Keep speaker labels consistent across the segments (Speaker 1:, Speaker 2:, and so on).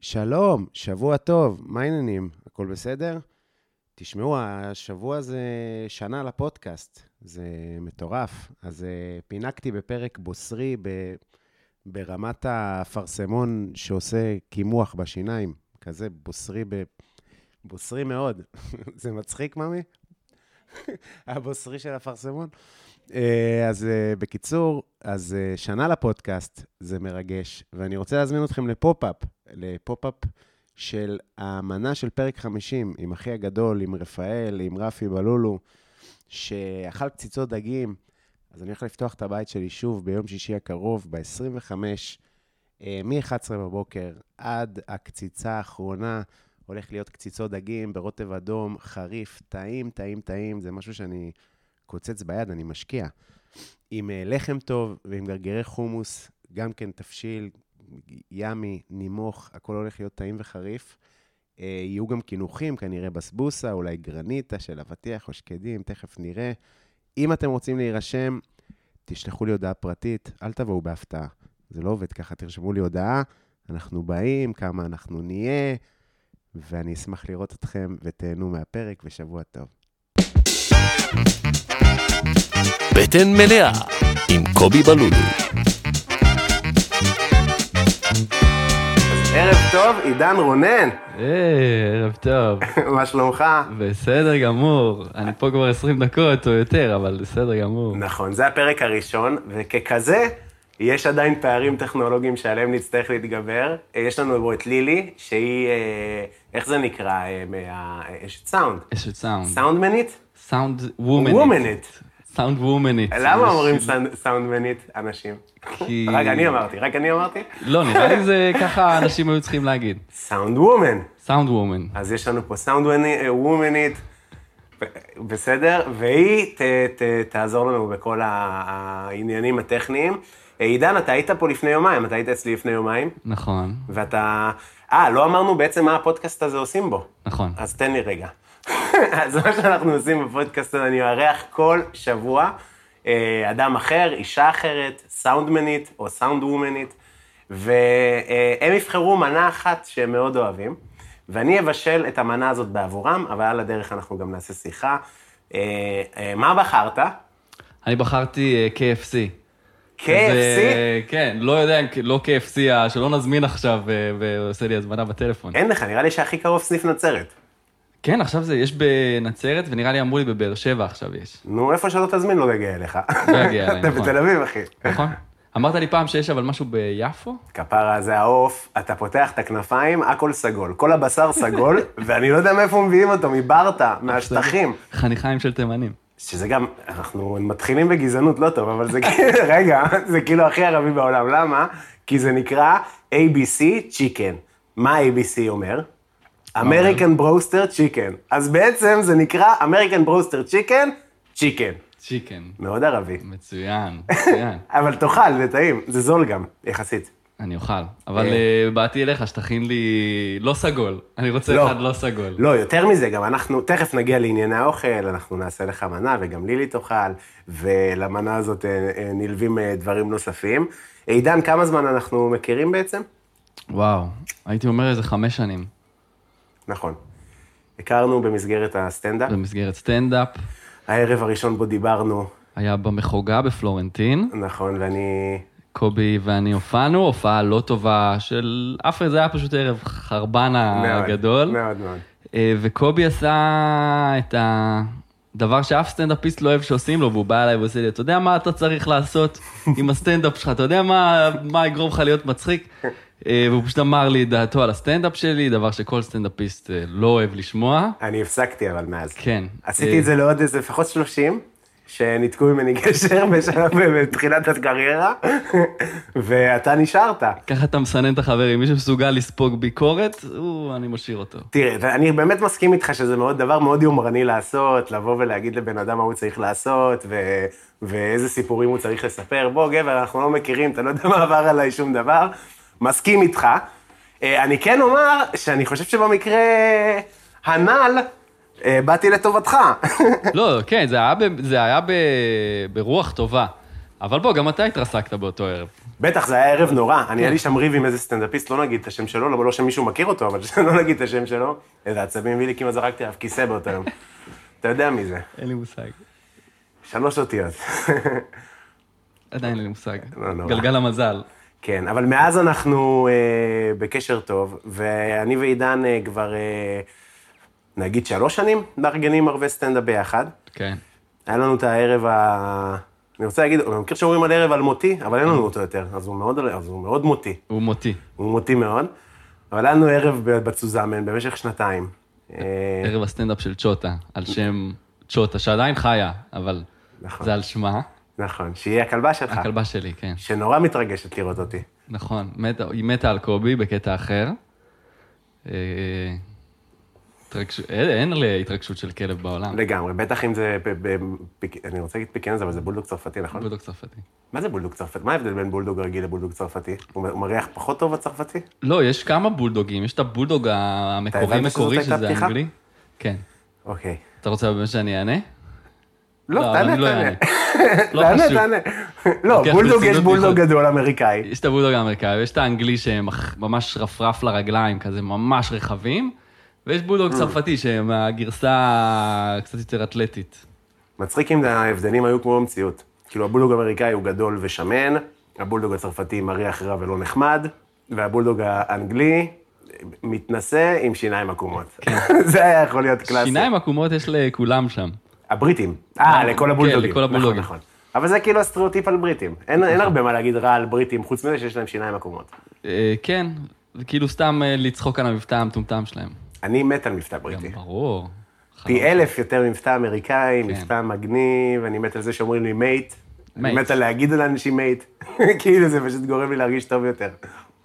Speaker 1: שלום, שבוע טוב, מה העניינים? הכל בסדר? תשמעו, השבוע זה שנה לפודקאסט, זה מטורף. אז אה, פינקתי בפרק בוסרי ב- ברמת האפרסמון שעושה קימוח בשיניים, כזה בוסרי, ב- בוסרי מאוד. זה מצחיק, ממי? הבוסרי של אפרסמון? אה, אז אה, בקיצור, אז אה, שנה לפודקאסט, זה מרגש, ואני רוצה להזמין אתכם לפופ-אפ, לפופ-אפ של האמנה של פרק 50, עם אחי הגדול, עם רפאל, עם רפי בלולו, שאכל קציצות דגים. אז אני הולך לפתוח את הבית שלי שוב ביום שישי הקרוב, ב-25, מ-11 בבוקר עד הקציצה האחרונה. הולך להיות קציצות דגים ברוטב אדום, חריף, טעים, טעים, טעים. זה משהו שאני קוצץ ביד, אני משקיע. עם אה, לחם טוב ועם גרגירי חומוס, גם כן תבשיל, ימי, נימוך, הכל הולך להיות טעים וחריף. אה, יהיו גם קינוחים, כנראה בסבוסה, אולי גרניטה של אבטיח או שקדים, תכף נראה. אם אתם רוצים להירשם, תשלחו לי הודעה פרטית, אל תבואו בהפתעה. זה לא עובד ככה, תרשמו לי הודעה, אנחנו באים, כמה אנחנו נהיה, ואני אשמח לראות אתכם, ותהנו מהפרק, ושבוע טוב.
Speaker 2: בטן מלאה עם קובי בלולו.
Speaker 1: ערב טוב, עידן רונן,
Speaker 3: היי, אה, ערב טוב,
Speaker 1: מה שלומך?
Speaker 3: בסדר גמור. אני פה כבר 20 דקות או יותר, אבל בסדר גמור.
Speaker 1: נכון, זה הפרק הראשון, וככזה, יש עדיין פערים טכנולוגיים שעליהם נצטרך להתגבר. אה, יש לנו פה את לילי, שהיא, אה, איך זה נקרא, אה, מה- אה, אשת סאונד.
Speaker 3: יש את סאונד.
Speaker 1: סאונדמנית?
Speaker 3: סאונד וומנית.
Speaker 1: וומנית.
Speaker 3: סאונד וומנית.
Speaker 1: למה
Speaker 3: יש-
Speaker 1: אומרים סאונד- סאונדמנית אנשים?
Speaker 3: כי-
Speaker 1: רק אני אמרתי, רק אני אמרתי?
Speaker 3: לא, נראה לי זה ככה אנשים היו צריכים להגיד.
Speaker 1: סאונד וומן.
Speaker 3: סאונד וומן.
Speaker 1: אז יש לנו פה סאונד וומני- וומנית, ב- בסדר? והיא ת, ת, תעזור לנו בכל ה- העניינים הטכניים. אה, עידן, אתה היית פה לפני יומיים, אתה היית אצלי לפני יומיים,
Speaker 3: נכון,
Speaker 1: ואתה... אה, לא אמרנו בעצם מה הפודקאסט הזה עושים בו.
Speaker 3: נכון.
Speaker 1: אז תן לי רגע. אז מה שאנחנו עושים בפודקאסט הזה, אני מארח כל שבוע אה, אדם אחר, אישה אחרת, סאונדמנית או סאונד וומנית, והם יבחרו מנה אחת שהם מאוד אוהבים, ואני אבשל את המנה הזאת בעבורם, אבל על הדרך אנחנו גם נעשה שיחה. אה, אה, מה בחרת?
Speaker 3: אני בחרתי אה, KFC.
Speaker 1: KFC?
Speaker 3: זה- כן, לא יודע אם לא KFC, ה- שלא נזמין עכשיו אה, ועושה לי הזמנה בטלפון.
Speaker 1: אין לך, נראה לי שהכי קרוב סניף נצרת.
Speaker 3: כן, עכשיו זה, יש בנצרת, ונראה לי אמרו לי בבאר שבע עכשיו יש.
Speaker 1: נו, איפה שלא תזמין לא יגיע אליך.
Speaker 3: לא יגיע אליי,
Speaker 1: אתה
Speaker 3: נכון.
Speaker 1: בתל אביב, אחי.
Speaker 3: נכון? אמרת לי פעם שיש אבל משהו ביפו?
Speaker 1: כפרה זה העוף, אתה פותח את הכנפיים, הכל סגול. כל הבשר סגול, ואני לא יודע מאיפה מביאים אותו, מברטה, מהשטחים.
Speaker 3: חניכיים של תימנים.
Speaker 1: שזה גם, אנחנו מתחילים בגזענות לא טוב, אבל זה כאילו, רגע, זה כאילו הכי ערבי בעולם. למה? כי זה נקרא ABC Chicken. מה ABC אומר? American Broaster Chicken. אז בעצם זה נקרא American Broaster Chicken, Chicken.
Speaker 3: צ'יקן.
Speaker 1: מאוד ערבי.
Speaker 3: מצוין, מצוין.
Speaker 1: אבל תאכל, זה טעים, זה זול גם, יחסית.
Speaker 3: אני אוכל. אבל
Speaker 1: אה.
Speaker 3: אה, באתי אליך, שתכין לי לא סגול. אני רוצה
Speaker 1: לא.
Speaker 3: אחד לא סגול.
Speaker 1: לא, יותר מזה, גם אנחנו, תכף נגיע לענייני האוכל, אנחנו נעשה לך מנה, וגם לילי תאכל, ולמנה הזאת אה, אה, נלווים אה, דברים נוספים. עידן, כמה זמן אנחנו מכירים בעצם?
Speaker 3: וואו, הייתי אומר איזה חמש שנים
Speaker 1: נכון. הכרנו במסגרת הסטנדאפ.
Speaker 3: במסגרת סטנדאפ.
Speaker 1: הערב הראשון בו דיברנו,
Speaker 3: היה במחוגה בפלורנטין,
Speaker 1: נכון, ואני...
Speaker 3: קובי ואני הופענו, הופעה לא טובה של אף אחד, זה היה פשוט ערב חרבן
Speaker 1: מאוד,
Speaker 3: הגדול.
Speaker 1: מאוד מאוד.
Speaker 3: אה, וקובי עשה את הדבר שאף סטנדאפיסט לא אוהב שעושים לו, והוא בא אליי ועושה לי, אתה יודע מה אתה צריך לעשות עם הסטנדאפ שלך, אתה יודע מה, מה יגרום לך להיות מצחיק? אה, והוא פשוט אמר לי את דעתו על הסטנדאפ שלי, דבר שכל סטנדאפיסט אה, לא אוהב לשמוע.
Speaker 1: אני הפסקתי אבל מאז.
Speaker 3: כן.
Speaker 1: עשיתי את זה לעוד איזה לפחות 30, שניתקו ממני גשר בשלב אה, בתחילת הקריירה, ואתה נשארת.
Speaker 3: ככה אתה מסנן את החברים, מי שמסוגל לספוג ביקורת, הוא, אני משאיר אותו.
Speaker 1: תראה, ואני באמת מסכים איתך שזה מאוד דבר מאוד יומרני לעשות, לבוא ולהגיד לבן אדם מה הוא צריך לעשות, ו... ואיזה סיפורים הוא צריך לספר. בוא, גבר, אנחנו לא מכירים, אתה לא יודע מה עבר עליי שום דבר. מסכים איתך. אה, אני כן אומר שאני חושב שבמקרה הנ"ל, אה, באתי לטובתך.
Speaker 3: לא, כן, זה היה, ב, זה היה ב, ברוח טובה. אבל בוא, גם אתה התרסקת באותו ערב.
Speaker 1: בטח, זה היה ערב נורא. אני, היה לי שם ריב עם איזה סטנדאפיסט, לא נגיד את השם שלו, לא, לא שמישהו מכיר אותו, אבל שלא נגיד את השם שלו. איזה עצבים הביא לי, כמעט זרקתי עליו כיסא באותו יום. אתה יודע מי זה.
Speaker 3: אין לי מושג.
Speaker 1: שלוש אותיות.
Speaker 3: עדיין אין לי מושג.
Speaker 1: לא נורא.
Speaker 3: גלגל המזל.
Speaker 1: כן, אבל מאז אנחנו אה, בקשר טוב, ואני ועידן אה, כבר, אה, נגיד שלוש שנים, מארגנים ערבי סטנדאפ ביחד.
Speaker 3: כן.
Speaker 1: היה לנו את הערב ה... אני רוצה להגיד, אני מכיר שאומרים על ערב אלמותי, אבל אין לנו אותו יותר, אז הוא מאוד, אז הוא מאוד מותי,
Speaker 3: הוא מותי.
Speaker 1: הוא מותי מאוד. אבל היה לנו ערב בצוזמן במשך שנתיים. אה,
Speaker 3: ערב הסטנדאפ של צ'וטה, על שם צ'וטה, שעדיין חיה, אבל
Speaker 1: נכון.
Speaker 3: זה על שמה.
Speaker 1: נכון, שהיא הכלבה שלך,
Speaker 3: הכלבה שלי, כן.
Speaker 1: שנורא מתרגשת לראות אותי.
Speaker 3: נכון. מתה- היא מתה על קובי בקטע אחר. אה, התרגש- אין אין להתרגשות של כלב בעולם.
Speaker 1: לגמרי, בטח אם זה... ב- ב- פיק- אני רוצה להגיד פיקנז, אבל זה בולדוג צרפתי, נכון?
Speaker 3: בודוק צרפתי.
Speaker 1: מה זה בולדוג צרפתי? מה ההבדל בין בולדוג רגיל לבולדוג צרפתי? הוא הוא מריח פחות טוב הצרפתי?
Speaker 3: לא, יש כמה בולדוגים, יש את הבולדוג המקורי
Speaker 1: הבנת
Speaker 3: מקורי,
Speaker 1: שזאת הייתה
Speaker 3: שזה
Speaker 1: פתיחה?
Speaker 3: אנגלי. כן.
Speaker 1: אוקיי.
Speaker 3: אתה רוצה באמת שאני אענה?
Speaker 1: לא,
Speaker 3: אבל
Speaker 1: תענה,
Speaker 3: אני לא
Speaker 1: תענה.
Speaker 3: אענה. לא
Speaker 1: תענה,
Speaker 3: חשוב.
Speaker 1: תענה. לא,
Speaker 3: לוקח
Speaker 1: בולדוג יש
Speaker 3: ברצינות
Speaker 1: בולדוג
Speaker 3: בדיחות.
Speaker 1: גדול אמריקאי.
Speaker 3: יש את הבולדוג האמריקאי, ויש את האנגלי שהם אח- ממש רפרף לרגליים, כזה ממש רחבים, ויש
Speaker 1: Mm.
Speaker 3: בולדוג צרפתי שהם הגרסה קצת יותר אתלטית.
Speaker 1: מצחיק אם ההבדלים היו כמו במציאות. כאילו, הבולדוג האמריקאי הוא גדול ושמן, הבולדוג הצרפתי מריח רע ולא נחמד, והבולדוג האנגלי מתנשא עם שיניים עקומות. זה היה יכול להיות קלאסי.
Speaker 3: כן. שיניים עקומות יש לכולם שם.
Speaker 1: הבריטים. אה, לכל הבולדוגים.
Speaker 3: נכון. כן, לכל הבולדוגים. נכון.
Speaker 1: נכון, נכון. אבל זה כאילו הסטריאוטיפ על בריטים. אין אין הרבה מה להגיד רע על בריטים, חוץ מזה שיש להם שיניים עקומות.
Speaker 3: אה, כן, זה כאילו סתם אה, לצחוק על המבטא המטומטם שלהם.
Speaker 1: אני מת על מבטא
Speaker 3: גם לא
Speaker 1: בריטי.
Speaker 3: ברור.
Speaker 1: אוקיי. פי אלף יותר מבטא
Speaker 3: כן.
Speaker 1: אמריקאי, מבטא מגניב, אני מת על זה שאומרים לי מייט. אני
Speaker 3: Mate.
Speaker 1: מת על להגיד על אנשים מייט. כאילו, זה פשוט גורם לי להרגיש טוב יותר.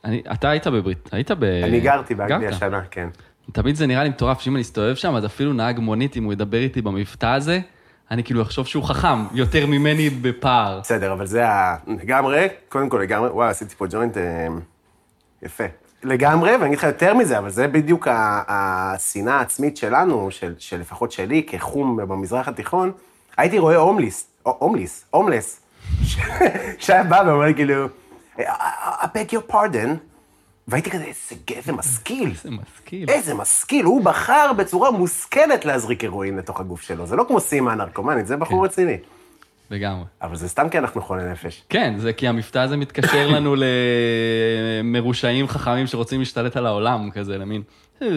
Speaker 3: אני- אתה היית בברית, היית ב...
Speaker 1: אני גרתי באנגליה
Speaker 3: כן, גרת.
Speaker 1: שנה, כן.
Speaker 3: תמיד זה נראה לי מטורף, שאם אני אסתובב שם, אז אפילו נהג מונית, אם הוא ידבר איתי במבטא הזה, אני כאילו אחשוב שהוא חכם יותר ממני בפער.
Speaker 1: בסדר, אבל זה ה... לגמרי, קודם כל לגמרי, וואי, עשיתי פה ג'וינט אה, יפה. לגמרי, ואני אגיד לך יותר מזה, אבל זה בדיוק ה- השנאה העצמית שלנו, של, של לפחות שלי, כחום במזרח התיכון. הייתי רואה הומליס, או- הומליס, הומלס, ש- שהיה בא ואומר לי כאילו, I I beg your pardon, והייתי כזה, איזה, איזה משכיל.
Speaker 3: זה משכיל.
Speaker 1: איזה משכיל, הוא בחר בצורה מושכלת להזריק הירואין לתוך הגוף שלו. זה לא כמו סימה הנרקומנית, זה בחור רציני.
Speaker 3: לגמרי.
Speaker 1: אבל זה סתם כי אנחנו חולי נפש.
Speaker 3: כן, זה כי המבטא הזה מתקשר לנו למרושעים חכמים שרוצים להשתלט על העולם, כזה, למין... "אה,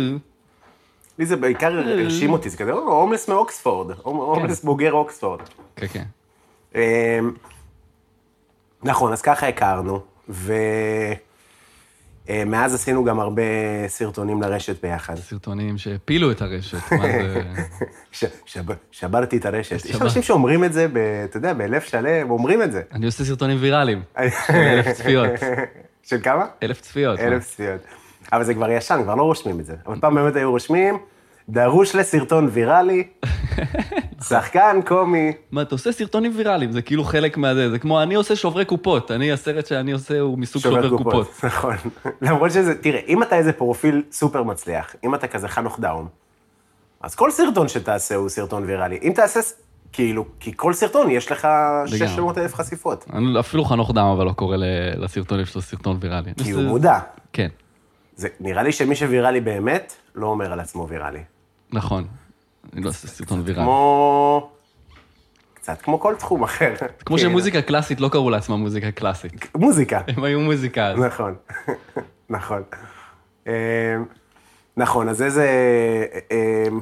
Speaker 1: לי זה בעיקר הרשים אותי, זה כזה, "או, הומלס מאוקספורד, הומ- הומלס בוגר אוקספורד.
Speaker 3: כן, כן.
Speaker 1: אמ, נכון, אז ככה הכרנו, ומאז עשינו גם הרבה סרטונים לרשת ביחד.
Speaker 3: סרטונים שהפילו את הרשת, מה זה...
Speaker 1: ש- שב- שברתי את הרשת. יש
Speaker 3: שבר-
Speaker 1: אנשים שאומרים את זה, ב- אתה יודע, בלב שלם, אומרים את זה.
Speaker 3: אני עושה סרטונים ויראליים, של אלף צפיות.
Speaker 1: של כמה?
Speaker 3: אלף צפיות. מה?
Speaker 1: אלף צפיות. אבל זה כבר ישן, כבר לא רושמים את זה. אבל פעם באמת היו רושמים, דרוש לסרטון ויראלי, שחקן קומי.
Speaker 3: מה, אתה עושה סרטונים ויראליים, זה כאילו חלק מהזה, זה כמו אני עושה שוברי קופות, אני, הסרט שאני עושה הוא מסוג שובר קופות.
Speaker 1: נכון. למרות שזה, תראה, אם אתה איזה פרופיל סופר מצליח, אם אתה כזה חנוך דאום, אז כל סרטון שתעשה הוא סרטון ויראלי. אם תעשה, ס- כאילו, כי כל סרטון יש לך 600 אלף חשיפות.
Speaker 3: אני אפילו חנוך דם אבל לא קורא ל- לסרטונים שלו סרטון ויראלי.
Speaker 1: כי
Speaker 3: זה-
Speaker 1: כאילו, הוא מודע.
Speaker 3: כן,
Speaker 1: זה, נראה לי שמי שוויראלי באמת, לא אומר על עצמו ויראלי.
Speaker 3: נכון. אני לא עושה סרטון ויראלי.
Speaker 1: כמו... קצת כמו כל תחום אחר.
Speaker 3: כמו
Speaker 1: כאילו,
Speaker 3: שמוזיקה קלאסית לא קראו לעצמה מוזיקה קלאסית.
Speaker 1: מוזיקה.
Speaker 3: הם היו מוזיקה אז.
Speaker 1: נכון, נכון. אמ, נכון, אז איזה... אמ,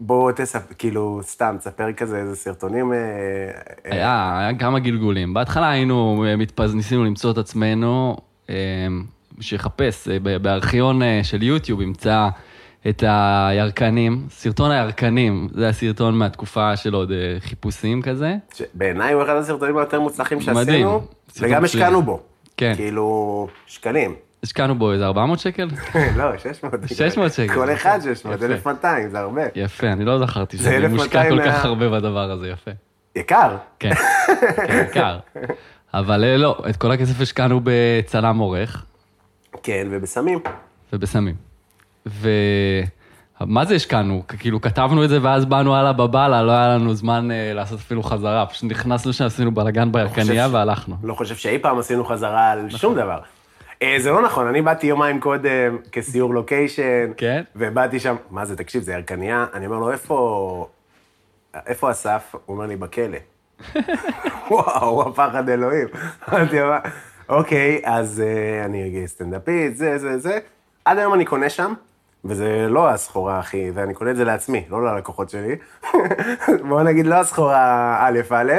Speaker 1: בוא תספר, כאילו, סתם, תספר כזה איזה סרטונים. אה, אה,
Speaker 3: היה, היה כמה גלגולים. בהתחלה היינו אה, מתפז... ניסינו למצוא את עצמנו, אה, שיחפש אה, ב- בארכיון אה, של יוטיוב, ימצא את הירקנים, סרטון הירקנים, זה הסרטון מהתקופה של עוד אה, חיפושים כזה.
Speaker 1: שבעיניי הוא אחד הסרטונים היותר מוצלחים
Speaker 3: מדהים.
Speaker 1: שעשינו,
Speaker 3: סרטון
Speaker 1: וגם
Speaker 3: מצוין.
Speaker 1: השקענו בו.
Speaker 3: כן.
Speaker 1: כאילו, שקלים.
Speaker 3: השקענו בו איזה 400 שקל?
Speaker 1: לא, 600.
Speaker 3: 600 שקל.
Speaker 1: כל אחד 600,
Speaker 3: יפה.
Speaker 1: 1200, זה הרבה.
Speaker 3: יפה, אני לא זכרתי
Speaker 1: זה
Speaker 3: שאני
Speaker 1: 1200
Speaker 3: מושקע כל
Speaker 1: מה-
Speaker 3: כך הרבה בדבר הזה, יפה.
Speaker 1: יקר.
Speaker 3: כן, כן, יקר. אבל אה, לא, את כל הכסף השקענו בצלם עורך
Speaker 1: כן, ובסמים.
Speaker 3: ובסמים. ו... מה זה השקענו? כאילו, כתבנו את זה ואז באנו הלאה בבאללה, לא היה לנו זמן אה, לעשות אפילו חזרה. פשוט נכנסנו שם, עשינו בלאגן בירקניה
Speaker 1: חושב ש-
Speaker 3: והלכנו.
Speaker 1: לא חושב שאי פעם עשינו חזרה על
Speaker 3: נכון.
Speaker 1: שום דבר. אה, זה לא נכון, אני באתי יומיים קודם כסיור לוקיישן,
Speaker 3: כן?
Speaker 1: ובאתי שם, מה זה, תקשיב, זה ירקניה, אני אומר לו, איפה, איפה אסף? הוא אומר לי, בכלא. וואו, הפחד אלוהים. אמרתי, "מה?" אוקיי, אז אה, אני אגיד סטנדאפיסט, זה, זה, זה. עד היום אני קונה שם, וזה לא הסחורה הכי, ואני קונה את זה לעצמי, לא ללקוחות שלי. בואו נגיד, לא הסחורה א' א',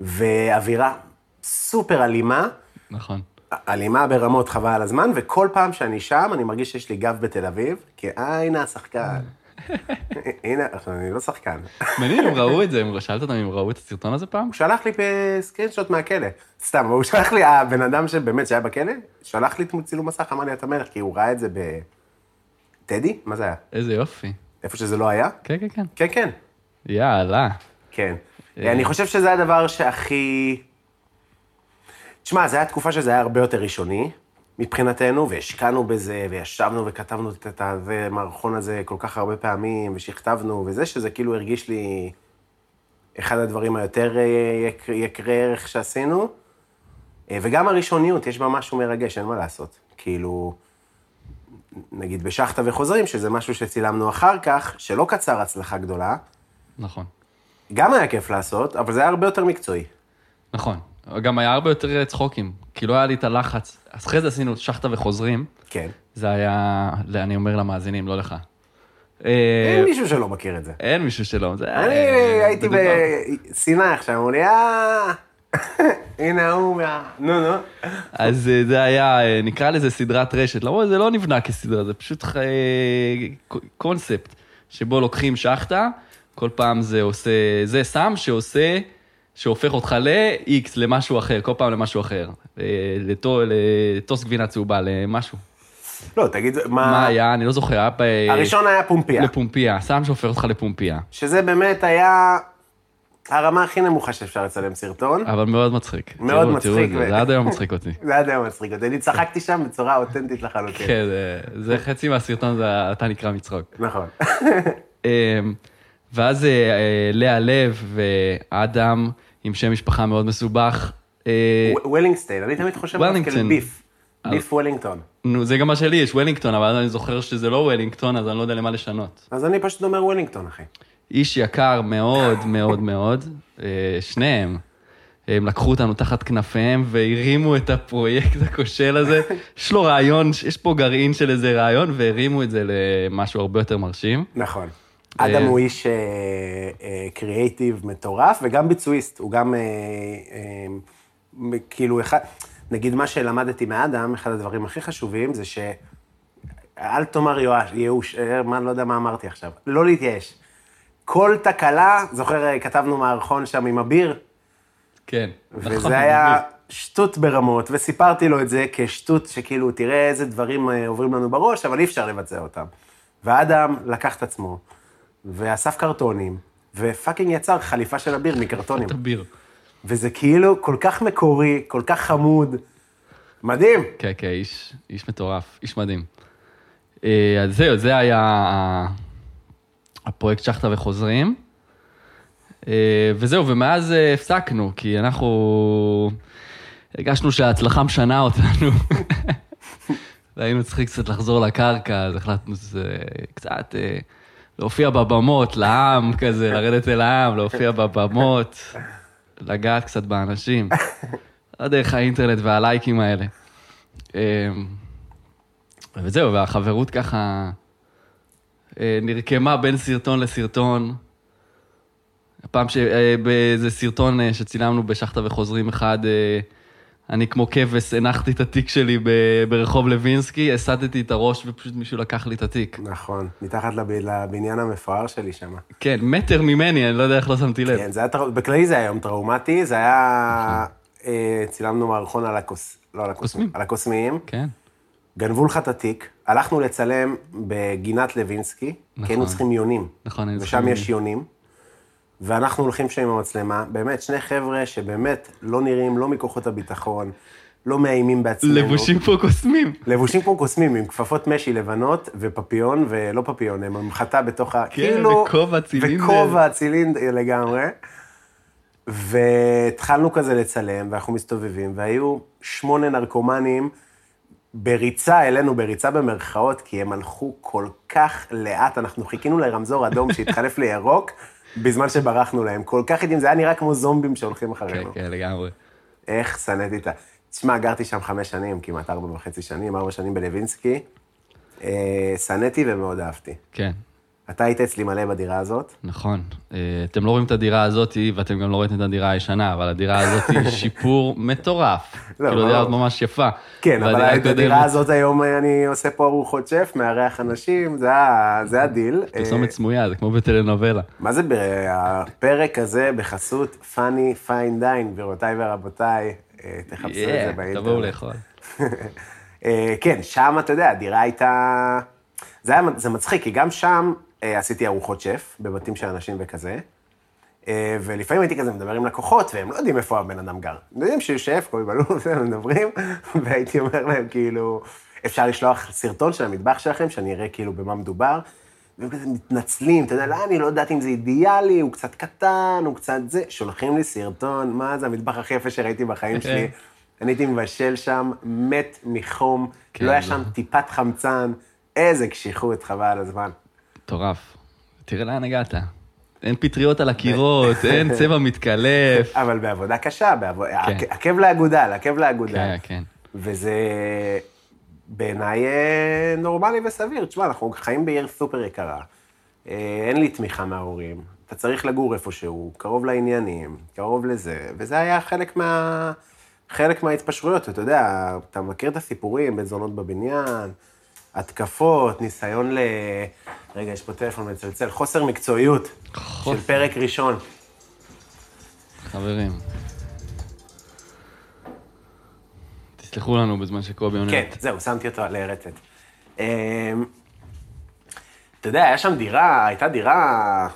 Speaker 1: ואווירה סופר אלימה,
Speaker 3: נכון.
Speaker 1: אלימה ברמות חבל על הזמן, וכל פעם שאני שם, אני מרגיש שיש לי גב בתל אביב, כי אה, הנה השחקן. הנה, עכשיו, אני לא שחקן.
Speaker 3: מעניין אם ראו את זה, אם שאלת אותם אם ראו את הסרטון הזה פעם?
Speaker 1: הוא שלח לי סקרינשוט מהכלא. סתם, הוא שלח לי, הבן אדם שבאמת שהיה בכלא, שלח לי צילום מסך, אמר לי, אתה מלך, כי הוא ראה את זה ב... טדי? מה זה היה?
Speaker 3: איזה יופי.
Speaker 1: איפה שזה לא היה?
Speaker 3: כן, כן, כן.
Speaker 1: כן, כן.
Speaker 3: יאללה.
Speaker 1: כן. אני חושב שזה הדבר שהכי... תשמע, זו הייתה תקופה שזה היה הרבה יותר ראשוני מבחינתנו, והשקענו בזה, וישבנו וכתבנו את- את המערכון הזה כל כך הרבה פעמים, ושכתבנו, וזה שזה כאילו הרגיש לי אחד הדברים היותר אה, יק- יקרי ערך שעשינו. אה, וגם הראשוניות, יש בה משהו מרגש, אין מה לעשות. כאילו, נגיד בשחטה וחוזרים, שזה משהו שצילמנו אחר כך, שלא קצר הצלחה גדולה,
Speaker 3: נכון.
Speaker 1: גם היה כיף לעשות, אבל זה היה הרבה יותר מקצועי.
Speaker 3: נכון. גם היה הרבה יותר אה, צחוקים, כי לא היה לי את הלחץ. אז אחרי זה עשינו שחטה וחוזרים,
Speaker 1: כן.
Speaker 3: זה היה, לא, אני אומר למאזינים, לא לך. אה,
Speaker 1: אין מישהו שלא מכיר את זה.
Speaker 3: אין מישהו שלא. זה-
Speaker 1: אני
Speaker 3: אה,
Speaker 1: הייתי
Speaker 3: זה דבר.
Speaker 1: בסיני עכשיו, אמרו לי, אה... הנה ההוא מה... נו, נו.
Speaker 3: אז אה, זה היה, אה, נקרא לזה סדרת רשת, למרות שזה לא נבנה כסדרה, זה פשוט אה, ק- קונספט, שבו לוקחים שחטה, כל פעם זה עושה, זה סם שעושה, שהופך אותך ל-X, למשהו אחר, כל פעם למשהו אחר. אה, לטו- לטוס גבינה צהובה, למשהו.
Speaker 1: לא, תגיד,
Speaker 3: מה
Speaker 1: מה...
Speaker 3: היה, אני לא זוכר, היה ב...
Speaker 1: הראשון היה פומפיה,
Speaker 3: לפומפיה, סם שהופך אותך לפומפיה,
Speaker 1: שזה באמת היה הרמה הכי נמוכה שאפשר לצלם סרטון.
Speaker 3: אבל מאוד מצחיק.
Speaker 1: מאוד
Speaker 3: תראו, תראו את
Speaker 1: מצחיק,
Speaker 3: זה,
Speaker 1: ו- כן.
Speaker 3: זה עד היום מצחיק אותי.
Speaker 1: זה היה די מצחיק אותי, אני צחקתי שם בצורה אותנטית לחלוטין.
Speaker 3: כן, זה- זה חצי מהסרטון, זה אתה נקרא מצחוק.
Speaker 1: נכון.
Speaker 3: אמ, ואז אה, אה, לאה לב ואדם עם שם משפחה מאוד מסובך. אה,
Speaker 1: ו- וולינגסטיין, אני תמיד חושב על
Speaker 3: וולינגטון.
Speaker 1: ביף. ביף וולינגטון.
Speaker 3: נו, זה גם מה שלי, יש וולינגטון, אבל אני זוכר שזה לא וולינגטון, אז אני לא יודע למה לשנות.
Speaker 1: אז אני פשוט אומר וולינגטון, אחי.
Speaker 3: איש יקר מאוד מאוד מאוד, אה, שניהם. הם לקחו אותנו תחת כנפיהם והרימו את הפרויקט הכושל הזה. יש לו רעיון, יש פה גרעין של איזה רעיון, והרימו את זה למשהו הרבה יותר מרשים.
Speaker 1: נכון.
Speaker 3: אה,
Speaker 1: אדם הוא איש אה, אה, קריאייטיב מטורף, וגם ביצועיסט, הוא גם אה, אה, מ- כאילו אחד, נגיד מה שלמדתי מאדם, אחד הדברים הכי חשובים זה ש... אל תאמר יואש, ייאוש, אה, מה, לא יודע מה אמרתי עכשיו, לא להתייאש. כל תקלה, זוכר, אה, כתבנו מערכון שם עם אביר,
Speaker 3: כן. נכון,
Speaker 1: וזה היה
Speaker 3: מגניב.
Speaker 1: שטות ברמות, וסיפרתי לו את זה כשטות שכאילו, תראה איזה דברים אה, עוברים לנו בראש, אבל אי אפשר לבצע אותם. ואדם לקח את עצמו, ואסף קרטונים, ופאקינג יצר חליפה של אביר מקרטונים.
Speaker 3: את הביר.
Speaker 1: וזה כאילו כל כך מקורי, כל כך חמוד. מדהים.
Speaker 3: כן, כן, איש, איש מטורף, איש מדהים. אה, אז זהו, זה היה ה- הפרויקט שחטה וחוזרים. אה, וזהו, ומאז אה, הפסקנו, כי אנחנו הרגשנו שההצלחה משנה אותנו. והיינו צריכים קצת לחזור לקרקע, אז החלטנו שזה קצת אה, להופיע בבמות, לעם כזה, לרדת אל העם, להופיע בבמות, לגעת קצת באנשים. לא דרך האינטרנט והלייקים האלה. אמ, וזהו, והחברות ככה אה, נרקמה בין סרטון לסרטון. פעם ש... אה, באיזה סרטון אה, שצילמנו בשחטה וחוזרים אחד, אה, אני כמו כבש הנחתי את התיק שלי ב... ברחוב לוינסקי, הסטתי את הראש ופשוט מישהו לקח לי את התיק.
Speaker 1: נכון, מתחת לב... לבניין המפואר שלי שם.
Speaker 3: כן, מטר ממני, אני לא יודע איך לא שמתי לב.
Speaker 1: כן, זה היה, טרא- בכללי זה היה יום טראומטי, זה היה... אה, צילמנו מערכון על הכוס... לא על
Speaker 3: נכון. קוסמים.
Speaker 1: הקוסמים. על הקוסמים.
Speaker 3: כן,
Speaker 1: גנבו לך את התיק, הלכנו לצלם בגינת לוינסקי,
Speaker 3: נכון.
Speaker 1: נכון. כי היינו צריכים יונים.
Speaker 3: נכון, היינו
Speaker 1: ושם
Speaker 3: צריכים
Speaker 1: יש יונים. ואנחנו הולכים שם עם המצלמה, באמת, שני חבר'ה שבאמת לא נראים לא מכוחות הביטחון, לא מאיימים בעצמנו.
Speaker 3: לבושים כמו קוסמים.
Speaker 1: לבושים כמו קוסמים, עם כפפות משי לבנות ופפיון, ולא פפיון, הם המחטה בתוך ה... כאילו
Speaker 3: כן, וכובע צילינדר.
Speaker 1: וכובע צילינדר לגמרי. והתחלנו כזה לצלם, ואנחנו מסתובבים, והיו שמונה נרקומנים בריצה אלינו, בריצה במרכאות, כי הם הלכו כל כך לאט, אנחנו חיכינו לרמזור אדום שהתחלף לירוק, בזמן שברחנו להם. כל כך איטיים, זה היה נראה כמו זומבים שהולכים
Speaker 3: כן,
Speaker 1: אחרינו.
Speaker 3: כן, לגמרי.
Speaker 1: איך שנאתי את ה... תשמע, גרתי שם חמש שנים, כמעט ארבע וחצי שנים, ארבע שנים בלווינסקי. אה, שנאתי ומאוד אהבתי.
Speaker 3: כן,
Speaker 1: אתה היית אצלי מלא בדירה הזאת.
Speaker 3: נכון. אה, אתם לא רואים את הדירה הזאת, ואתם גם לא ראיתם את הדירה הישנה, אבל הדירה הזאת היא שיפור מטורף.
Speaker 1: לא,
Speaker 3: כאילו, הדירה
Speaker 1: ברור.
Speaker 3: הזאת ממש יפה.
Speaker 1: כן, אבל
Speaker 3: והדירה
Speaker 1: את הדירה
Speaker 3: הקודמת-
Speaker 1: הזאת היום אה, אני עושה פה ארוחות שף, מארח אנשים, זה ה- זה הדיל. אה,
Speaker 3: פרסומת סמויה, זה כמו בטלנובלה.
Speaker 1: מה זה ב- הפרק הזה בחסות פאני פיין דיין, גבירותיי ורבותיי, אה, תחפשו את זה
Speaker 3: Yeah,
Speaker 1: באינטרנט.
Speaker 3: תבואו לאכול.
Speaker 1: אה, כן, שם, אתה יודע, הדירה הייתה... זה, היה, זה מצחיק, כי גם שם אה, עשיתי ארוחות שף, בבתים של אנשים וכזה, אה, ולפעמים הייתי כזה מדבר עם לקוחות, והם לא יודעים איפה הבן אדם גר. הם יודעים שהוא שף, כל בלול, והם מדברים, והייתי אומר להם, כאילו, אפשר לשלוח סרטון של המטבח שלכם, שאני אראה כאילו במה מדובר. והם כזה מתנצלים, אתה יודע, לא, אני לא יודעת אם זה אידיאלי, הוא קצת קטן, הוא קצת זה. שולחים לי סרטון, מה זה המטבח הכי יפה שראיתי בחיים שלי. אני הייתי מבשל שם, מת מחום,
Speaker 3: כן,
Speaker 1: לא היה
Speaker 3: זה-
Speaker 1: שם טיפת חמצן, איזה קשיחות, חבל על הזמן.
Speaker 3: מטורף. תראה לאן הגעת. אין פטריות על הקירות, אין צבע מתקלף.
Speaker 1: אבל בעבודה קשה, בעבוד...
Speaker 3: כן.
Speaker 1: עקב לאגודל, עקב לאגודל.
Speaker 3: כן, כן.
Speaker 1: וזה בעיניי אה, נורמלי וסביר. תשמע, אנחנו חיים בעיר סופר יקרה, אה, אין לי תמיכה מההורים, אתה צריך לגור איפשהו, קרוב לעניינים, קרוב לזה, וזה היה חלק מה... חלק מההתפשרויות, אתה יודע, אתה מכיר את הסיפורים, בן זונות בבניין, התקפות, ניסיון ל... רגע, יש פה טלפון מצלצל, חוסר מקצועיות של פרק ראשון.
Speaker 3: חברים. תסלחו לנו בזמן שקובי עונה.
Speaker 1: כן, זהו, שמתי אותו על הרטט. אמ, אתה יודע, היה שם דירה, הייתה דירה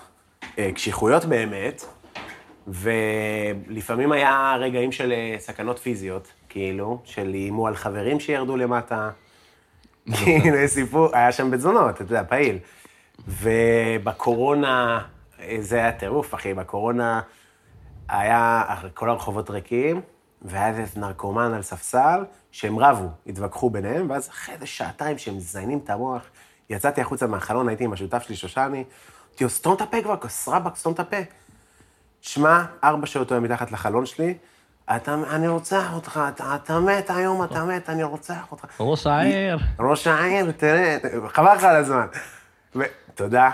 Speaker 1: אה, קשיחויות באמת, ולפעמים היה רגעים של אה, סכנות פיזיות, כאילו, של איימו על חברים שירדו למטה. כאילו, יש סיפור, היה שם בית זונות, אתה יודע, פעיל. ובקורונה, אה, זה היה טירוף, אחי, בקורונה היה, כל הרחובות ריקים, והיה איזה נרקומן על ספסל, שהם רבו, התווכחו ביניהם, ואז אחרי איזה שעתיים שהם מזיינים את המוח, יצאתי החוצה מהחלון, הייתי עם השותף שלי, שושני, אמרתי לו, סתום את הפה כבר, כוס רבאק, סתום את הפה. שמע, ארבע שעות הוא היה מתחת לחלון שלי, אתה, אני רוצח אותך, אתה, אתה מת היום, אתה מת, אני רוצח אותך.
Speaker 3: ראש העיר.
Speaker 1: ראש העיר, תראה, חבל לך על הזמן. ו- תודה.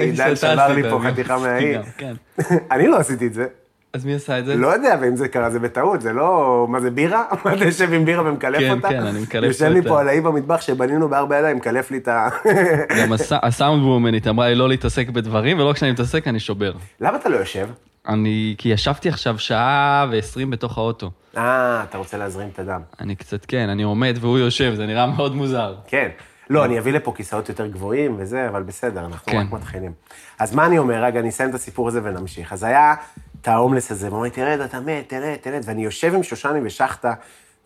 Speaker 1: עידן שבר לי פה חתיכה מהעיר.
Speaker 3: כן.
Speaker 1: אני לא עשיתי את זה.
Speaker 3: אז מי עשה את זה?
Speaker 1: לא יודע, ואם זה קרה, זה בטעות, זה לא... מה זה, בירה? מה אתה יושב עם בירה ומקלף
Speaker 3: כן,
Speaker 1: אותה?
Speaker 3: כן, אני מקלף
Speaker 1: יושב
Speaker 3: פה
Speaker 1: לי
Speaker 3: את
Speaker 1: פה
Speaker 3: ה-
Speaker 1: על האי במטבח שבנינו בארבע ידיים, מקלף לי את ה...
Speaker 3: גם הס- הסאונד וומנית אמרה לי לא להתעסק בדברים, ולא כשאני מתעסק אני שובר.
Speaker 1: למה אתה לא יושב?
Speaker 3: אני, כי ישבתי עכשיו שעה ועשרים בתוך האוטו.
Speaker 1: אה, אתה רוצה להזרים את הדם.
Speaker 3: אני קצת, כן, אני עומד והוא יושב, זה נראה מאוד מוזר.
Speaker 1: כן. לא, אני אביא לפה כיסאות יותר גבוהים וזה, אבל בסדר, אנחנו
Speaker 3: כן.
Speaker 1: רק מתחילים. אז מה אני אומר? רגע, אני אסיים את הסיפור הזה ונמשיך. אז היה את ההומלס הזה, והוא אומר, תרד, אתה מת, תרד, תרד, ואני יושב עם שושני ושחטה,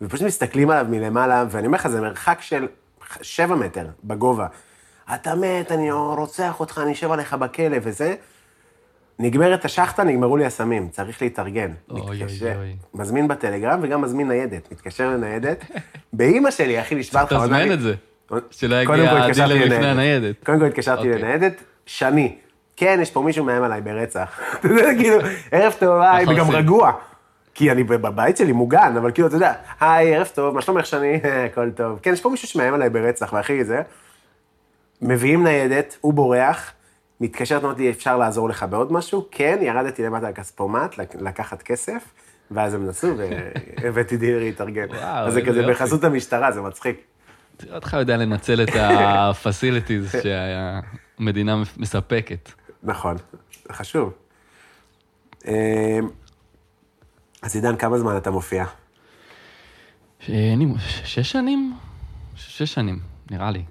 Speaker 1: ופשוט מסתכלים עליו מלמעלה, ואני אומר לך, זה מרחק של שבע מטר בגובה. אתה מת, אני רוצח אותך, אני אשב עליך בכלא וזה. נגמרת השחטה, נגמרו לי הסמים, צריך להתארגן.
Speaker 3: אוי, אוי,
Speaker 1: מתקשר.
Speaker 3: אוי.
Speaker 1: מזמין בטלגרם וגם מזמין ניידת, מתקשר לניידת. באימא שלי, אחי, נשבע לך, עונה
Speaker 3: תזמן
Speaker 1: לי-
Speaker 3: את זה. שלא
Speaker 1: קודם
Speaker 3: יגיע
Speaker 1: כל התקשרתי
Speaker 3: הדילר לפני
Speaker 1: לניידת.
Speaker 3: הניידת.
Speaker 1: קודם כל התקשרתי
Speaker 3: אוקיי.
Speaker 1: לניידת, שני. כן, יש פה מישהו מאיים עליי ברצח. אתה יודע, כאילו, ערב טוב, היי,
Speaker 3: ככה
Speaker 1: וגם
Speaker 3: עושים.
Speaker 1: רגוע. כי אני בב- בבית שלי מוגן, אבל כאילו, אתה יודע, היי, ערב טוב, מה שלומך שני? הכל טוב. כן, יש פה מישהו שמאיים עליי ברצח, ואחי, זה. מביאים ניידת, הוא בורח, מתקשרת, אומרת לי, אפשר לעזור לך בעוד משהו? כן, ירדתי למטה לכספומט, לק- לקחת כסף, ואז הם נסעו, והבאתי דילר להתארגן.
Speaker 3: וואו,
Speaker 1: אז זה
Speaker 3: איזה
Speaker 1: כזה
Speaker 3: יופי.
Speaker 1: בחסות המשטרה, זה מצחיק.
Speaker 3: תראה אותך יודע לנצל את ה-facilities שהמדינה מספקת.
Speaker 1: נכון, זה חשוב. אמ, אז עידן, כמה זמן אתה מופיע?
Speaker 3: ש- אין לי מ- ש- שש שנים? ש- שש שנים, נראה לי.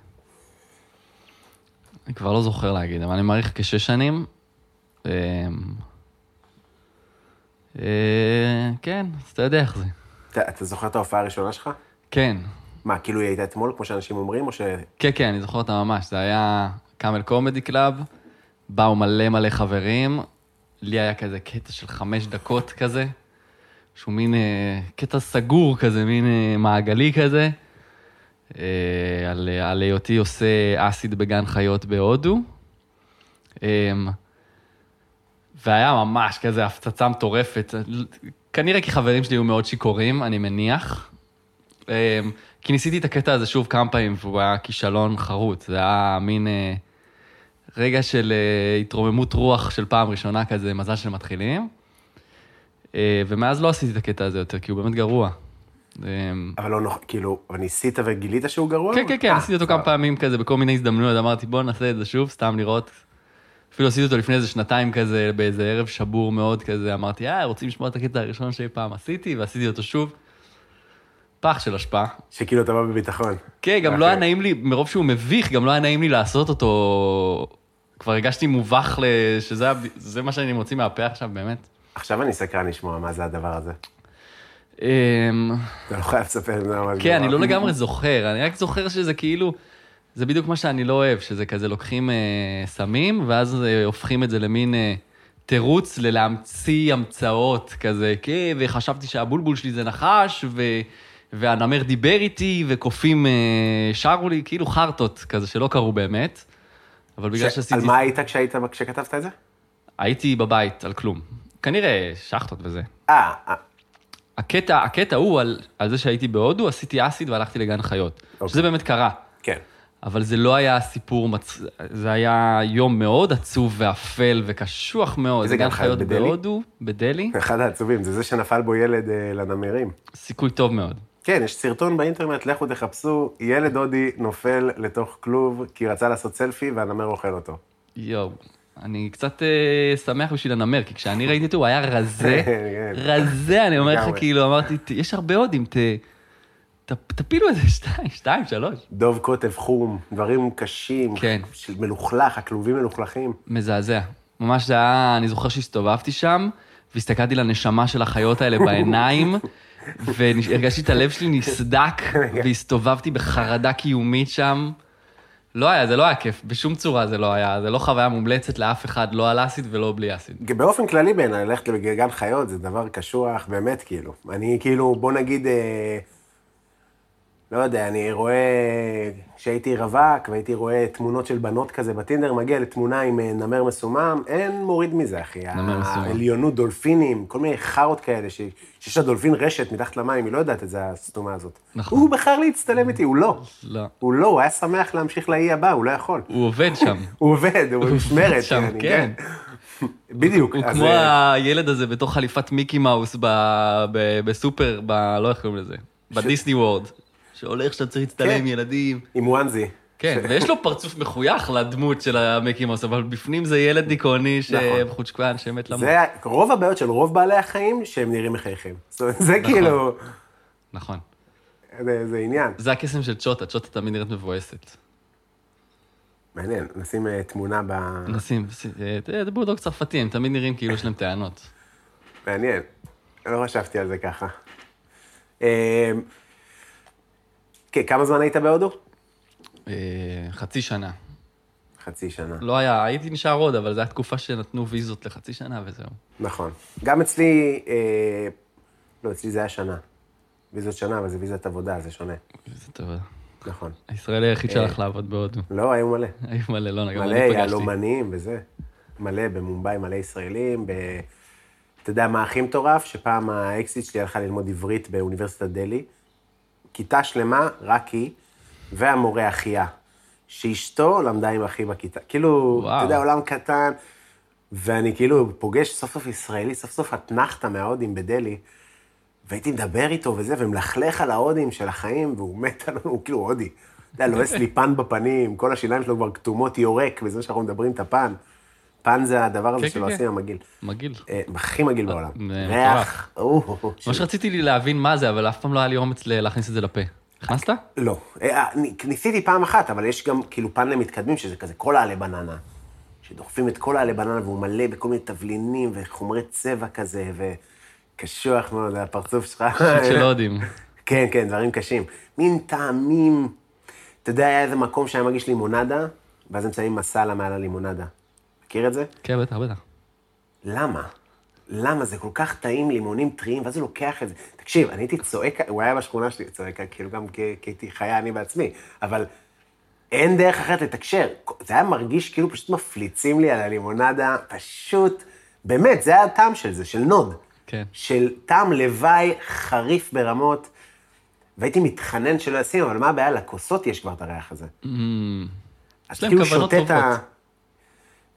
Speaker 3: אני כבר לא זוכר להגיד, אבל אני מעריך כשש שנים. אמ, אה, כן, אז אתה יודע איך זה.
Speaker 1: אתה, אתה זוכר את ההופעה הראשונה שלך?
Speaker 3: כן,
Speaker 1: מה, כאילו היא הייתה אתמול, כמו שאנשים אומרים, או ש...
Speaker 3: כן, כן, אני זוכר אותה ממש. זה היה קאמל קומדי קלאב, באו מלא מלא חברים, לי היה כזה קטע של חמש דקות כזה, שהוא מין אה, קטע סגור כזה, מין אה, מעגלי כזה, אה, על, על היותי עושה אסיד בגן חיות בהודו. אמ, והיה ממש כזה הפצצה מטורפת. כנראה כי חברים שלי היו מאוד שיכורים, אני מניח. אמ, כי ניסיתי את הקטע הזה שוב כמה פעמים, והוא היה כישלון חרוץ. זה היה מין אה, רגע של אה, התרוממות רוח של פעם ראשונה כזה, מזל של מתחילים. אה, ומאז לא עשיתי את הקטע הזה יותר, כי הוא באמת גרוע. אמ,
Speaker 1: אבל לא נוח, כאילו, אבל ניסית וגילית שהוא גרוע?
Speaker 3: כן, כן, כן,
Speaker 1: אה,
Speaker 3: עשיתי אותו כמה
Speaker 1: סבבה.
Speaker 3: פעמים כזה בכל מיני הזדמנויות, אמרתי בוא נעשה את זה שוב, סתם לראות. אפילו עשיתי אותו לפני איזה שנתיים כזה, באיזה ערב שבור מאוד כזה, אמרתי, אה, רוצים לשמוע את הקטע הראשון שאי פעם עשיתי, ועשיתי אותו שוב. פח של השפעה.
Speaker 1: שכאילו אתה בא בביטחון.
Speaker 3: כן, גם
Speaker 1: אוקיי.
Speaker 3: לא היה נעים לי, מרוב שהוא מביך, גם לא היה נעים לי לעשות אותו. כבר הרגשתי מובך, ל- שזה הב- זה מה שאני מוציא מהפה עכשיו, באמת.
Speaker 1: עכשיו אני סקרן לשמוע מה זה הדבר הזה.
Speaker 3: אמ,
Speaker 1: אתה לא חייב לספר לנו מה זה.
Speaker 3: כן, אני
Speaker 1: גרוע.
Speaker 3: לא לגמרי זוכר, אני רק זוכר שזה כאילו, זה בדיוק מה שאני לא אוהב, שזה כזה לוקחים אה, סמים, ואז אה, הופכים את זה למין אה, תירוץ ללהמציא המצאות כזה, כן, וחשבתי שהבולבול שלי זה נחש, ו... והנמר דיבר איתי, וקופים אה, שרו לי, כאילו חרטות כזה, שלא קרו באמת. אבל בגלל
Speaker 1: ש-
Speaker 3: שעשיתי...
Speaker 1: על מה היית כשהיית, כשכתבת את זה?
Speaker 3: הייתי בבית, על כלום. כנראה שחטות וזה.
Speaker 1: אה, אה,
Speaker 3: הקטע, הקטע הוא על, על זה שהייתי בהודו, עשיתי אסיד והלכתי לגן חיות.
Speaker 1: אוקיי.
Speaker 3: שזה באמת קרה.
Speaker 1: כן.
Speaker 3: אבל זה לא היה סיפור, מצ... זה היה יום מאוד עצוב ואפל וקשוח מאוד.
Speaker 1: איזה
Speaker 3: זה
Speaker 1: גן
Speaker 3: גן
Speaker 1: חיות כן.
Speaker 3: חיות
Speaker 1: בדלהי?
Speaker 3: בהודו, בדלהי,
Speaker 1: אחד העצובים, זה זה שנפל בו ילד אה, לנמרים.
Speaker 3: סיכוי טוב מאוד.
Speaker 1: כן, יש סרטון באינטרנט, לכו תחפשו, ילד הודי נופל לתוך כלוב כי רצה לעשות סלפי והנמר אוכל אותו.
Speaker 3: יואו, אני קצת אה, שמח בשביל הנמר, כי כשאני ראיתי אותו הוא היה רזה,
Speaker 1: כן.
Speaker 3: רזה, אני אומר לך,
Speaker 1: לגמרי.
Speaker 3: כאילו, אמרתי, "ת- יש הרבה הודים, ת... ת- תפילו איזה שתיים, שתיים, שלוש.
Speaker 1: דוב קוטב חום, דברים קשים,
Speaker 3: כן.
Speaker 1: של מלוכלך, הכלובים מלוכלכים.
Speaker 3: מזעזע. ממש זה היה, אני זוכר שהסתובבתי שם, והסתכלתי לנשמה של החיות האלה בעיניים, והרגשתי את הלב שלי נסדק, והסתובבתי בחרדה קיומית שם. לא היה, זה לא היה כיף, בשום צורה זה לא היה, זה לא חוויה מומלצת לאף אחד, לא על אסיד ולא בלי אסיד.
Speaker 1: באופן כללי בעיניי, ללכת לגן חיות זה דבר קשוח, באמת, כאילו. אני כאילו, בוא נגיד, אה, לא יודע, אני רואה, כשהייתי רווק והייתי רואה תמונות של בנות כזה בטינדר, מגיע לתמונה עם אה, נמר מסומם, אין מוריד מזה, אחי.
Speaker 3: נמר מסומם.
Speaker 1: העליונות, דולפינים, כל מיני חארות כאלה, ש- שיש לדולפין רשת מתחת למים, היא לא יודעת את זה, הסתומה הזאת.
Speaker 3: נכון.
Speaker 1: הוא בחר להצטלם איתי, הוא לא.
Speaker 3: לא.
Speaker 1: הוא לא, הוא היה שמח להמשיך לאי הבא, הוא לא יכול.
Speaker 3: הוא עובד שם.
Speaker 1: הוא עובד, הוא במשמרת.
Speaker 3: שם,
Speaker 1: אני-
Speaker 3: כן.
Speaker 1: בדיוק.
Speaker 3: הוא
Speaker 1: אז,
Speaker 3: כמו
Speaker 1: אה,
Speaker 3: הילד הזה בתוך חליפת מיקי מאוס ב- ב- בסופר, ב... לא איך קוראים לזה? בדיסני וורד. שהולך שאתה צריך להצטלם
Speaker 1: כן.
Speaker 3: עם ילדים.
Speaker 1: עם וואנזי.
Speaker 3: כן, ויש לו פרצוף מחוייך לדמות של המיקי מאוס, אבל בפנים זה ילד דיכאוני
Speaker 1: נכון.
Speaker 3: שחוצ'קוואן שמת למות.
Speaker 1: זה ה- רוב הבעיות של רוב בעלי החיים, שהם נראים מחייכים. זאת אומרת, זה כאילו,
Speaker 3: נכון.
Speaker 1: זה זה עניין.
Speaker 3: זה הקסם של צ'וטה, צ'וטה תמיד נראית מבואסת.
Speaker 1: מעניין, נשים אה, תמונה ב...
Speaker 3: נשים, אה, אה, זה בולדוג צרפתי, הם תמיד נראים כאילו יש להם טענות.
Speaker 1: מעניין. לא חשבתי על זה ככה. אה, כן, כמה זמן היית בהודו?
Speaker 3: אה, חצי שנה.
Speaker 1: חצי שנה.
Speaker 3: לא היה, הייתי נשאר עוד, אבל זו הייתה תקופה שנתנו ויזות לחצי שנה וזהו.
Speaker 1: נכון. גם אצלי, אה, לא, אצלי זה היה שנה. ויזות שנה, אבל זה ויזת עבודה, זה שונה.
Speaker 3: זה טוב.
Speaker 1: נכון.
Speaker 3: הישראלי היחיד שהלך לעבוד בהודו.
Speaker 1: לא, היו מלא.
Speaker 3: היו מלא, לא, גם
Speaker 1: מלא
Speaker 3: אני פגשתי.
Speaker 1: יהלומנים וזה. מלא במומבאי, מלא ישראלים. ב... אתה יודע מה הכי מטורף? שפעם האקסיט שלי הלכה ללמוד עברית באוניברסיטת דלהי. כיתה שלמה, רק היא, והמורה אחיה, שאשתו למדה עם אחי בכיתה. כאילו,
Speaker 3: וואו.
Speaker 1: אתה יודע, עולם קטן. ואני כאילו פוגש סוף סוף ישראלי, סוף סוף אתנחתא מההודים בדלהי. והייתי מדבר איתו וזה, ומלכלך על ההודים של החיים, והוא מת עלינו, הוא כאילו הודי. אתה יודע, לועס לי פן בפנים, כל השיניים שלו כבר כתומות יורק, וזה שאנחנו מדברים את הפן. פן זה הדבר הזה
Speaker 3: כן,
Speaker 1: שלא
Speaker 3: כן,
Speaker 1: עושים המגעיל.
Speaker 3: מגעיל.
Speaker 1: אה, הכי מגעיל בעולם.
Speaker 3: מטורף.
Speaker 1: ריח, או,
Speaker 3: ממש רציתי לי להבין מה זה, אבל אף פעם לא היה לי אומץ ל- להכניס את זה לפה. הכנסת?
Speaker 1: לא. אה, אני- ניסיתי פעם אחת, אבל יש גם כאילו פן למתקדמים, שזה כזה כל העלי בננה. שדוחפים את כל העלי בננה, והוא מלא בכל מיני תבלינים וחומרי צבע כזה, קשוח מאוד, הפרצוף שלך.
Speaker 3: של הודים.
Speaker 1: כן, כן, דברים קשים. מין טעמים. אתה יודע, היה איזה מקום שהיה מגיש לימונדה, ואז הם שמים מסאלה מעל הלימונדה. מכיר את זה?
Speaker 3: כן, בטח, בטח.
Speaker 1: למה? למה? זה כל כך טעים, לימונים טריים, ואז הוא לוקח את זה. תקשיב, אני הייתי צועק, הוא היה בשכונה שלי צועק, כאילו גם כי כי הייתי חיה אני בעצמי, אבל אין דרך אחרת לתקשר. זה היה מרגיש כאילו פשוט מפליצים לי על הלימונדה, פשוט, באמת, זה היה הטעם של זה, של נוד.
Speaker 3: כן.
Speaker 1: של טעם לוואי חריף ברמות, והייתי מתחנן שלא ישים, אבל מה הבעיה? לכוסות יש כבר את הריח הזה. אז
Speaker 3: Mm. יש להם
Speaker 1: כאילו
Speaker 3: כוונות
Speaker 1: שותה את ה...
Speaker 3: טובות.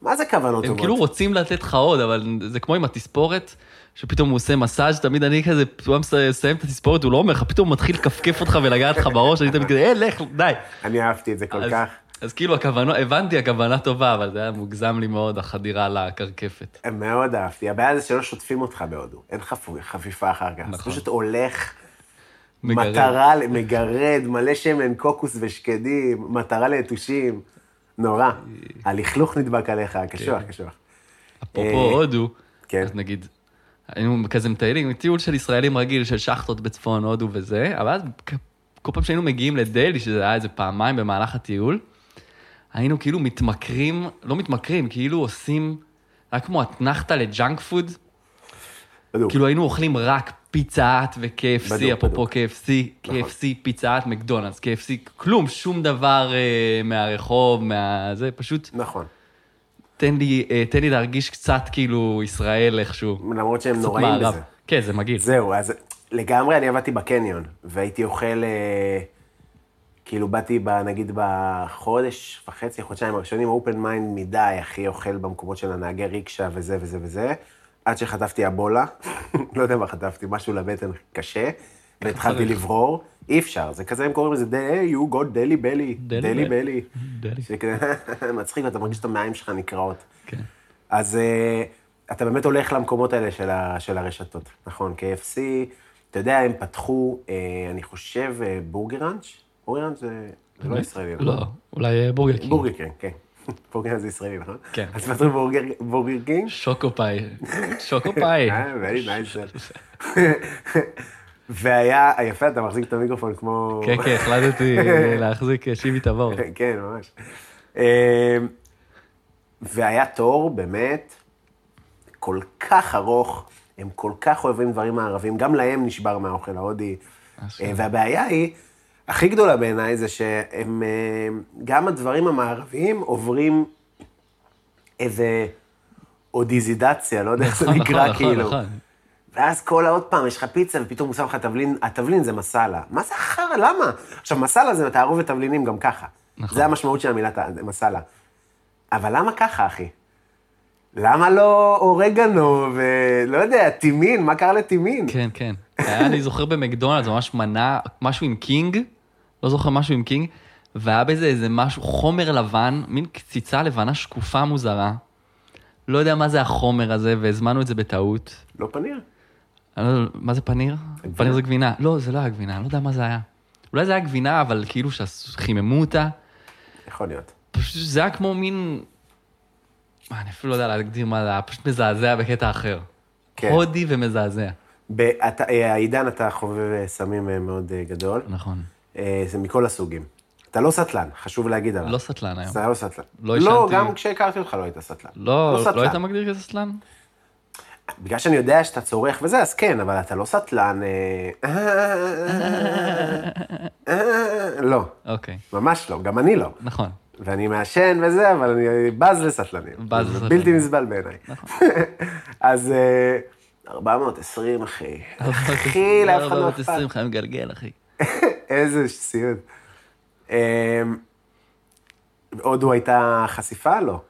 Speaker 1: מה זה כוונות
Speaker 3: הם
Speaker 1: טובות?
Speaker 3: כאילו רוצים לתת לך עוד, אבל זה כמו עם התספורת, שפתאום הוא עושה מסאז', תמיד אני כזה, פתאום מס- מסיים את התספורת, הוא לא אומר לך, פתאום הוא מתחיל לקפקף אותך ולגעת לך בראש, אני תמיד כזה, אה, לך, די.
Speaker 1: אני אהבתי את זה כל
Speaker 3: אז-
Speaker 1: כך.
Speaker 3: אז כאילו הכוונה, הבנתי, הכוונה טובה, אבל זה היה מוגזם לי מאוד, החדירה לקרקפת.
Speaker 1: מאוד אהבתי. הבעיה זה שלא שוטפים אותך בהודו. אין חפו- חפיפה אחר כך. אתה
Speaker 3: נכון.
Speaker 1: פשוט הולך,
Speaker 3: מגרד.
Speaker 1: מטרה, ל- מגרד, מלא שמן, קוקוס ושקדים, מטרה ליתושים.
Speaker 3: אה.
Speaker 1: נורא. הלכלוך נדבק עליך, קשוח, קשוח.
Speaker 3: אפרופו
Speaker 1: אה,
Speaker 3: הודו,
Speaker 1: כן.
Speaker 3: כן. אז נגיד, היינו כזה מטיילים, טיול של ישראלים רגיל, של שחטות בצפון הודו וזה, אבל אז כ- כל פעם שהיינו מגיעים לדלהי, שזה היה איזה פעמיים במהלך הטיול, היינו כאילו מתמכרים, לא מתמכרים, כאילו עושים, היה כמו אתנחתא לג'אנק פוד,
Speaker 1: בדיוק.
Speaker 3: כאילו היינו אוכלים רק פיצה האט ו-KFC,
Speaker 1: בדוק,
Speaker 3: אפרופו
Speaker 1: בדוק.
Speaker 3: KFC, KFC, פיצה האט, מקדונלדס, KFC, כלום, שום דבר אה, מהרחוב, מה... זה פשוט...
Speaker 1: נכון.
Speaker 3: תן לי, אה, תן לי להרגיש קצת כאילו ישראל איכשהו.
Speaker 1: למרות שהם
Speaker 3: קצת
Speaker 1: נוראים
Speaker 3: מערב.
Speaker 1: בזה.
Speaker 3: כן, זה מגעיל.
Speaker 1: זהו, אז לגמרי אני עבדתי בקניון, והייתי אוכל, אה, כאילו באתי, ב, נגיד, בחודש וחצי, חודשיים הראשונים, אופן מיינד מדי, הכי אוכל במקומות של הנהגי ריקשה וזה וזה וזה, עד שחטפתי אבולה, לא יודע מה חטפתי, משהו לבטן קשה, והתחלתי
Speaker 3: צריך.
Speaker 1: לברור, אי אפשר, זה כזה, הם קוראים לזה, "Hey, you got דלי בלי,
Speaker 3: Delhi
Speaker 1: דלי
Speaker 3: belly." Mm-hmm.
Speaker 1: בלי.
Speaker 3: דלי.
Speaker 1: זה כזה מצחיק, ואתה מרגיש את המעיים שלך נקרעות.
Speaker 3: כן.
Speaker 1: אז אה, אתה באמת הולך למקומות האלה של, ה, של הרשתות, נכון? KFC, אתה יודע, הם פתחו, אה, אני חושב, אה, בורגראנץ'? בורגראנץ' זה, זה לא ישראלי, נכון?
Speaker 3: לא, אולי אה, בורגר קינג.
Speaker 1: בורגר קינג, כן. בורגראנץ' זה ישראלי, נכון?
Speaker 3: כן.
Speaker 1: אז פתחו בורגר, בורגר קינג?
Speaker 3: שוקו פאי. שוקו פאי.
Speaker 1: אה, very nice. והיה, יפה, אתה מחזיק את המיקרופון כמו...
Speaker 3: כן, כן, החלטתי אה, להחזיק אה, שיבי תבור.
Speaker 1: כן, ממש. אמ, והיה תור, באמת, כל כך ארוך, הם כל כך אוהבים דברים מערבים, גם להם נשבר מהאוכל ההודי.
Speaker 3: אשכרה.
Speaker 1: אה, והבעיה היא, הכי גדולה בעיניי, זה שהם, אה, גם הדברים המערביים עוברים איזה אודיזידציה, לא יודע איך זה
Speaker 3: נכון,
Speaker 1: נקרא,
Speaker 3: נכון,
Speaker 1: כאילו.
Speaker 3: נכון.
Speaker 1: ואז כל העוד פעם, יש לך פיצה ופתאום הוא שם לך תבלין, התבלין זה מסאלה. מה זה החרא? למה? עכשיו, מסאלה זה תערובת תבלינים גם ככה.
Speaker 3: נכון.
Speaker 1: זה המשמעות של המילה ת- מסאלה. אבל למה ככה, אחי? למה לא אורגנו ולא יודע, טימין? מה קרה לטימין?
Speaker 3: כן, כן. היה, אני זוכר במקדונלדס, ממש מנה, משהו עם קינג, לא זוכר משהו עם קינג, והיה בזה איזה משהו, חומר לבן, מין קציצה לבנה שקופה מוזרה. לא יודע מה זה החומר הזה, והזמנו את זה בטעות.
Speaker 1: לא פניר.
Speaker 3: אני לא יודע, מה זה פניר? פניר זה גבינה. לא, זה לא היה גבינה, אני לא יודע מה זה היה. אולי זה היה גבינה, אבל כאילו שחיממו אותה.
Speaker 1: יכול להיות.
Speaker 3: פשוט זה היה כמו מין... מה, אני אפילו לא יודע להגדיר מה זה היה, פשוט מזעזע בקטע אחר.
Speaker 1: כן.
Speaker 3: הודי ומזעזע.
Speaker 1: ב- אתה- אה, העידן, אתה חובב אה, סמים אה, מאוד אה, גדול.
Speaker 3: נכון.
Speaker 1: אה, זה מכל הסוגים. אתה לא סטלן, חשוב להגיד עליו.
Speaker 3: לא סטלן היום.
Speaker 1: אתה לא סטלן.
Speaker 3: לא
Speaker 1: לא,
Speaker 3: עישנתי.
Speaker 1: גם כשהכרתי אותך לא היית סטלן.
Speaker 3: לא,
Speaker 1: סטלן.
Speaker 3: לא היית מגדיר כסטלן?
Speaker 1: בגלל שאני יודע שאתה צורך וזה, אז כן, אבל אתה לא סטלן... אה, אה, לא,
Speaker 3: אוקיי,
Speaker 1: ממש לא, גם אני לא.
Speaker 3: נכון.
Speaker 1: ואני מעשן וזה, אבל אני בז לסטלנים.
Speaker 3: בז
Speaker 1: זה
Speaker 3: לסטלנים. נכון.
Speaker 1: בלתי נסבל בעיניי. אז אה, 420, אחי. אחי, לאף אחד לא אכפת.
Speaker 3: 420 חיים גלגל, אחי.
Speaker 1: איזה סיוט. אמ, הודו הייתה חשיפה? לא.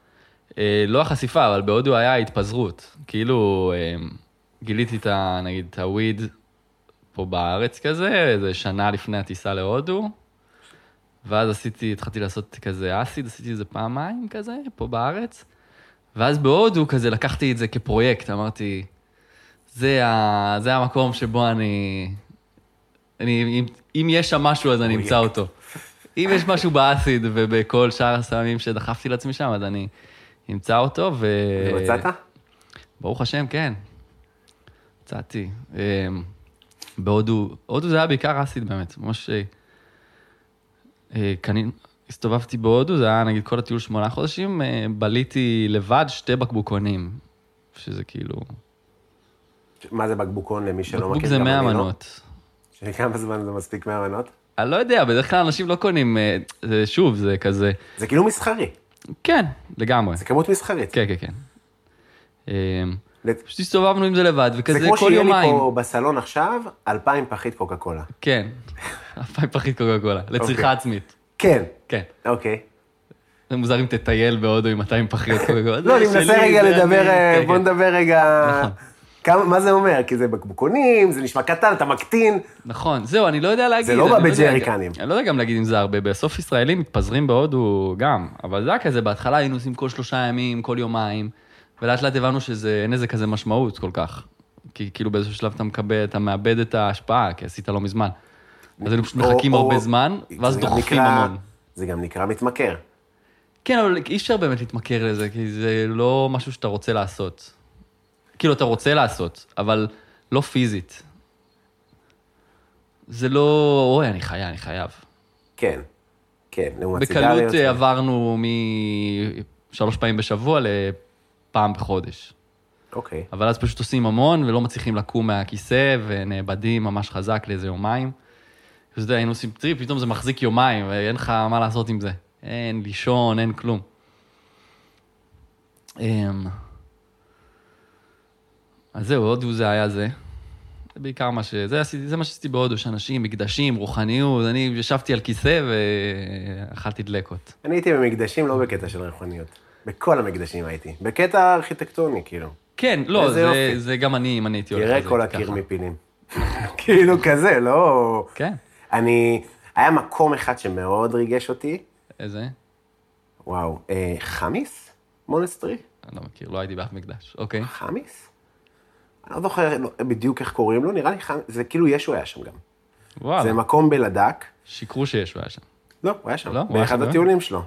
Speaker 3: אה, לא החשיפה, אבל בהודו היה התפזרות. כאילו, אה, גיליתי את ה... נגיד, את הוויד פה בארץ כזה, איזה שנה לפני הטיסה להודו, ואז עשיתי, התחלתי לעשות כזה אסיד, עשיתי איזה פעמיים כזה, פה בארץ, ואז בהודו כזה לקחתי את זה כפרויקט, אמרתי, זה, ה... זה המקום שבו אני... אני אם, אם יש שם משהו, אז אני אמצא אותו. אם יש משהו באסיד ובכל שאר הסמים שדחפתי לעצמי שם, אז אני אה, אמצא אותו, ו...
Speaker 1: מצאת?
Speaker 3: ברוך השם, כן. הצעתי. אמ, בהודו, הודו זה היה בעיקר אסיד באמת, ממש... אה, אה, קנין, הסתובבתי בהודו, זה היה נגיד כל הטיול שמונה חודשים, אה, בליתי לבד שתי בקבוקונים, שזה כאילו...
Speaker 1: מה זה בקבוקון למי שלא מכיר?
Speaker 3: בקבוק זה
Speaker 1: גם
Speaker 3: 100
Speaker 1: אני לא.
Speaker 3: מנות.
Speaker 1: שכמה זמן זה מספיק 100 מנות?
Speaker 3: אני לא יודע, בדרך כלל אנשים לא קונים, אה, זה- שוב, זה כזה...
Speaker 1: זה כאילו מסחרי,
Speaker 3: כן, לגמרי.
Speaker 1: זה כמות מסחרית.
Speaker 3: כן, כן, כן. אמ,
Speaker 1: לת-
Speaker 3: פשוט הסתובבנו עם זה לבד,
Speaker 1: זה
Speaker 3: וכזה
Speaker 1: כמו
Speaker 3: כל
Speaker 1: שיהיה לי
Speaker 3: יומיים.
Speaker 1: פה בסלון עכשיו, 2,000 פחית קוקה קולה.
Speaker 3: כן. הפעם פחית קוקה קולה,
Speaker 1: אוקיי.
Speaker 3: לצריכה עצמית.
Speaker 1: כן,
Speaker 3: כן.
Speaker 1: אוקיי.
Speaker 3: זה מוזר אם תטייל בהודו עם 200 פחיות קוקה קולה.
Speaker 1: לא, אני מנסה רגע
Speaker 3: כן,
Speaker 1: לדבר, אה, בוא
Speaker 3: נדבר.
Speaker 1: נדבר רגע...
Speaker 3: נכון.
Speaker 1: כמה- מה זה אומר? כי זה בקבוקונים, זה נשמע קטן, אתה מקטין.
Speaker 3: נכון, זהו, אני לא יודע להגיד.
Speaker 1: זה לא
Speaker 3: אני
Speaker 1: בא
Speaker 3: יודע-
Speaker 1: בג'ריקנים.
Speaker 3: אני לא יודע גם להגיד אם זה הרבה, בסוף ישראלים מתפזרים בהודו גם, אבל זה היה כזה, בהתחלה היינו עושים כל שלושה ימים, כל יומיים, ולאט לאט הבנו שזה, אין לזה כזה משמעות כל כך. כי כאילו באיזשהו שלב אתה מקבל, אתה מאבד את ההשפעה, כי עשית לא מזמן. אז היינו פשוט
Speaker 1: או-
Speaker 3: מחכים
Speaker 1: או-
Speaker 3: הרבה זמן, ואז
Speaker 1: זה גם
Speaker 3: דוחפים
Speaker 1: נקרא-
Speaker 3: המון.
Speaker 1: זה גם נקרא מתמכר.
Speaker 3: כן, אבל אי אפשר באמת להתמכר לזה, כי זה לא משהו שאתה רוצה לעשות. כאילו, אתה רוצה לעשות, אבל לא פיזית. זה לא, אוי, אני חיה, אני חייב.
Speaker 1: כן, כן, לעומת סיגריות.
Speaker 3: בקלות אה, עברנו משלוש פעמים בשבוע לפעם בחודש.
Speaker 1: אוקיי.
Speaker 3: אבל אז פשוט עושים המון ולא מצליחים לקום מהכיסא ונאבדים ממש חזק לאיזה יומיים. אתה יודע, היינו עושים טריפ, פתאום זה מחזיק יומיים ואין לך מה לעשות עם זה. אין לישון, אין כלום. אמ, אז זהו, הודו זה היה זה. זה בעיקר מה ש... זה, עשיתי, זה מה שעשיתי בהודו, שאנשים, מקדשים, רוחניות. אני ישבתי על כיסא ואכלתי דלקות.
Speaker 1: אני הייתי במקדשים לא בקטע של ריחוניות. בכל המקדשים הייתי. בקטע ארכיטקטוני, כאילו.
Speaker 3: כן, לא,
Speaker 1: איזה
Speaker 3: זה,
Speaker 1: יופי.
Speaker 3: זה גם אני, אם אני הייתי הולך על
Speaker 1: תראה
Speaker 3: זה
Speaker 1: כל הקיר
Speaker 3: ככה.
Speaker 1: מפילים. כאילו כזה, לא...
Speaker 3: כן,
Speaker 1: אני... היה מקום אחד שמאוד ריגש אותי.
Speaker 3: איזה?
Speaker 1: וואו. אה, חמיס? מונסטרי?
Speaker 3: אני לא מכיר, לא הייתי באף מקדש. אוקיי.
Speaker 1: חמיס? אני לא זוכר לא, בדיוק איך קוראים לו, נראה לי חמיס. זה כאילו ישו היה שם גם. זה
Speaker 3: וואלה,
Speaker 1: מקום בלדק.
Speaker 3: שיקרו שישו היה שם.
Speaker 1: לא, הוא היה שם.
Speaker 3: לא, הוא היה
Speaker 1: באחד
Speaker 3: שם,
Speaker 1: הטיולים שלו.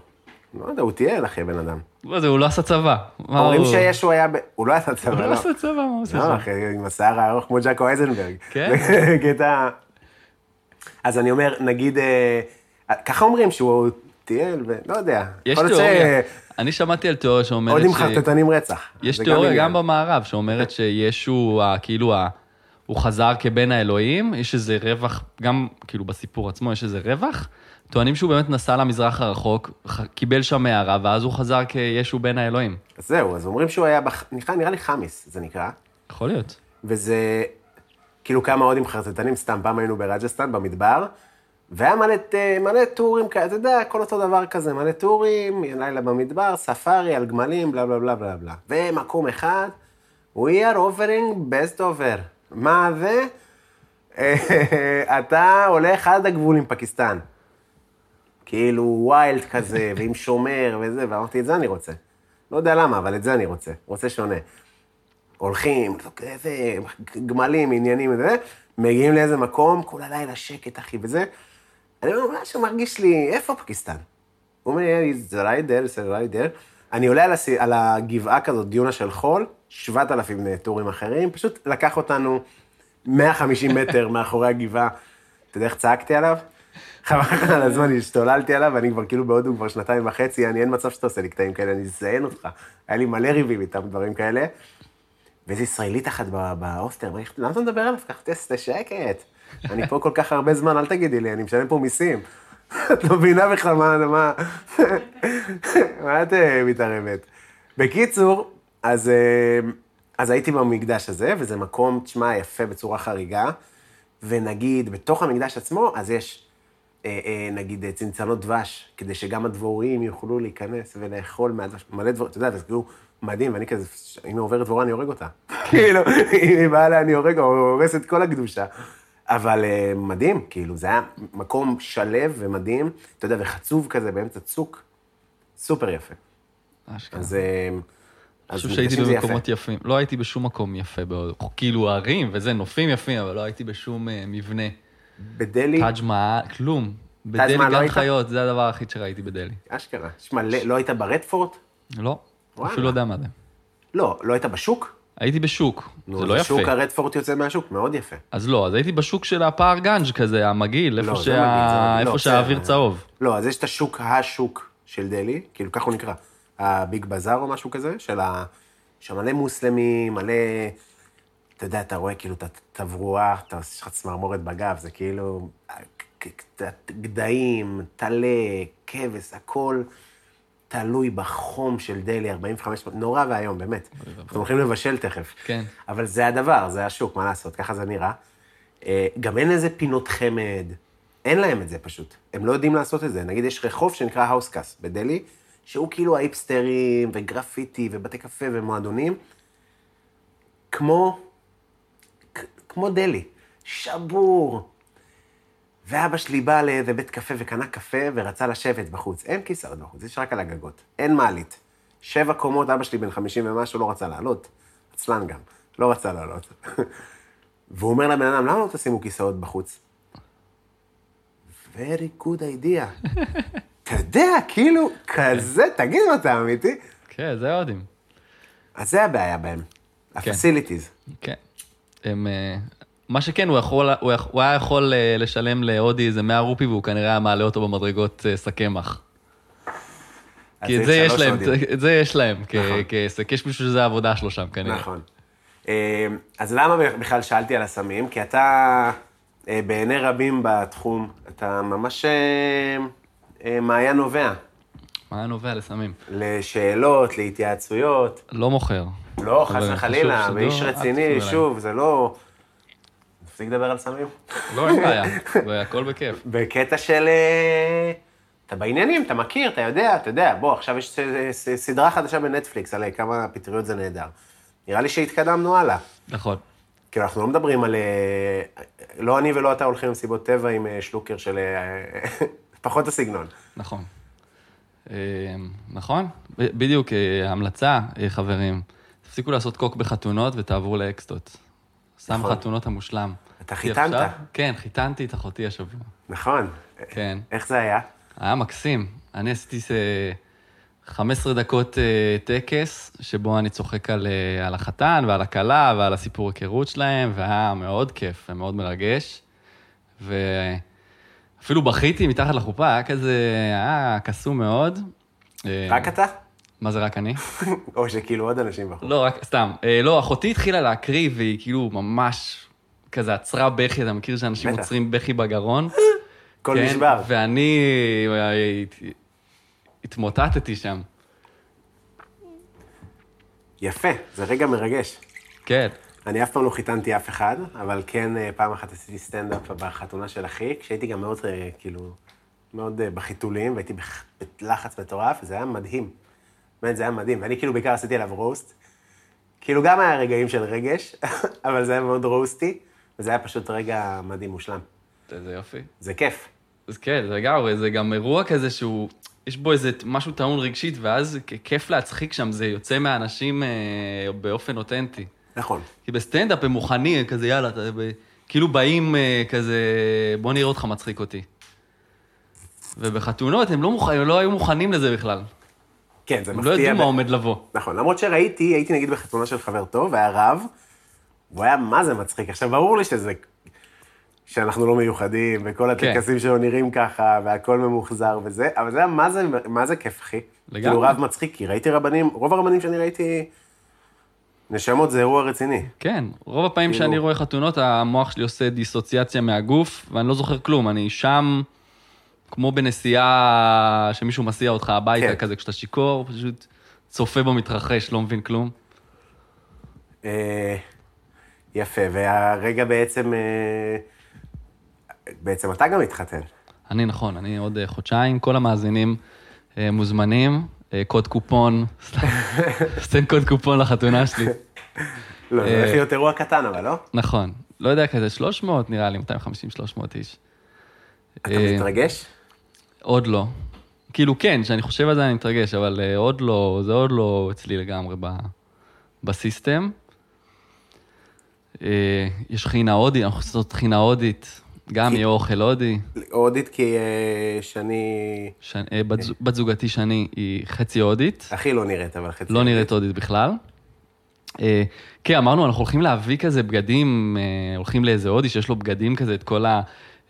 Speaker 1: לא יודע, הוא טייל, אחי, בן אדם.
Speaker 3: מה זה, הוא לא עשה צבא. מה
Speaker 1: אומרים
Speaker 3: הוא-
Speaker 1: שישו היה ב... הוא לא עשה
Speaker 3: הוא
Speaker 1: צבא,
Speaker 3: לא
Speaker 1: לא.
Speaker 3: עשה צבא, מה הוא עושה
Speaker 1: לא,
Speaker 3: שם?
Speaker 1: אחי, עם השיער הארוך כמו ג'קו אייזנברג.
Speaker 3: כן?
Speaker 1: זה קטע... אז אני אומר, נגיד, אה, ככה אומרים שהוא טייל, ולא יודע.
Speaker 3: יש
Speaker 1: יכול להיות
Speaker 3: תיאוריה. אני שמעתי על תיאוריה שאומרת
Speaker 1: שהודים
Speaker 3: ש...
Speaker 1: חרטטנים רצח.
Speaker 3: יש
Speaker 1: זה
Speaker 3: תיאוריה
Speaker 1: עניין.
Speaker 3: גם במערב שאומרת שישו, ה- כאילו, ה- הוא חזר כבן האלוהים, יש איזה רווח, גם כאילו בסיפור עצמו יש איזה רווח. טוענים שהוא באמת נסע למזרח הרחוק, ח- קיבל שם הערה, ואז הוא חזר כישו בן האלוהים.
Speaker 1: אז זהו, אז אומרים שהוא היה, בח- נראה נראה לי חמיס, זה נקרא.
Speaker 3: יכול להיות.
Speaker 1: וזה כאילו כמה הודים חרטטנים, סתם פעם היינו ברג'סטן, במדבר, והיה מלא, ת- מלא טורים, כ- אתה יודע, הכל אותו דבר כזה, מלא טורים, לילה במדבר, ספארי, על גמלים, בלה בלה בלה בלה בלה. ומקום אחד, We are offering best over. מה זה? אה, אתה הולך עד הגבול עם פקיסטן. כאילו ווילד כזה, ועם שומר וזה, ואמרתי, את זה אני רוצה. לא יודע למה, אבל את זה אני רוצה. רוצה שונה. הולכים, איזה גמלים, עניינים וזה, מגיעים לאיזה מקום, כל הלילה שקט, אחי, וזה. אני אומר, משהו מרגיש לי, איפה פקיסטן? הוא אומר, זה ריידר, זה ריידר. אני עולה על, הס... על הגבעה כזאת, דיונה של חול, 7,000 טורים אחרים, פשוט לקח אותנו 150 מטר מאחורי הגבעה. אתה יודע איך צעקתי עליו? חבל על הזמן, השתוללתי עליו, ואני כבר כאילו בהודו כבר שנתיים וחצי, אני אין מצב שאתה עושה לי קטעים כאלה, אני אזיין אותך. היה לי מלא ריבים איתם, דברים כאלה. ואיזה ישראלית אחת בא- בהוסטל, אמרה לי, למה אתה מדבר עליו ככה? תס- תשקט. אני פה כל כך הרבה זמן, אל תגידי לי, אני משלם פה מיסים. את לא מבינה בכלל מה, מה, מה את אה, מתערבת? בקיצור, אז, אה, אז הייתי במקדש הזה, וזה מקום, תשמע, יפה בצורה חריגה, ונגיד, בתוך המקדש עצמו, אז יש, אה, אה, נגיד, אה, צנצנות דבש, כדי שגם הדבורים יוכלו להיכנס ולאכול מהדבש, מלא דבורים, אתה יודע, זה כאילו מדהים, ואני כזה, אם עוברת דבורה, אני הורג אותה.
Speaker 3: כן.
Speaker 1: כאילו, אם היא באה לה, אני הורג, או הורס את כל הקדושה. אבל אה, מדהים, כאילו, זה היה מקום שלב ומדהים, אתה יודע, וחצוב כזה באמצע צוק, סופר יפה.
Speaker 3: אשכרה.
Speaker 1: אז... אה,
Speaker 3: אני
Speaker 1: אז
Speaker 3: חושב שהייתי
Speaker 1: מפגשים זה יפה.
Speaker 3: במקומות יפים. לא הייתי בשום מקום יפה בהודו. כאילו ערים וזה, נופים יפים, אבל לא הייתי בשום אה, מבנה.
Speaker 1: בדלי,
Speaker 3: טאג' מעל, כלום.
Speaker 1: מעל
Speaker 3: בדלהי
Speaker 1: לא
Speaker 3: גן
Speaker 1: היית?
Speaker 3: חיות, זה הדבר היחיד שראיתי בדלהי.
Speaker 1: אשכרה. שמע, לא לא היית ברדפורט?
Speaker 3: לא,
Speaker 1: וואלה.
Speaker 3: אפילו לא יודע מה זה.
Speaker 1: לא. לא היית בשוק?
Speaker 3: הייתי בשוק, זה לא
Speaker 1: שוק
Speaker 3: יפה.
Speaker 1: הרדפורט יוצא מהשוק, מאוד יפה.
Speaker 3: אז לא, אז הייתי בשוק של הפער גנג' כזה, המגעיל, איפה
Speaker 1: לא, זה
Speaker 3: שה-
Speaker 1: מגעיל, זה מגעיל.
Speaker 3: איפה
Speaker 1: לא,
Speaker 3: שהאוויר
Speaker 1: זה-
Speaker 3: צהוב.
Speaker 1: לא, אז יש את השוק, השוק של דלהי, כאילו ככה הוא נקרא, הביג בזאר או משהו כזה, של ה... שמלא מוסלמים, מלא... אתה יודע, אתה רואה כאילו את התברואה, אתה- יש לך צמרמורת בגב, זה כאילו... ק- ק- גדיים, טלה, כבש, הכל תלוי בחום של דלהי, 45... נורא ואיום, באמת. אנחנו הולכים לבשל תכף.
Speaker 3: כן.
Speaker 1: אבל זה הדבר, זה השוק, מה לעשות, ככה זה נראה. אה, גם אין איזה פינות חמד, אין להם את זה פשוט. הם לא יודעים לעשות את זה. נגיד, יש רחוב שנקרא האוסקאס בדלהי, שהוא כאילו האיפסטרים, וגרפיטי, ובתי קפה, ומועדונים, כמו, כ- כמו דלהי, שבור. ואבא שלי בא לאיזה בית קפה וקנה קפה ורצה לשבת בחוץ. אין כיסאות בחוץ, יש רק על הגגות. אין מעלית. שבע קומות, אבא שלי בן 50 ומשהו לא רצה לעלות. עצלן גם, לא רצה לעלות. והוא אומר לבן אדם, למה לא תשימו כיסאות בחוץ? Very good idea. אתה יודע, כאילו, כזה, תגיד אם אתה אמיתי.
Speaker 3: כן, זה ההודים.
Speaker 1: אז זה הבעיה בהם. ה-facilities.
Speaker 3: כן. הם... אה, מה שכן, הוא, יכול, הוא, יכ- הוא היה יכול אה, לשלם להודי איזה 100 רופי והוא כנראה היה מעלה אותו במדרגות אה, שק קמח.
Speaker 1: אז
Speaker 3: כי את זה יש
Speaker 1: שלוש
Speaker 3: להם,
Speaker 1: הודים.
Speaker 3: את זה יש להם כ-
Speaker 1: נכון.
Speaker 3: כעסק, יש מישהו שזה העבודה שלו שם כנראה.
Speaker 1: נכון. אה, אז למה בכלל שאלתי על הסמים? כי אתה אה, בעיני רבים בתחום, אתה ממש אה, אה, מעיין נובע
Speaker 3: מה היה נובע לסמים?
Speaker 1: לשאלות, להתייעצויות.
Speaker 3: לא מוכר.
Speaker 1: לא, חס
Speaker 3: אבל
Speaker 1: וחלילה,
Speaker 3: לא- אה, חשוב
Speaker 1: ואיש
Speaker 3: שלא- אל
Speaker 1: רציני,
Speaker 3: תפנו אליי.
Speaker 1: שוב, זה לא... תפסיק לדבר על סמים.
Speaker 3: לא, אין בעיה, והכל בכיף.
Speaker 1: בקטע של... אה, אתה בעניינים, אתה מכיר, אתה יודע, אתה יודע. בוא, עכשיו יש אה, ס- סדרה חדשה בנטפליקס על אה, כמה פטריות זה נהדר. נראה לי שהתקדמנו הלאה.
Speaker 3: נכון.
Speaker 1: כאילו, אנחנו לא מדברים על... אה, לא אני ולא אתה הולכים למסיבות טבע עם אה, שלוקר של... אה, פחות הסגנון.
Speaker 3: נכון. אה, נכון? ב- בדיוק, אה, המלצה, אה, חברים, תפסיקו לעשות קוק בחתונות ותעברו לאקסטות. סם
Speaker 1: נכון.
Speaker 3: חתונות המושלם.
Speaker 1: אתה
Speaker 3: כי
Speaker 1: חיתנת.
Speaker 3: עכשיו- כן, חיתנתי את אחותי השבוע.
Speaker 1: נכון.
Speaker 3: כן.
Speaker 1: איך זה היה?
Speaker 3: היה מקסים. אני עשיתי אה, 15 דקות אה, טקס, שבו אני צוחק על, אה, על החתן ועל הכלה ועל הסיפור היכרות שלהם, והיה מאוד כיף ומאוד מרגש. ואפילו בכיתי מתחת לחופה, היה כזה, היה קסום מאוד. אה,
Speaker 1: רק אתה?
Speaker 3: מה זה רק אני?
Speaker 1: או שכאילו עוד אנשים בחוץ.
Speaker 3: לא, רק, סתם. אה, לא, אחותי התחילה להקריא, והיא כאילו ממש כזה עצרה בכי, אתה מכיר שאנשים
Speaker 1: בטח.
Speaker 3: עוצרים בכי בגרון?
Speaker 1: כל
Speaker 3: כן,
Speaker 1: נשבר.
Speaker 3: ואני אה, הת- התמוטטתי שם.
Speaker 1: יפה, זה רגע מרגש.
Speaker 3: כן.
Speaker 1: אני אף פעם לא חיתנתי אף אחד, אבל כן, אה, פעם אחת עשיתי סטנדאפ בחתונה של אחי, כשהייתי גם מאוד, אה, כאילו, מאוד אה, בחיתולים, והייתי בח- בלחץ מטורף, וזה היה מדהים. באמת, זה היה מדהים. ואני כאילו בעיקר עשיתי עליו רוסט. כאילו, גם היה רגעים של רגש, אבל זה היה מאוד רוסטי, וזה היה פשוט רגע מדהים, מושלם.
Speaker 3: איזה יופי.
Speaker 1: זה כיף.
Speaker 3: אז כן, זה לגמרי, זה גם אירוע כזה שהוא, יש בו איזה משהו טעון רגשית, ואז כ- כיף להצחיק שם, זה יוצא מהאנשים אה, באופן אותנטי.
Speaker 1: נכון.
Speaker 3: כי בסטנדאפ הם מוכנים, כזה יאללה, אתה, ב, כאילו באים אה, כזה, בוא נראה אותך מצחיק אותי. ובחתונות הם לא, מוכ... הם לא היו מוכנים לזה בכלל.
Speaker 1: כן, זה
Speaker 3: הם
Speaker 1: מפתיע.
Speaker 3: לא יודעים מה
Speaker 1: ו-
Speaker 3: עומד לבוא.
Speaker 1: נכון, למרות שראיתי, הייתי נגיד בחתונה של חבר טוב, היה רב, הוא היה מה זה מצחיק. עכשיו, ברור לי שזה... שאנחנו לא מיוחדים, וכל
Speaker 3: כן.
Speaker 1: הטקסים שלו נראים ככה, והכל ממוחזר וזה, אבל זה היה מה זה, מה זה כיף, אחי.
Speaker 3: לגמרי.
Speaker 1: כאילו, רב מצחיק, כי ראיתי רבנים, רוב הרבנים שאני ראיתי, נשמות זה אירוע רציני.
Speaker 3: כן, רוב הפעמים
Speaker 1: כאילו-
Speaker 3: שאני רואה חתונות, המוח שלי עושה דיסוציאציה מהגוף, ואני לא זוכר כלום, אני שם כמו בנסיעה שמישהו מסיע אותך הביתה,
Speaker 1: כן.
Speaker 3: כן. כזה כשאתה שיכור, פשוט צופה במתרחש, לא מבין כלום.
Speaker 1: אה, יפה, והרגע בעצם, אה, בעצם אתה גם התחתן.
Speaker 3: אני נכון, אני עוד אה, חודשיים, כל המאזינים אה, מוזמנים, אה, קוד קופון, סתם, סתם קוד קופון לחתונה שלי.
Speaker 1: לא, זה
Speaker 3: אה.
Speaker 1: הולך להיות אירוע קטן, אבל לא?
Speaker 3: נכון, לא יודע, כזה 300 נראה לי, 250-300 איש.
Speaker 1: אתה
Speaker 3: אה,
Speaker 1: מתרגש?
Speaker 3: עוד לא. כאילו כן, כשאני חושב על זה אני מתרגש, אבל אה, עוד לא, זה עוד לא אצלי לגמרי ב, בסיסטם. אה, יש חינה הודית, אנחנו צריכים לעשות חינה הודית, גם יהיה אוכל הודי.
Speaker 1: הודית כי אה, שאני...
Speaker 3: ש... אה, בת, זו- בת זוגתי שני היא חצי הודית,
Speaker 1: הכי לא נראית, אבל חצי.
Speaker 3: לא נראית הודית בכלל. אה, כן, אמרנו, אנחנו הולכים להביא כזה בגדים, אה, הולכים לאיזה הודי שיש לו בגדים כזה, את כל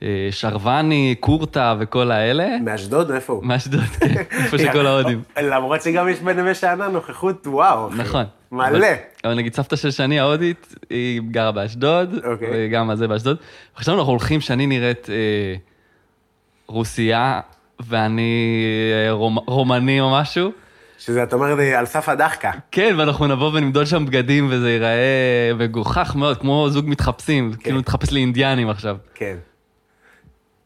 Speaker 3: השרווני, קורטה וכל האלה.
Speaker 1: מאשדוד, איפה הוא?
Speaker 3: מאשדוד, כן, איפה שכל ההודים.
Speaker 1: למרות שגם יש בנווה שאנן נוכחות, וואו. אחי.
Speaker 3: נכון.
Speaker 1: מלא.
Speaker 3: אבל- אבל נגיד סבתא של שני ההודית, היא גרה באשדוד,
Speaker 1: אוקיי.
Speaker 3: וגם הזה באשדוד. חשבנו, אנחנו הולכים, שני נראית אה, רוסייה, ואני אה, רומ- רומני או משהו.
Speaker 1: שזה, את אומרת, אה, על סף הדחקה.
Speaker 3: כן, ואנחנו נבוא ונמדוד שם בגדים, וזה ייראה מגוחך מאוד, כמו זוג מתחפשים, כאילו נתחפש לאינדיאנים עכשיו.
Speaker 1: כן.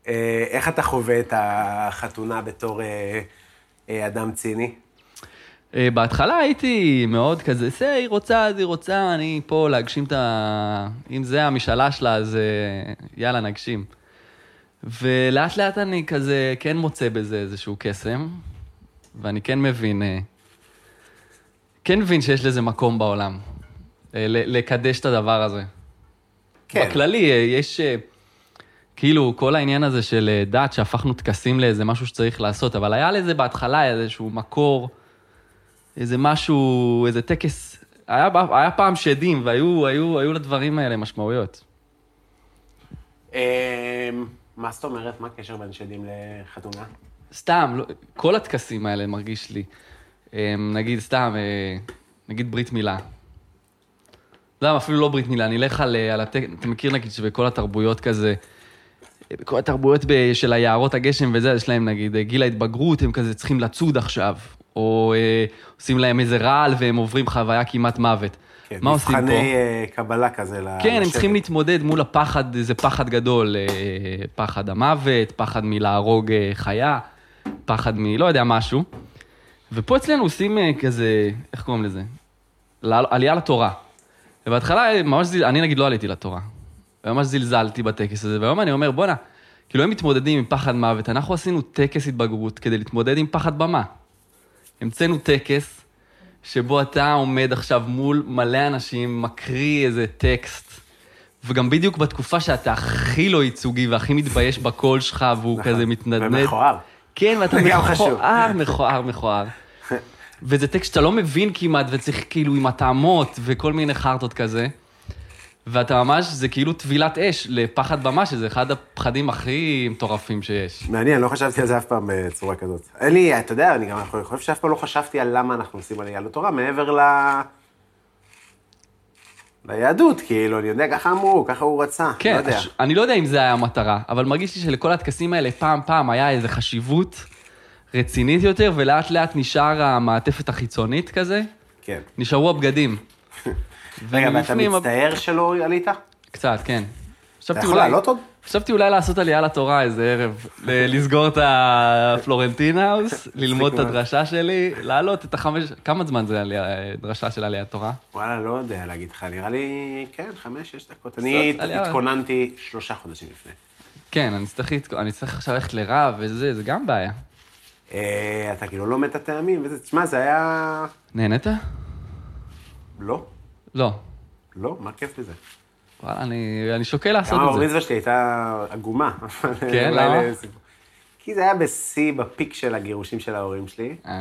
Speaker 1: אה, איך אתה חווה את החתונה בתור אה, אה, אדם ציני?
Speaker 3: אה, בהתחלה הייתי מאוד כזה, זה, היא רוצה, אז היא רוצה, אני פה להגשים את ה... אם זה המשאלה שלה, אז אה, יאללה, נגשים. ולאט לאט אני כזה כן מוצא בזה איזשהו קסם, ואני כן מבין, אה, כן מבין שיש לזה מקום בעולם, אה, ל- לקדש את הדבר הזה.
Speaker 1: כן.
Speaker 3: בכללי, אה, יש... אה, כאילו, כל העניין הזה של אה, דת, שהפכנו טקסים לאיזה משהו שצריך לעשות, אבל היה לזה בהתחלה איזשהו מקור, איזה משהו, איזה טקס. היה, היה פעם שדים, והיו היו, היו לדברים האלה משמעויות.
Speaker 1: אה, מה זאת אומרת? מה הקשר בין שדים לחתונה?
Speaker 3: סתם, לא, כל הטקסים האלה מרגיש לי. אה, נגיד, סתם, אה, נגיד ברית מילה. למה, אפילו לא ברית מילה, נלך על, אה, על הטק... אתה מכיר נגיד שבכל התרבויות כזה, אה, בכל התרבויות ב... של היערות הגשם וזה, יש להם נגיד אה, גיל ההתבגרות, הם כזה צריכים לצוד עכשיו, או אה, עושים להם איזה רעל והם עוברים חוויה כמעט מוות.
Speaker 1: כן,
Speaker 3: מה עושים פה?
Speaker 1: מבחני אה, קבלה כזה לשבת.
Speaker 3: כן, הם צריכים להתמודד מול הפחד, זה פחד גדול, אה, פחד המוות, פחד מלהרוג אה, חיה, פחד מלא יודע משהו. ופה אצלנו עושים אה, כזה, איך קוראים לזה? לעל- עלייה לתורה. ובהתחלה אה, ממש, זיל- אני נגיד לא עליתי לתורה. ממש זלזלתי בטקס הזה, והיום אני אומר, בואנה, כאילו הם מתמודדים עם פחד מוות, אנחנו עשינו טקס התבגרות כדי להתמודד עם פחד במה. המצאנו טקס שבו אתה עומד עכשיו מול מלא אנשים, מקריא איזה טקסט, וגם בדיוק בתקופה שאתה הכי לא ייצוגי והכי מתבייש בקול שלך, והוא
Speaker 1: נכון.
Speaker 3: כזה מתנדנד.
Speaker 1: ומכוער.
Speaker 3: כן, ואתה
Speaker 1: זה גם חשוב.
Speaker 3: מכוער, מכוער, מכוער. וזה טקסט שאתה לא מבין כמעט, וצריך כאילו עם הטעמות וכל מיני חרטות כזה. ואתה ממש, זה כאילו טבילת אש לפחד במה, שזה אחד הפחדים הכי מטורפים שיש.
Speaker 1: מעניין, לא חשבתי על זה אף פעם בצורה כזאת. אין לי, אתה יודע, אני גם אני חושב שאף פעם לא חשבתי על למה אנחנו עושים עלייה לתורה, מעבר ל... ליהדות, כאילו, אני יודע, ככה אמרו, ככה הוא רצה,
Speaker 3: כן,
Speaker 1: לא יודע.
Speaker 3: ש- אני לא יודע אם זה היה המטרה, אבל מרגיש לי שלכל הטקסים האלה פעם פעם היה איזו חשיבות רצינית יותר, ולאט לאט נשאר המעטפת החיצונית כזה,
Speaker 1: כן.
Speaker 3: נשארו הבגדים.
Speaker 1: רגע, ואתה
Speaker 3: ומבפנים ה-
Speaker 1: מצטער שלא עלית?
Speaker 3: קצת, כן.
Speaker 1: אתה
Speaker 3: חשבתי
Speaker 1: יכול
Speaker 3: אולי-
Speaker 1: לעלות עוד?
Speaker 3: חשבתי אולי לעשות עלייה לתורה איזה ערב, ל- לסגור את הפלורנטינה האוס, ללמוד את
Speaker 1: מאוד.
Speaker 3: הדרשה שלי, לעלות את החמש... כמה זמן זה עלייה- דרשה של עליית תורה?
Speaker 1: וואלה, לא יודע להגיד לך, נראה לי, כן, חמש, שש דקות. אני
Speaker 3: בסדר, עלייה.
Speaker 1: התכוננתי שלושה חודשים לפני.
Speaker 3: כן, אני צריך להתק- אני צריך עכשיו ללכת לרב וזה, זה גם בעיה.
Speaker 1: אה, אתה כאילו לא מת הטעמים, וזה, תשמע, זה היה...
Speaker 3: נהנית?
Speaker 1: לא,
Speaker 3: לא.
Speaker 1: לא, מה כיף בזה?
Speaker 3: וואלה, אני אני שוקל לעשות
Speaker 1: גם
Speaker 3: את זה.
Speaker 1: האוריזמה שלי הייתה עגומה. אבל
Speaker 3: כן,
Speaker 1: אולי
Speaker 3: למה?
Speaker 1: לסיפור. כי זה היה בשיא, בפיק של הגירושים של ההורים שלי,
Speaker 3: אה,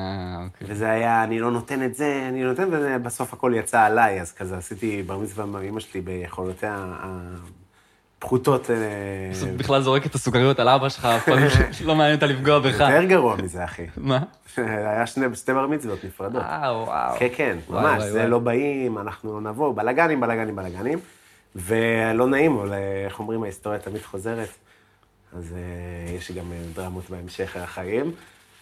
Speaker 3: אוקיי.
Speaker 1: וזה היה, אני לא נותן את זה, אני נותן, ובסוף הכל יצא עליי, אז כזה עשיתי בר מצווה עם אמא שלי ביכולותיה הפחותות. אה,
Speaker 3: פשוט בכלל זורק את הסוכריות על אבא שלך, אף פעם לא מעניין אותה לפגוע בך.
Speaker 1: יותר גרוע מזה, אחי.
Speaker 3: מה?
Speaker 1: היה שני, שתי בר מצוות נפרדות.
Speaker 3: וואו, וואו.
Speaker 1: לא. כן, כן,
Speaker 3: וואי,
Speaker 1: ממש,
Speaker 3: וואי,
Speaker 1: זה
Speaker 3: וואי.
Speaker 1: לא באים, אנחנו לא נבוא, בלאגנים, בלאגנים, בלאגנים. ולא נעים, אבל אה, איך אומרים, ההיסטוריה תמיד חוזרת. אז אה, יש גם אה, דרמות בהמשך החיים.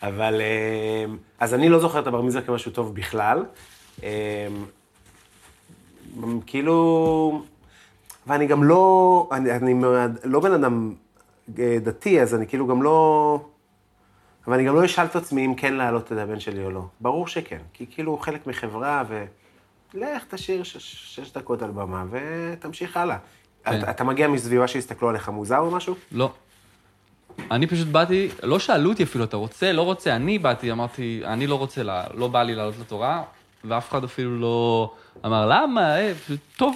Speaker 1: אבל, אה, אז אני לא זוכר את הבר מצווה כמשהו טוב בכלל. אה, מ- כאילו, ואני גם לא, אני, אני מאוד- לא בן אדם אה, דתי, אז אני כאילו גם לא... אבל אני גם לא אשאל את עצמי אם כן להעלות את הבן שלי או לא. ברור שכן, כי כאילו הוא חלק מחברה, ו... לך תשאיר שש, שש דקות על במה ותמשיך הלאה. כן. אתה, אתה מגיע מסביבה שיסתכלו עליך מוזר או משהו?
Speaker 3: לא. אני פשוט באתי, לא שאלו אותי אפילו, אתה רוצה, לא רוצה, אני באתי, אמרתי, אני לא רוצה, לה- לא בא לי לעלות לתורה, ואף אחד אפילו לא אמר, למה, אה, פשוט, טוב,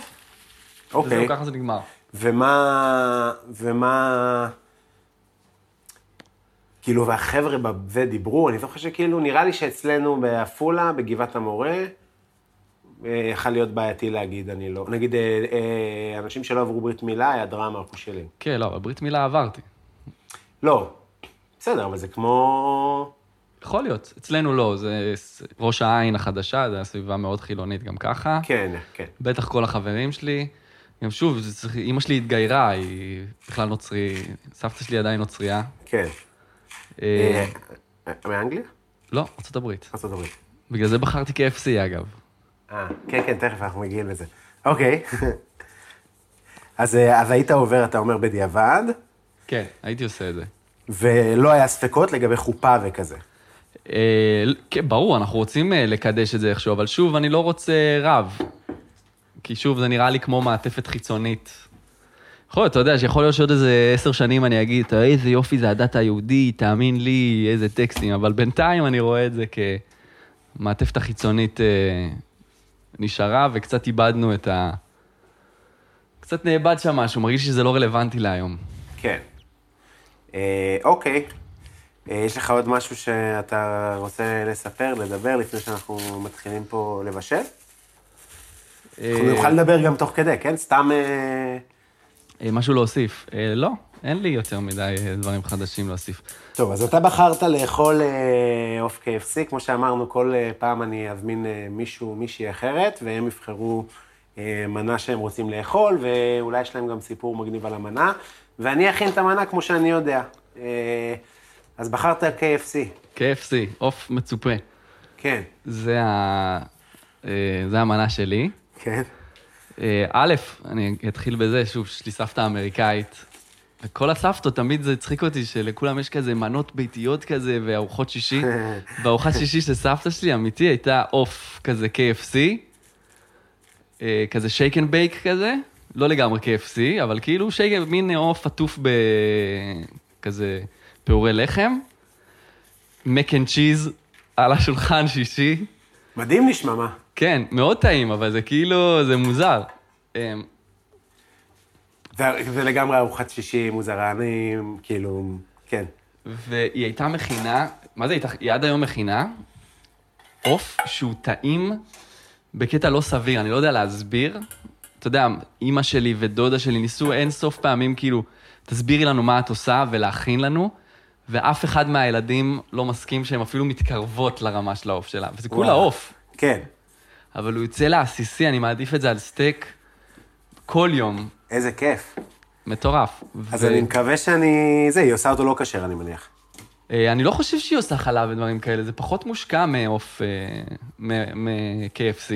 Speaker 3: וזהו,
Speaker 1: אוקיי.
Speaker 3: ככה זה נגמר.
Speaker 1: ומה... ומה... כאילו, והחבר'ה בזה דיברו, אני זוכר שכאילו, נראה לי שאצלנו בעפולה, בגבעת המורה, אה, יכול להיות בעייתי להגיד, אני לא. נגיד, אה, אה, אנשים שלא עברו ברית מילה, היה דרמה על כושלים.
Speaker 3: כן, לא, אבל ברית מילה עברתי.
Speaker 1: לא, בסדר, אבל זה כמו...
Speaker 3: יכול להיות. אצלנו לא, זה ס- ראש העין החדשה, זו סביבה מאוד חילונית גם ככה.
Speaker 1: כן, כן.
Speaker 3: בטח כל החברים שלי. גם שוב, זה צריך- אימא שלי התגיירה, היא בכלל נוצרי, סבתא שלי עדיין נוצרייה.
Speaker 1: כן.
Speaker 3: אה,
Speaker 1: אה, מאנגליה?
Speaker 3: לא, ארה"ב.
Speaker 1: ארצות הברית.
Speaker 3: בגלל זה בחרתי KFC אגב.
Speaker 1: אה, כן, כן, תכף אנחנו מגיעים לזה. אוקיי. אז, אה, אז היית עובר, אתה אומר, בדיעבד,
Speaker 3: כן, הייתי עושה את זה.
Speaker 1: ולא היה ספקות לגבי חופה וכזה.
Speaker 3: אה, כן, ברור, אנחנו רוצים אה, לקדש את זה איכשהו, אבל שוב, אני לא רוצה רב. כי שוב, זה נראה לי כמו מעטפת חיצונית. יכול להיות, אתה יודע, שיכול להיות שעוד איזה עשר שנים אני אגיד, "אתה, איזה יופי זה הדת היהודית, תאמין לי, איזה טקסטים, אבל בינתיים אני רואה את זה כמעטפת החיצונית אה, נשארה, וקצת איבדנו את ה... קצת נאבד שם משהו, מרגיש שזה לא רלוונטי להיום.
Speaker 1: כן. אה, אוקיי. אה, יש לך עוד משהו שאתה רוצה לספר, לדבר, לפני שאנחנו מתחילים פה לבשל? אנחנו
Speaker 3: אה,
Speaker 1: נוכל לדבר גם תוך כדי, כן? סתם... אה,
Speaker 3: אה, משהו להוסיף? אה, לא, אין לי יותר מדי אה, דברים חדשים להוסיף.
Speaker 1: טוב, אז אתה בחרת לאכול אה, עוף KFC, כמו שאמרנו, כל אה, פעם אני אזמין אה, מישהו, מישהי אחרת, והם יבחרו אה, מנה שהם רוצים לאכול, ואולי יש להם גם סיפור מגניב על המנה, ואני אכין את המנה כמו שאני יודע. אה, אז בחרת KFC,
Speaker 3: KFC, עוף מצופה.
Speaker 1: כן.
Speaker 3: זה, ה... אה, זה המנה שלי.
Speaker 1: כן.
Speaker 3: אה, א', אני אתחיל בזה, שוב, יש לי סבתא אמריקאית. וכל הסבתות, תמיד זה הצחיק אותי שלכולם יש כזה מנות ביתיות כזה וארוחות שישי. וארוחת שישי של סבתא שלי, אמיתי, הייתה עוף כזה KFC, אה, כזה שייק אנד בייק כזה, לא לגמרי KFC, אבל כאילו שייק, מין עוף עטוף בכזה פעורי לחם, מק אנד צ'יז על השולחן שישי.
Speaker 1: מדהים נשמע, מה?
Speaker 3: כן, מאוד טעים, אבל זה כאילו, זה מוזר. אמ,
Speaker 1: זה, זה לגמרי ארוחת שישי מוזרה, אני כאילו, כן.
Speaker 3: והיא הייתה מכינה, מה זה הייתה? היא עד היום מכינה, עוף שהוא טעים בקטע לא סביר, אני לא יודע להסביר. אתה יודע, אימא שלי ודודה שלי ניסו אין סוף פעמים, כאילו, תסבירי לנו מה את עושה ולהכין לנו, ואף אחד מהילדים לא מסכים שהן אפילו מתקרבות לרמה של העוף שלה, וזה כולה
Speaker 1: וואו.
Speaker 3: עוף.
Speaker 1: כן.
Speaker 3: אבל הוא יוצא לעסיסי, אני מעדיף את זה על סטייק כל יום,
Speaker 1: איזה כיף.
Speaker 3: מטורף.
Speaker 1: אז
Speaker 3: ו-
Speaker 1: אני מקווה שאני... זה, היא עושה אותו לא כשר, אני מניח.
Speaker 3: אה, אני לא חושב שהיא עושה חלב ודברים כאלה, זה פחות מושקע מעוף, אה, מ- מ-KFC.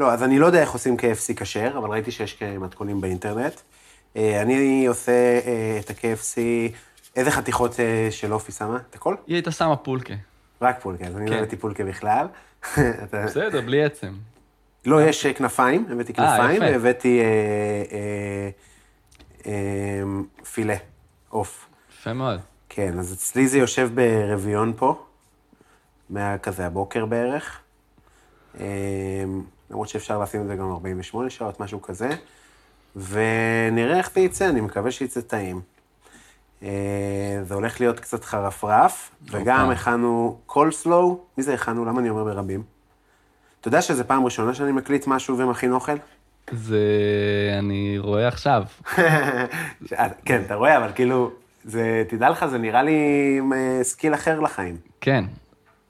Speaker 1: לא, אז אני לא יודע איך עושים KFC כשר, אבל ראיתי שיש מתכונים באינטרנט. אה, אני עושה אה, את ה-KFC, איזה חתיכות אה, של אופי שמה? את הכל?
Speaker 3: היא הייתה שמה פולקה.
Speaker 1: רק פולקה, אז אני לא
Speaker 3: כן.
Speaker 1: הבאתי פולקה בכלל. אתה-
Speaker 3: בסדר, בלי עצם.
Speaker 1: לא, יש אה, כנפיים, הבאתי
Speaker 3: אה,
Speaker 1: כנפיים,
Speaker 3: יפה.
Speaker 1: והבאתי אה, אה, אה, פילה, עוף.
Speaker 3: יפה מאוד.
Speaker 1: כן, אז אצלי זה יושב ברביעון פה, מהכזה הבוקר בערך. אמ, למרות שאפשר לשים את זה גם 48 שעות, משהו כזה. ונראה איך זה יצא, אני מקווה שיצא טעים. אה, זה הולך להיות קצת חרפרף, וגם
Speaker 3: אופה.
Speaker 1: הכנו קולסלואו. מי זה הכנו? למה אני אומר ברבים? אתה יודע שזו פעם ראשונה שאני מקליט משהו ומכין אוכל?
Speaker 3: זה אני רואה עכשיו.
Speaker 1: אה, כן, אתה רואה, אבל כאילו, זה, תדע לך, זה נראה לי אה, סקיל אחר לחיים.
Speaker 3: כן.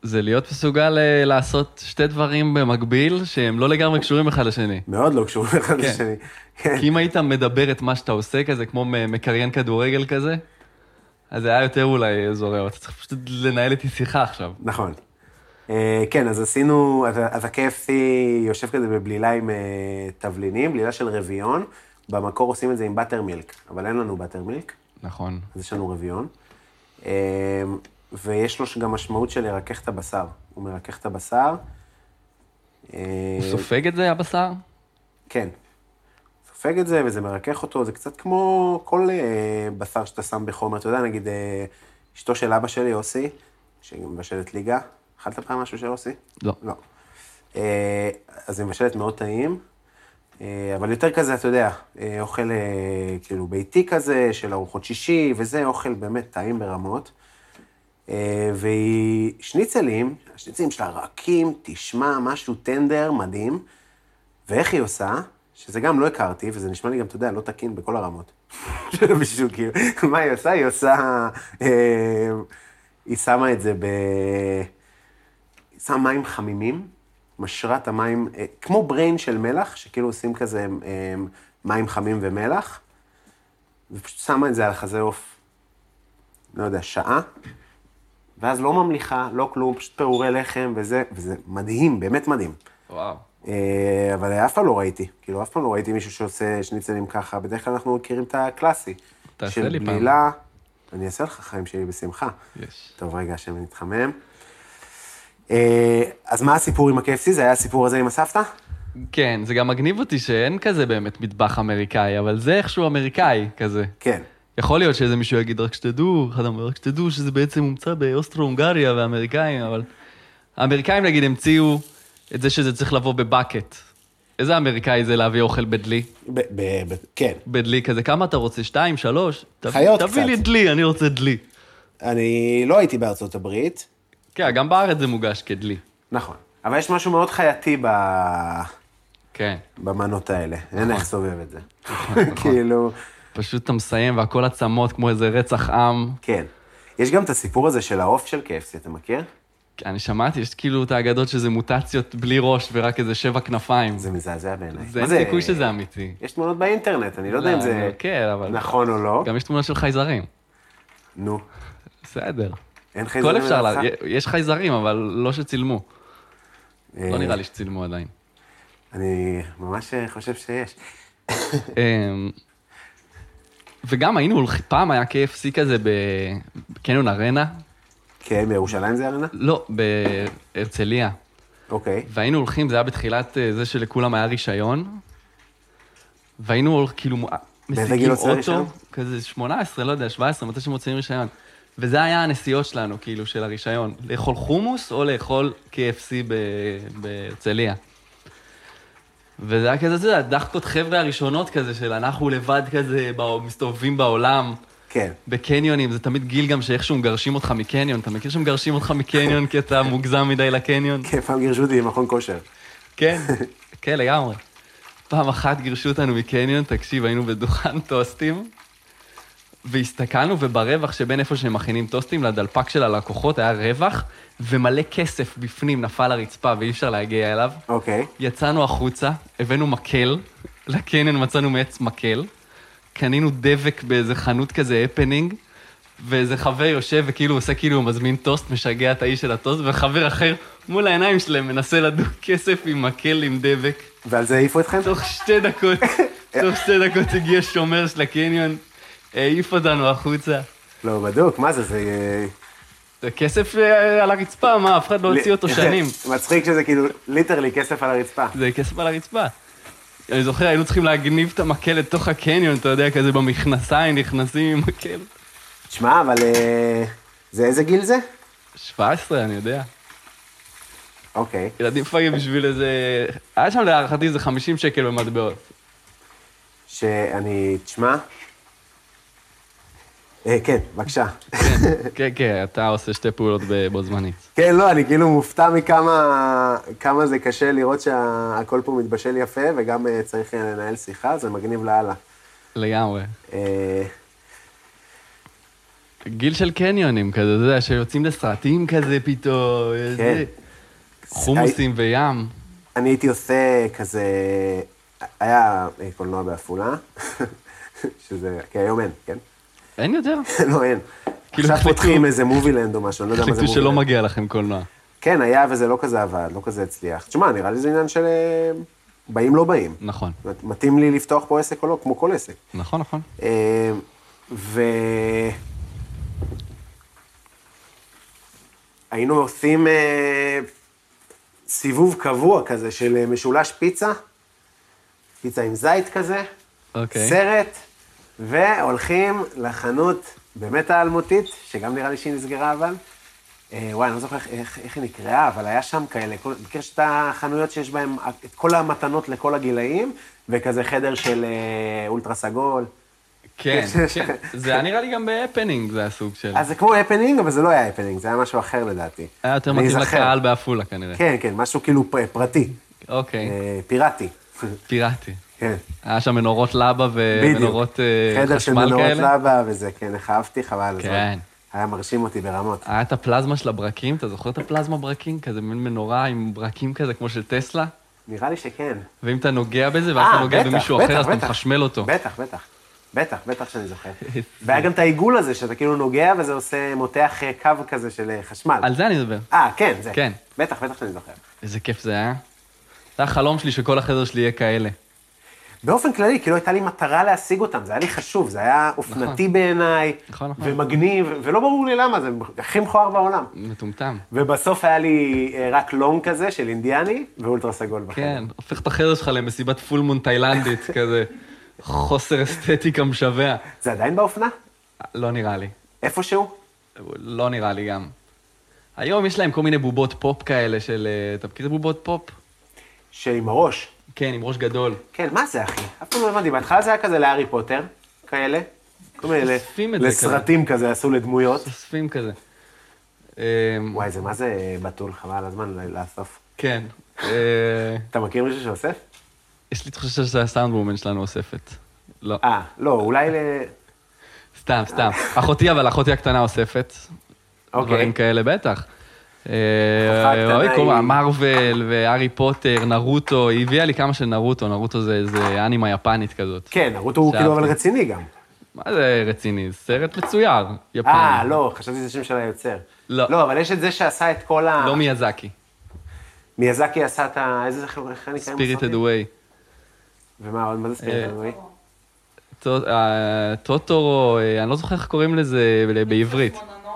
Speaker 3: זה להיות מסוגל אה, לעשות שתי דברים במקביל, שהם לא לגמרי קשורים אחד לשני.
Speaker 1: מאוד לא קשורים אחד
Speaker 3: כן.
Speaker 1: לשני. כן.
Speaker 3: כי אם היית מדבר את מה שאתה עושה כזה, כמו מ- מקריין כדורגל כזה, אז זה היה יותר אולי זורם. אתה צריך פשוט לנהל איתי שיחה עכשיו.
Speaker 1: נכון. אה, כן, אז עשינו, אז- אז ה-KFC יושב כזה בבלילה עם אה, תבלינים, בלילה של רביון. במקור עושים את זה עם באטר מילק, אבל אין לנו באטר מילק,
Speaker 3: נכון.
Speaker 1: אז יש לנו רביון. אה, ויש לו גם משמעות של לרכך את הבשר. הוא מרכך את הבשר. אה,
Speaker 3: הוא סופג את זה, הבשר?
Speaker 1: כן. סופג את זה, וזה מרכך אותו, זה קצת כמו כל אה, בשר שאתה שם בחומר. אתה יודע, נגיד, אה, אשתו של אבא שלי, אוסי, שהיא מבשלת ליגה, אכלת פעם משהו של אוסי?
Speaker 3: לא.
Speaker 1: לא. אה, אז היא מבשלת מאוד טעים, אה, אבל יותר כזה, אתה יודע, אה, אוכל אה, כאילו ביתי כזה, של ארוחות שישי, וזה אוכל באמת טעים ברמות. אה, והיא שניצלים, השניצלים שלה רכים, תשמע, משהו טנדר, מדהים. ואיך היא עושה, שזה גם לא הכרתי, וזה נשמע לי גם, אתה יודע, לא תקין בכל הרמות. של מישהו, כאילו, מה היא עושה? היא עושה... אה, היא שמה את זה ב... היא שמה מים חמימים, משרה את המים, אה, כמו בריין של מלח, שכאילו עושים כזה אה, מים חמים ומלח, ופשוט שמה את זה על חזה עוף, לא יודע, שעה, ואז לא ממליחה, לא כלום, פשוט פעורי לחם וזה, וזה מדהים, באמת מדהים.
Speaker 3: וואו.
Speaker 1: אה, אבל אף פעם לא ראיתי, כאילו, אף פעם לא ראיתי מישהו שעושה שניצלים ככה, בדרך כלל אנחנו מכירים את הקלאסי.
Speaker 3: תעשה
Speaker 1: של
Speaker 3: לי פעם.
Speaker 1: בלילה, אני אעשה לך חיים שלי בשמחה.
Speaker 3: יש.
Speaker 1: טוב, רגע, שנתחמם. אה, אז מה הסיפור עם ה-KFC? זה היה הסיפור הזה עם הסבתא?
Speaker 3: כן, זה גם מגניב אותי שאין כזה באמת מטבח אמריקאי, אבל זה איכשהו אמריקאי כזה.
Speaker 1: כן.
Speaker 3: יכול להיות שאיזה מישהו יגיד, רק שתדעו, אחד אמר, רק שתדעו שזה בעצם הומצא באוסטרו-הונגריה והאמריקאים, אבל... האמריקאים נגיד המציאו את זה שזה צריך לבוא בבקט. איזה אמריקאי זה להביא אוכל בדלי?
Speaker 1: ב- ב- ב- כן.
Speaker 3: בדלי כזה, כמה אתה רוצה? שתיים, שלוש? תביא-
Speaker 1: חיות
Speaker 3: תביא
Speaker 1: קצת.
Speaker 3: לי דלי, אני רוצה דלי.
Speaker 1: אני לא הייתי בארצות הברית.
Speaker 3: כן, גם בארץ זה מוגש כדלי.
Speaker 1: נכון. אבל יש משהו מאוד חייתי ב-
Speaker 3: כן.
Speaker 1: במנות האלה. אין
Speaker 3: נכון.
Speaker 1: איך לסובב את זה. כאילו...
Speaker 3: פשוט אתה מסיים והכל עצמות כמו איזה רצח עם.
Speaker 1: כן. יש גם את הסיפור הזה של העוף של KFC, אתה מכיר?
Speaker 3: אני שמעתי, יש כאילו את האגדות שזה מוטציות בלי ראש ורק איזה שבע כנפיים.
Speaker 1: זה מזעזע בעיניי.
Speaker 3: זה
Speaker 1: מה
Speaker 3: אין סיכוי שזה אמיתי.
Speaker 1: יש תמונות באינטרנט, אני לא יודע אם זה
Speaker 3: כן, אבל...
Speaker 1: נכון או לא.
Speaker 3: גם יש תמונות של חייזרים.
Speaker 1: נו,
Speaker 3: בסדר.
Speaker 1: אין חייזרים.
Speaker 3: הכל אפשר, לה...
Speaker 1: למשחק?
Speaker 3: יש חייזרים, אבל לא שצילמו. לא
Speaker 1: אה,
Speaker 3: נראה לי שצילמו עדיין.
Speaker 1: אני ממש אה, חושב שיש.
Speaker 3: אמ, וגם היינו, הולכ- פעם היה KFC כזה בקניון ארנה,
Speaker 1: כן, בירושלים זה ארנה?
Speaker 3: לא, בהרצליה.
Speaker 1: אוקיי.
Speaker 3: והיינו הולכים, זה היה בתחילת אה, זה שלכולם היה רישיון, והיינו הולכים, כאילו,
Speaker 1: גיל
Speaker 3: משיגים
Speaker 1: עוצר רישיון?
Speaker 3: אוטו, כזה 18, לא יודע, 17, מתי שמוצאים רישיון. וזה היה הנסיעות שלנו, כאילו, של הרישיון, לאכול חומוס או לאכול KFC ב- בהרצליה. וזה היה כזה, אתה יודע, דחקות חבר'ה הראשונות כזה, של אנחנו לבד כזה, בא- מסתובבים בעולם.
Speaker 1: כן.
Speaker 3: בקניונים, זה תמיד גיל גם שאיכשהו מגרשים אותך מקניון, אתה מכיר שמגרשים אותך מקניון כי אתה מוגזם מדי לקניון?
Speaker 1: כן, פעם גירשו אותי במכון כושר.
Speaker 3: כן, כן, לגמרי. פעם אחת גירשו אותנו מקניון, תקשיב, היינו בדוכן טוסטים, והסתכלנו, וברווח שבין איפה שהם מכינים טוסטים לדלפק של הלקוחות היה רווח, ומלא כסף בפנים נפל לרצפה ואי אפשר להגיע אליו.
Speaker 1: אוקיי.
Speaker 3: יצאנו החוצה, הבאנו מקל, לקניון מצאנו מעץ מקל, קנינו דבק באיזה חנות כזה הפנינג, ואיזה חבר יושב וכאילו עושה כאילו הוא מזמין טוסט, משגע את האיש של הטוסט, וחבר אחר מול העיניים שלהם מנסה לדוג כסף עם מקל עם דבק.
Speaker 1: ועל זה העיפו אתכם?
Speaker 3: תוך שתי דקות, תוך שתי דקות הגיע שומר של הקניון, העיף אותנו החוצה.
Speaker 1: לא, בדוק, מה זה, זה... אה,
Speaker 3: זה כסף אה, על הרצפה, מה, אף אחד לא הוציא אותו שנים.
Speaker 1: מצחיק שזה כאילו ליטרלי כסף על הרצפה.
Speaker 3: זה כסף על הרצפה. אני זוכר, היינו צריכים להגניב את המקל לתוך הקניון, אתה יודע, כזה במכנסיים, נכנסים עם מקל.
Speaker 1: תשמע, אבל... אה, זה איזה גיל זה?
Speaker 3: 17, אני יודע.
Speaker 1: אוקיי.
Speaker 3: ילדים פאגים בשביל איזה... היה שם להערכתי איזה 50 שקל במטבעות.
Speaker 1: שאני... תשמע... אה, כן, בבקשה.
Speaker 3: כן, כן, אתה עושה שתי פעולות ב- בו זמנית.
Speaker 1: כן, לא, אני כאילו מופתע מכמה כמה זה קשה לראות שהכל פה מתבשל יפה, וגם אה, צריך אה, לנהל שיחה, זה מגניב לאללה.
Speaker 3: לגמרי.
Speaker 1: אה,
Speaker 3: גיל של קניונים כזה, אתה יודע, שיוצאים לסרטים כזה פתאום, איזה...
Speaker 1: כן.
Speaker 3: חומוסים וים.
Speaker 1: אני הייתי עושה כזה, היה אה, קולנוע בעפולה, שזה, כי היום אין, כן?
Speaker 3: אין יותר.
Speaker 1: לא, אין.
Speaker 3: כאילו
Speaker 1: עכשיו
Speaker 3: החליטו-
Speaker 1: פותחים איזה מובילנד או משהו, אני לא יודע מה זה
Speaker 3: החליטו שלא
Speaker 1: מובילנד.
Speaker 3: מגיע לכם קולנוע.
Speaker 1: כן, היה, וזה לא כזה עבד, לא כזה הצליח. תשמע, נראה לי זה עניין של אה, באים לא באים.
Speaker 3: נכון.
Speaker 1: זאת אומרת, מתאים לי לפתוח פה עסק או לא, כמו כל עסק.
Speaker 3: נכון, נכון.
Speaker 1: אה, ו... היינו עושים אה, סיבוב קבוע כזה של אה, משולש פיצה, פיצה עם זית כזה,
Speaker 3: אוקיי.
Speaker 1: סרט, והולכים לחנות באמת האלמותית, שגם נראה לי שהיא נסגרה אבל. אה, וואי, אני לא זוכר איך, איך, איך היא נקראה, אבל היה שם כאלה, כל- מכיר שאת החנויות שיש בהן את כל המתנות לכל הגילאים, וכזה חדר של אה, אולטרה סגול.
Speaker 3: כן, כן. זה היה נראה לי גם בהפנינג, זה הסוג של...
Speaker 1: אז זה כמו הפנינג, אבל זה לא היה הפנינג, זה היה משהו אחר לדעתי.
Speaker 3: כן. היה יותר
Speaker 1: אני כן,
Speaker 3: מתאים
Speaker 1: אזכר.
Speaker 3: לקהל בעפולה כנראה.
Speaker 1: כן, כן, משהו כאילו פ- פרטי,
Speaker 3: אוקיי.
Speaker 1: אה, פיראטי.
Speaker 3: פיראטי.
Speaker 1: כן.
Speaker 3: היה שם מנורות לבה
Speaker 1: בדיוק.
Speaker 3: ומנורות אה, חשמל כאלה.
Speaker 1: חדר של מנורות לבה וזה, כן, איך אהבתי, חבל על הזמן.
Speaker 3: כן.
Speaker 1: היה מרשים אותי ברמות.
Speaker 3: היה את הפלזמה של הברקים, אתה זוכר את הפלזמה ברקים? כזה מין מנורה עם ברקים כזה, כמו של טסלה?
Speaker 1: נראה לי שכן.
Speaker 3: ואם אתה נוגע בזה, ואז אתה נוגע לא במישהו אחר, אז אתה מחשמל אותו.
Speaker 1: אה, בטח, בטח. בטח, בטח שאני זוכר. והיה גם את העיגול הזה, שאתה כאילו נוגע וזה עושה, מותח אה, קו כזה של אה, חשמל.
Speaker 3: על זה אני מדבר.
Speaker 1: אה, כן, זה.
Speaker 3: כן.
Speaker 1: בטח, בטח שאני זוכר.
Speaker 3: איזה כיף זה היה. זה החלום שלי שכל החדר שלי יהיה כאלה.
Speaker 1: באופן כללי, כאילו הייתה לי מטרה להשיג אותם, זה היה לי חשוב, זה היה אופנתי בעיניי,
Speaker 3: נכון, נכון.
Speaker 1: ומגניב, ולא ברור לי למה, זה הכי מכוער בעולם.
Speaker 3: מטומטם.
Speaker 1: ובסוף היה לי אה, רק לונג כזה של אינדיאני, ואולטרה סגול בחדר.
Speaker 3: כן, הופך את החדר שלך למסיבת פול מון תאילנדית, כזה חוסר אסתטיקה משווע.
Speaker 1: זה עדיין באופנה?
Speaker 3: לא נראה לי.
Speaker 1: איפשהו?
Speaker 3: לא נראה לי גם. היום יש להם כל מיני בובות פופ כאלה של... אה, אתה מכיר בובות פופ?
Speaker 1: שעם הראש.
Speaker 3: כן, עם ראש גדול.
Speaker 1: כן, מה זה, אחי? אף פעם לא הבנתי. בהתחלה זה היה כזה להארי פוטר, כאלה. כל מיני ל-
Speaker 3: אוספים את זה
Speaker 1: לסרטים כזה עשו לדמויות.
Speaker 3: אוספים כזה. אה,
Speaker 1: וואי, זה מה זה אה, בתול, חבל על הזמן ל- לאסוף.
Speaker 3: כן. אה,
Speaker 1: אתה מכיר מישהו שאוסף?
Speaker 3: יש לי תחושה שהסאונד וומן שלנו אוספת. לא.
Speaker 1: אה, לא, אולי ל...
Speaker 3: סתם, סתם. אחותי, אבל אחותי הקטנה אוספת.
Speaker 1: אוקיי.
Speaker 3: דברים כאלה, בטח.
Speaker 1: אחותה
Speaker 3: אה,
Speaker 1: הקטנה
Speaker 3: אוי, כל
Speaker 1: היא-
Speaker 3: מה, מרוויל והארי פוטר, נרוטו, היא הביאה לי כמה של נרוטו, נרוטו זה איזה אנימה יפנית כזאת.
Speaker 1: כן, נרוטו הוא
Speaker 3: שאהבתי.
Speaker 1: כאילו אבל רציני גם.
Speaker 3: מה זה רציני? זה סרט מצויר, יפני.
Speaker 1: אה, לא, חשבתי שזה שם של היוצר.
Speaker 3: לא.
Speaker 1: לא, אבל יש את זה שעשה את כל ה...
Speaker 3: לא מיאזקי,
Speaker 1: מיאזקי עשה את ה... איזה חברה, איך נקרא?
Speaker 3: ספיריטד אווי.
Speaker 1: ומה עוד? מה זה
Speaker 3: אה,
Speaker 1: ספיריטד ווי?
Speaker 3: טוטורו, אה, אני לא זוכר איך קוראים לזה ב- בעברית.
Speaker 4: מונונוקה,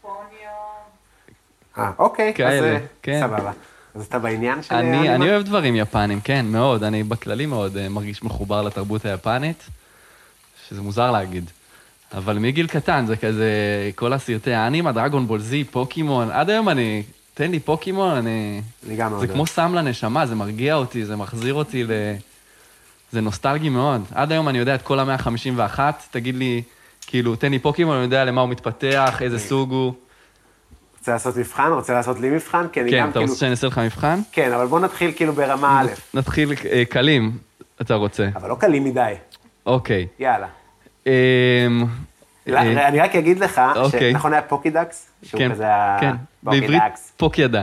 Speaker 4: פוניו.
Speaker 1: אה, אוקיי, אז
Speaker 3: כאלה,
Speaker 1: אה,
Speaker 3: כן.
Speaker 1: סבבה. אז אתה בעניין של... אה,
Speaker 3: אני,
Speaker 1: האנימה?
Speaker 3: אני אוהב דברים יפנים, כן, מאוד. אני בכללי מאוד אה, מרגיש מחובר לתרבות היפנית, שזה מוזר להגיד. אבל מגיל קטן זה כזה, כל הסרטי האנימה, דרגון בול זי, פוקימון, עד היום אני, תן לי פוקימון, אני...
Speaker 1: אני גם מאוד
Speaker 3: זה
Speaker 1: אוהב.
Speaker 3: כמו סם לנשמה, זה מרגיע אותי, זה מחזיר אותי ל... זה נוסטלגי מאוד. עד היום אני יודע את כל ה-151, תגיד לי, כאילו, תן לי פוקימון, אני יודע למה הוא מתפתח, איזה סוג הוא.
Speaker 1: רוצה לעשות מבחן? רוצה לעשות לי מבחן? כי אני
Speaker 3: כן,
Speaker 1: גם
Speaker 3: אתה
Speaker 1: כאילו...
Speaker 3: רוצה שאני אעשה לך מבחן?
Speaker 1: כן, אבל בוא נתחיל כאילו ברמה א',
Speaker 3: נתחיל אה, קלים, אתה רוצה.
Speaker 1: אבל לא קלים מדי.
Speaker 3: אוקיי.
Speaker 1: יאללה.
Speaker 3: אמ,
Speaker 1: לא,
Speaker 3: אה,
Speaker 1: אני רק אגיד לך,
Speaker 3: אוקיי.
Speaker 1: שנכון היה פוקידקס? שהוא
Speaker 3: כן,
Speaker 1: כזה ה...
Speaker 3: כן, בעברית
Speaker 1: פוקידקס.
Speaker 3: פוקיידה.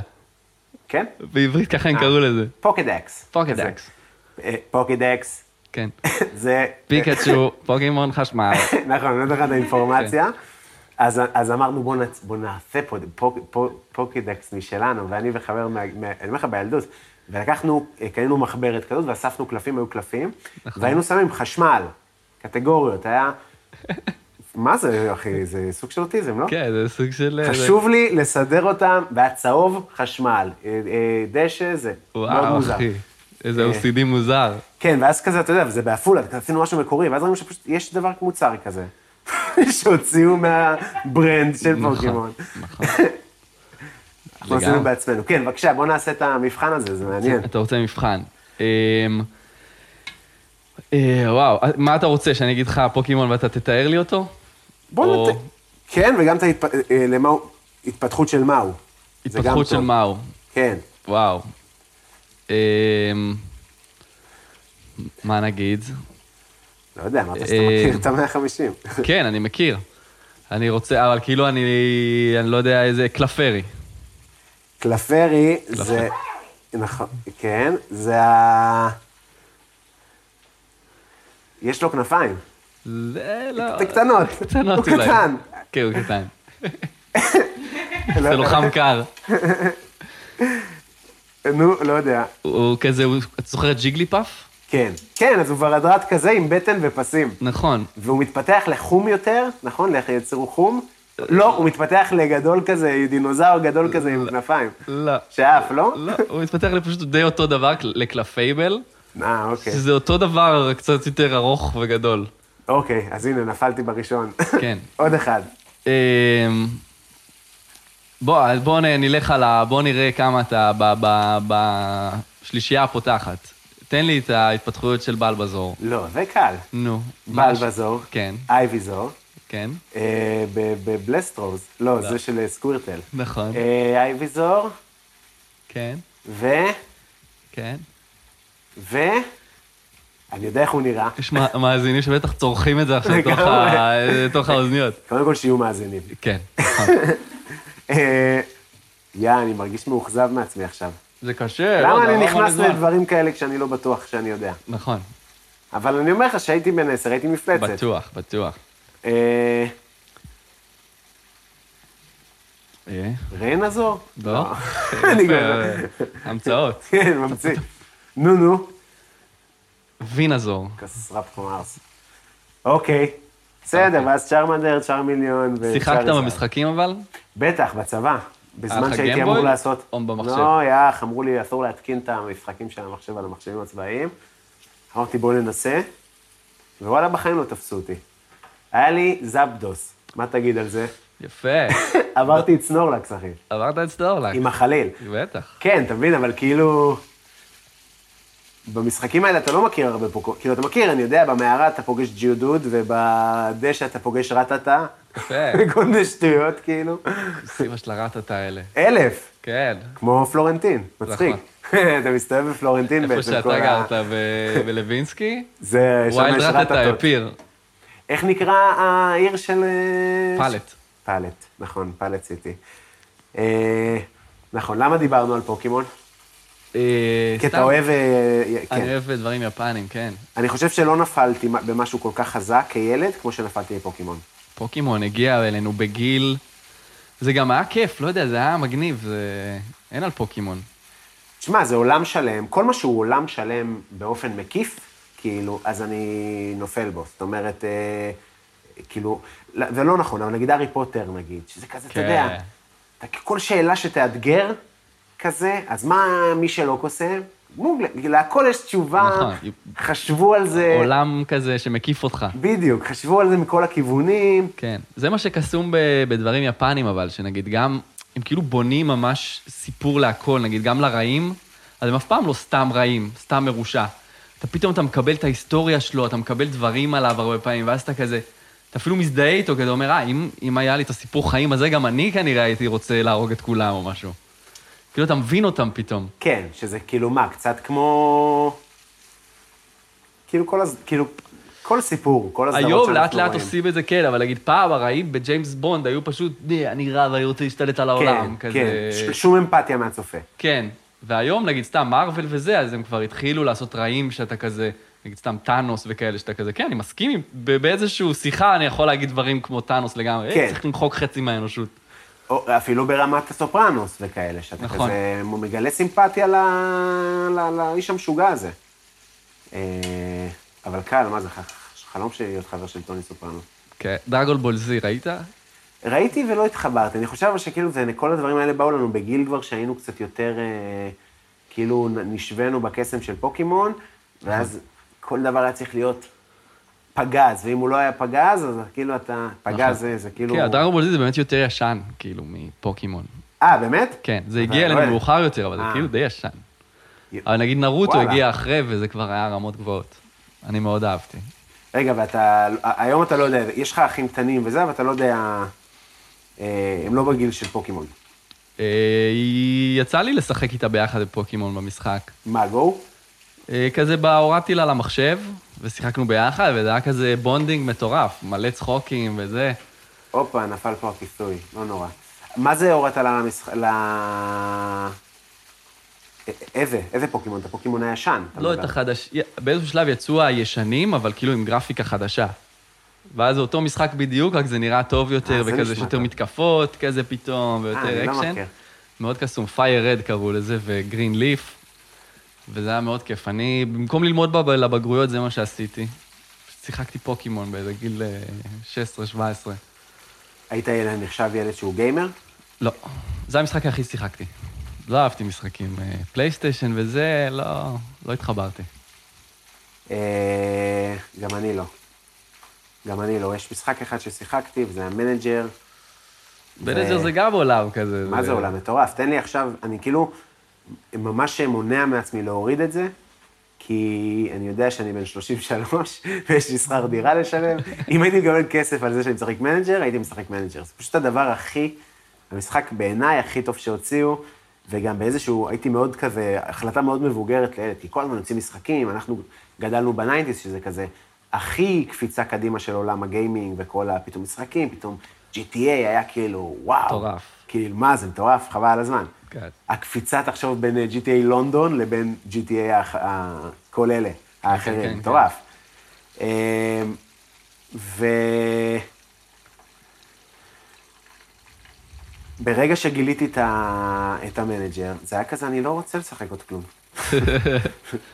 Speaker 1: כן?
Speaker 3: בעברית ככה הם קראו לזה.
Speaker 1: פוקידקס.
Speaker 3: פוקיידקס.
Speaker 1: כזה. אה, פוקידקס,
Speaker 3: כן.
Speaker 1: זה...
Speaker 3: פיקאצ'ו, פוקימון חשמל.
Speaker 1: נכון, נתן לך את האינפורמציה.
Speaker 3: כן.
Speaker 1: אז, אז אמרנו, בוא, נצ... בוא נעשה פה פוק, פוק, פוקידקס משלנו, ואני וחבר, מה... מה... אני אומר לך, בילדות, ולקחנו, אה, קנינו מחברת כזאת, ואספנו קלפים, היו קלפים, נכון. והיינו שמים חשמל, קטגוריות, היה... מה זה, אחי? זה סוג של אוטיזם, לא?
Speaker 3: כן, זה סוג של... אה, זה-
Speaker 1: חשוב לי לסדר אותם, והצהוב, חשמל, אה, אה, דשא, זה מאוד
Speaker 3: וואו,
Speaker 1: מוזר. אה.
Speaker 3: אחי. איזה OCD מוזר.
Speaker 1: כן, ואז כזה, אתה יודע, וזה בעפולה, עשינו משהו מקורי, ואז ראינו שפשוט יש דבר מוצר כזה, שהוציאו מהברנד של פוקימון.
Speaker 3: נכון.
Speaker 1: אנחנו עשינו בעצמנו. כן, בבקשה, בוא נעשה את המבחן הזה, זה מעניין.
Speaker 3: אתה רוצה מבחן. אמ, אה, וואו, מה אתה רוצה, שאני אגיד לך פוקימון ואתה תתאר לי אותו?
Speaker 1: בוא
Speaker 3: או-
Speaker 1: נת... כן, וגם את ההתפ... אה, למה הוא... התפתחות של מה הוא. זה גם
Speaker 3: התפתחות של
Speaker 1: טוב.
Speaker 3: מאו.
Speaker 1: כן.
Speaker 3: וואו. אמ, מה נגיד?
Speaker 1: לא יודע, אמרת שאתה
Speaker 3: אה,
Speaker 1: מכיר את המאה החמישים.
Speaker 3: כן, אני מכיר. אני רוצה, אבל כאילו אני, אני לא יודע איזה, קלפרי.
Speaker 1: קלפרי זה... נכון, כן, זה ה... יש לו כנפיים.
Speaker 3: זה לא...
Speaker 1: זה קטנות.
Speaker 3: קטנות
Speaker 1: הוא
Speaker 3: אולי.
Speaker 1: קטן.
Speaker 3: כן, הוא קטן.
Speaker 1: לא-
Speaker 3: זה לוחם קר.
Speaker 1: נו, לא יודע.
Speaker 3: הוא כזה, הוא- את זוכרת ג'יגלי פאף?
Speaker 1: כן. כן, אז הוא ורדרד כזה עם בטן ופסים.
Speaker 3: נכון.
Speaker 1: והוא מתפתח לחום יותר, נכון? לאיך יצרו חום? לא, הוא מתפתח לגדול כזה, דינוזאור גדול כזה עם כנפיים.
Speaker 3: לא.
Speaker 1: שאף, לא?
Speaker 3: לא, הוא התפתח לפשוט די אותו דבר, לקלפייבל,
Speaker 1: אה, אוקיי.
Speaker 3: שזה אותו דבר, רק קצת יותר ארוך וגדול.
Speaker 1: אוקיי, אז הנה, נפלתי בראשון.
Speaker 3: כן.
Speaker 1: עוד אחד.
Speaker 3: אמ, בוא, אז בוא נ- נלך על ה... בוא נראה כמה אתה ב- ב- בשלישייה הפותחת. תן לי את ההתפתחויות של בלבזור.
Speaker 1: לא, זה קל.
Speaker 3: נו. מה ש-
Speaker 1: בלבזור,
Speaker 3: כן,
Speaker 1: אייביזור,
Speaker 3: כן,
Speaker 1: אה, ב- בבלסטרוז, לא, זה של אה, סקווירטל.
Speaker 3: נכון,
Speaker 1: אה, אייביזור,
Speaker 3: כן,
Speaker 1: ו...
Speaker 3: כן.
Speaker 1: ואני יודע איך הוא נראה.
Speaker 3: יש מא- מאזינים שבטח צורכים את זה עכשיו תוך ה- תוך האוזניות.
Speaker 1: קודם כל שיהיו מאזינים.
Speaker 3: כן,
Speaker 1: אה, יא, אני מרגיש מאוכזב מעצמי עכשיו.
Speaker 3: זה קשה. לא
Speaker 1: למה
Speaker 3: יודע,
Speaker 1: אני
Speaker 3: המון
Speaker 1: נכנס
Speaker 3: זמן.
Speaker 1: לדברים כאלה כשאני לא בטוח שאני יודע?
Speaker 3: נכון,
Speaker 1: אבל אני אומר לך שהייתי בן עשר, הייתי מפלצת.
Speaker 3: בטוח, בטוח.
Speaker 1: אה,
Speaker 3: אה,
Speaker 1: רנה זו?
Speaker 3: לא?
Speaker 1: אני
Speaker 3: יפה, אה,
Speaker 1: גם...
Speaker 3: המצאות.
Speaker 1: כן, ממציא. נו, נו. אה,
Speaker 3: וינזור.
Speaker 1: כסרפ חומרס. אוקיי. בסדר, ואז צ'רמנדר, צ'רמיליון ו...
Speaker 3: שיחקת
Speaker 1: צ'אריזארד.
Speaker 3: במשחקים אבל?
Speaker 1: בטח, בצבא.
Speaker 3: היה
Speaker 1: בזמן
Speaker 3: לך
Speaker 1: שהייתי
Speaker 3: גיימבוי?
Speaker 1: אמור לעשות...
Speaker 3: או במחשב?
Speaker 1: לא, יאח, אמרו לי, אסור להתקין את המשחקים של המחשב על המחשבים הצבאיים. אמרתי, בואו ננסה, ווואלה, בחיים לא תפסו אותי. היה לי זבדוס, מה תגיד על זה?
Speaker 3: יפה,
Speaker 1: עברתי את סנורלק, אחי,
Speaker 3: עברת את סטורלק.
Speaker 1: עם החליל.
Speaker 3: בטח.
Speaker 1: כן, אתה מבין, אבל כאילו... במשחקים האלה אתה לא מכיר הרבה פה, כאילו, אתה מכיר, אני יודע, במערה אתה פוגש ג'יודוד, ובדשא אתה פוגש רטטה,
Speaker 3: יפה.
Speaker 1: וכל מיני שטויות, כאילו.
Speaker 3: סיבה של הרטטה האלה.
Speaker 1: אלף.
Speaker 3: כן.
Speaker 1: כמו פלורנטין, מצחיק. אתה מסתובב בפלורנטין
Speaker 3: נכון. איפה
Speaker 1: בעצם
Speaker 3: שאתה גרת, ב- בלווינסקי?
Speaker 1: זה, שם
Speaker 3: ווילד
Speaker 1: יש
Speaker 3: רטטה
Speaker 1: רטטות.
Speaker 3: הפיר.
Speaker 1: איך נקרא העיר של... אה,
Speaker 3: פלט.
Speaker 1: פלט, נכון, פלט סיטי. אה, נכון, למה דיברנו על פוקימון?
Speaker 3: אה,
Speaker 1: כי אתה
Speaker 3: סתם,
Speaker 1: אוהב... אה,
Speaker 3: אני
Speaker 1: כן.
Speaker 3: אוהב דברים יפנים, כן.
Speaker 1: אני חושב שלא נפלתי במשהו כל כך חזק כילד, כמו שנפלתי בפוקימון.
Speaker 3: פוקימון הגיע אלינו בגיל... זה גם היה כיף, לא יודע, זה היה מגניב, זה... אין על פוקימון.
Speaker 1: תשמע, זה עולם שלם, כל מה שהוא עולם שלם באופן מקיף, כאילו, אז אני נופל בו. זאת אומרת, אה, כאילו, לא- זה לא נכון, אבל נגיד הארי פוטר, נגיד, שזה כזה, אתה
Speaker 3: כן.
Speaker 1: יודע, אתה, כל שאלה שתאתגר, כזה, אז מה מי שלא קוסם? מוגלה, להכל יש תשובה,
Speaker 3: נכון.
Speaker 1: חשבו על זה,
Speaker 3: עולם כזה שמקיף אותך.
Speaker 1: בדיוק, חשבו על זה מכל הכיוונים,
Speaker 3: כן. זה מה שקסום ב- בדברים יפנים, אבל, שנגיד גם, הם כאילו בונים ממש סיפור להכל, נגיד גם לרעים, אז הם אף פעם לא סתם רעים, סתם מרושע. אתה פתאום, אתה מקבל את ההיסטוריה שלו, אתה מקבל דברים עליו הרבה פעמים, ואז אתה כזה, אתה אפילו מזדהה איתו, כי אתה אומר, אה, אם, אם היה לי את הסיפור חיים הזה, גם אני כנראה הייתי רוצה להרוג את כולם או משהו. כאילו, אתה מבין אותם פתאום.
Speaker 1: כן, שזה כאילו מה, קצת כמו... כאילו כל, הז... כאילו כל סיפור, כל הסדרות
Speaker 3: היום
Speaker 1: שאנחנו
Speaker 3: לאט לאט
Speaker 1: רואים.
Speaker 3: עושים את זה כן, אבל נגיד פעם הרעים בג'יימס בונד היו פשוט, "נה, אני רע ואני רוצה להשתלט על העולם,
Speaker 1: כן,
Speaker 3: כזה.
Speaker 1: כן, ש- שום אמפתיה מהצופה.
Speaker 3: כן, והיום נגיד סתם מארוול וזה, אז הם כבר התחילו לעשות רעים שאתה כזה, נגיד סתם טאנוס וכאלה, שאתה כזה, כן, אני מסכים, עם- ב- באיזשהו שיחה אני יכול להגיד דברים כמו טאנוס לגמרי,
Speaker 1: כן.
Speaker 3: כן. צריך למחוק חצי מהאנושות.
Speaker 1: או, אפילו ברמת הסופרנוס וכאלה, שאתה
Speaker 3: נכון.
Speaker 1: כזה מגלה סימפתיה ל... ל... לאיש המשוגע הזה. אה, אבל קל, מה זה, ח- חלום שלי להיות חבר של טוני סופרנוס.
Speaker 3: כן, דרגול בולזי, ראית?
Speaker 1: כאילו- ראיתי ולא התחברתי. אני חושב אבל שכאילו זה, כל הדברים האלה באו לנו בגיל כבר שהיינו קצת יותר, אה, כאילו נ- נשווינו בקסם של פוקימון, ואז כל דבר היה צריך להיות פגז, ואם הוא לא היה פגז, אז כאילו אתה,
Speaker 3: נכון.
Speaker 1: פגז זה, זה כאילו...
Speaker 3: כן, דרגול בולזי זה באמת יותר ישן, כאילו, מפוקימון.
Speaker 1: אה, באמת?
Speaker 3: כן, זה
Speaker 1: אבל
Speaker 3: הגיע אלינו
Speaker 1: לא יודע.
Speaker 3: מאוחר יותר, אבל זה
Speaker 1: אה.
Speaker 3: כאילו די ישן.
Speaker 1: י-
Speaker 3: אבל נגיד נרוטו
Speaker 1: וואלה.
Speaker 3: הגיע אחרי, וזה כבר היה רמות גבוהות. אני מאוד אהבתי.
Speaker 1: רגע, ואתה, היום אתה לא יודע, יש לך אחים קטנים וזה, אבל אתה לא יודע, אה, הם לא בגיל של פוקימון.
Speaker 3: אה, יצא לי לשחק איתה ביחד בפוקימון במשחק.
Speaker 1: מה, גו?
Speaker 3: אה, כזה בא, הורדתי לה למחשב, ושיחקנו ביחד, וזה היה כזה בונדינג מטורף, מלא צחוקים וזה.
Speaker 1: הופה, נפל פה הכיסוי, לא נורא. מה זה הורדת לה למשחק... ל... א- איזה? איזה פוקימון? את הפוקימון הישן. אתה
Speaker 3: לא
Speaker 1: מדבר.
Speaker 3: את החדש... באיזשהו שלב יצאו הישנים, אבל כאילו עם גרפיקה חדשה. ואז זה אותו משחק בדיוק, רק זה נראה טוב יותר,
Speaker 1: אה, זה
Speaker 3: וכזה
Speaker 1: נשמע
Speaker 3: יש יותר
Speaker 1: טוב.
Speaker 3: מתקפות, כזה פתאום,
Speaker 1: אה,
Speaker 3: ויותר
Speaker 1: אני לא
Speaker 3: אקשן.
Speaker 1: מכיר.
Speaker 3: מאוד קסום, פייר רד קראו לזה, וגרין ליף, וזה היה מאוד כיף. אני, במקום ללמוד ב- לבגרויות, זה מה שעשיתי. שיחקתי פוקימון באיזה גיל אה, 16-17.
Speaker 1: היית ילד, נחשב ילד שהוא גיימר?
Speaker 3: לא. זה המשחק היחיד ששיחקתי. לא אהבתי משחקים. אה, פלייסטיישן וזה, לא, לא התחברתי.
Speaker 1: אה, גם אני לא. גם אני לא. יש משחק אחד ששיחקתי, וזה המנג'ר.
Speaker 3: בנג'ר זה גם עולם כזה.
Speaker 1: מה זה עולם מטורף? תן לי עכשיו, אני כאילו ממש מונע מעצמי להוריד את זה, כי אני יודע שאני בן 33 ויש לי שכר דירה לשלם. אם הייתי מקבל כסף על זה שאני משחק מנג'ר, הייתי משחק מנג'ר. זה פשוט הדבר הכי, המשחק בעיניי הכי טוב שהוציאו. וגם באיזשהו, הייתי מאוד כזה, החלטה מאוד מבוגרת לילד, כי כל הזמן יוצאים משחקים, אנחנו גדלנו בניינטיס, שזה כזה הכי קפיצה קדימה של עולם הגיימינג וכל ה... פתאום משחקים, פתאום GTA היה כאילו, וואו.
Speaker 3: מטורף.
Speaker 1: כאילו, מה, זה מטורף, חבל על הזמן.
Speaker 3: כן.
Speaker 1: הקפיצה, תחשוב, בין אה, GTA לונדון לבין GTA האח- ה- כל אלה,
Speaker 3: כן,
Speaker 1: האחרים,
Speaker 3: כן.
Speaker 1: מטורף. אמ, ו... ברגע שגיליתי את, ה... את המנג'ר, זה היה כזה, אני לא רוצה לשחק עוד כלום.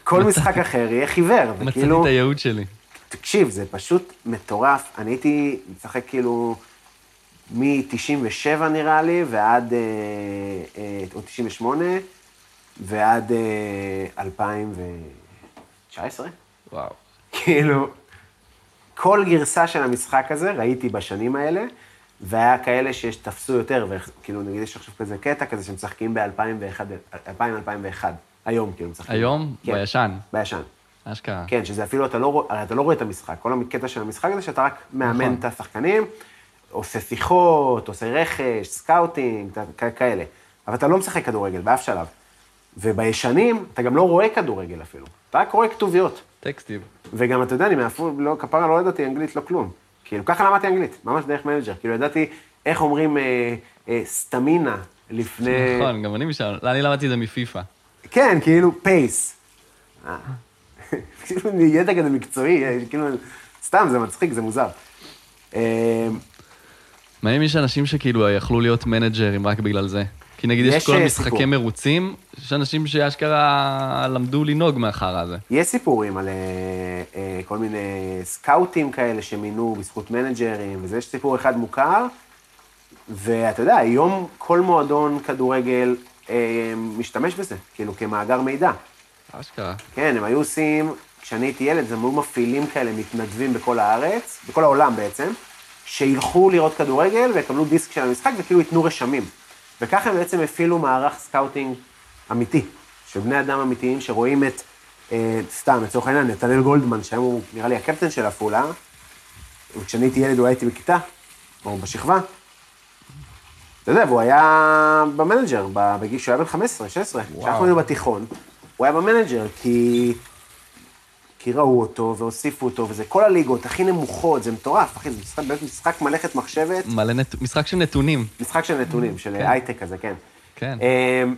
Speaker 1: כל משחק אחר יהיה חיוור,
Speaker 3: מצאתי
Speaker 1: וכאילו,
Speaker 3: את הייעוד שלי.
Speaker 1: תקשיב, זה פשוט מטורף. אני הייתי משחק כאילו מ-97 נראה לי, ועד, אה, אה, או 98, ועד אה, 2019.
Speaker 3: וואו.
Speaker 1: כאילו, כל גרסה של המשחק הזה ראיתי בשנים האלה, והיה כאלה שתפסו יותר, וכאילו, נגיד, יש עכשיו כזה קטע כזה שמשחקים ב-2000-2001, היום, כאילו, משחקים.
Speaker 3: היום?
Speaker 1: כן.
Speaker 3: בישן.
Speaker 1: בישן.
Speaker 3: אשכרה.
Speaker 1: כן, שזה אפילו, אתה לא, רוא- הרי אתה לא רואה את המשחק. כל הקטע של המשחק זה שאתה רק מאמן
Speaker 3: נכון.
Speaker 1: את השחקנים, עושה שיחות, עושה רכש, סקאוטינג, ת- כ- כאלה. אבל אתה לא משחק כדורגל באף שלב. ובישנים, אתה גם לא רואה כדורגל אפילו. אתה רק רואה כתוביות.
Speaker 3: טקסטים.
Speaker 1: וגם, אתה יודע, אני מעפול, לא, כפרה לא ידעתי אנגלית, לא כלום. כאילו, ככה למדתי אנגלית, ממש דרך מנג'ר. כאילו, ידעתי איך אומרים אה, אה, סטמינה לפני...
Speaker 3: נכון, גם אני משם. לא, אני למדתי את זה מפיפא.
Speaker 1: כן, כאילו, פייס. אה. כאילו, ידע כזה מקצועי, אה, כאילו, סתם, זה מצחיק, זה מוזר. אה,
Speaker 3: מעניין אם יש אנשים שכאילו יכלו להיות מנג'רים רק בגלל זה. כי נגיד
Speaker 1: יש,
Speaker 3: יש כל
Speaker 1: אה,
Speaker 3: משחקי
Speaker 1: סיפור.
Speaker 3: מרוצים, יש אנשים שאשכרה למדו לנהוג מהחרא הזה.
Speaker 1: יש סיפורים על אה, אה, כל מיני סקאוטים כאלה שמינו בזכות מנג'רים, וזה, יש סיפור אחד מוכר, ואתה יודע, היום כל מועדון כדורגל אה, משתמש בזה, כאילו, כמאגר מידע.
Speaker 3: אשכרה.
Speaker 1: כן, הם היו עושים, כשאני הייתי ילד, אז הם היו מפעילים כאלה מתנדבים בכל הארץ, בכל העולם בעצם, שילכו לראות כדורגל ויקבלו דיסק של המשחק וכאילו ייתנו רשמים. וככה הם בעצם הפעילו מערך סקאוטינג אמיתי, של בני אדם אמיתיים שרואים את, אה, סתם, לצורך העניין, נתנאל גולדמן, שהיום הוא נראה לי הקפטן של עפולה, וכשאני הייתי ילד הוא היה איתי בכיתה, או בשכבה. אתה יודע, והוא היה במנג'ר, ב- בגיל שהוא היה בן 15, 16, כשאנחנו היינו בתיכון, הוא היה במנג'ר, כי... כי ראו אותו והוסיפו אותו, וזה כל הליגות הכי נמוכות, זה מטורף, אחי, זה משחק, באמת משחק מלאכת מחשבת,
Speaker 3: מלא נת... משחק של נתונים.
Speaker 1: משחק של נתונים, של הייטק כזה, כן.
Speaker 3: כן.
Speaker 1: אמ,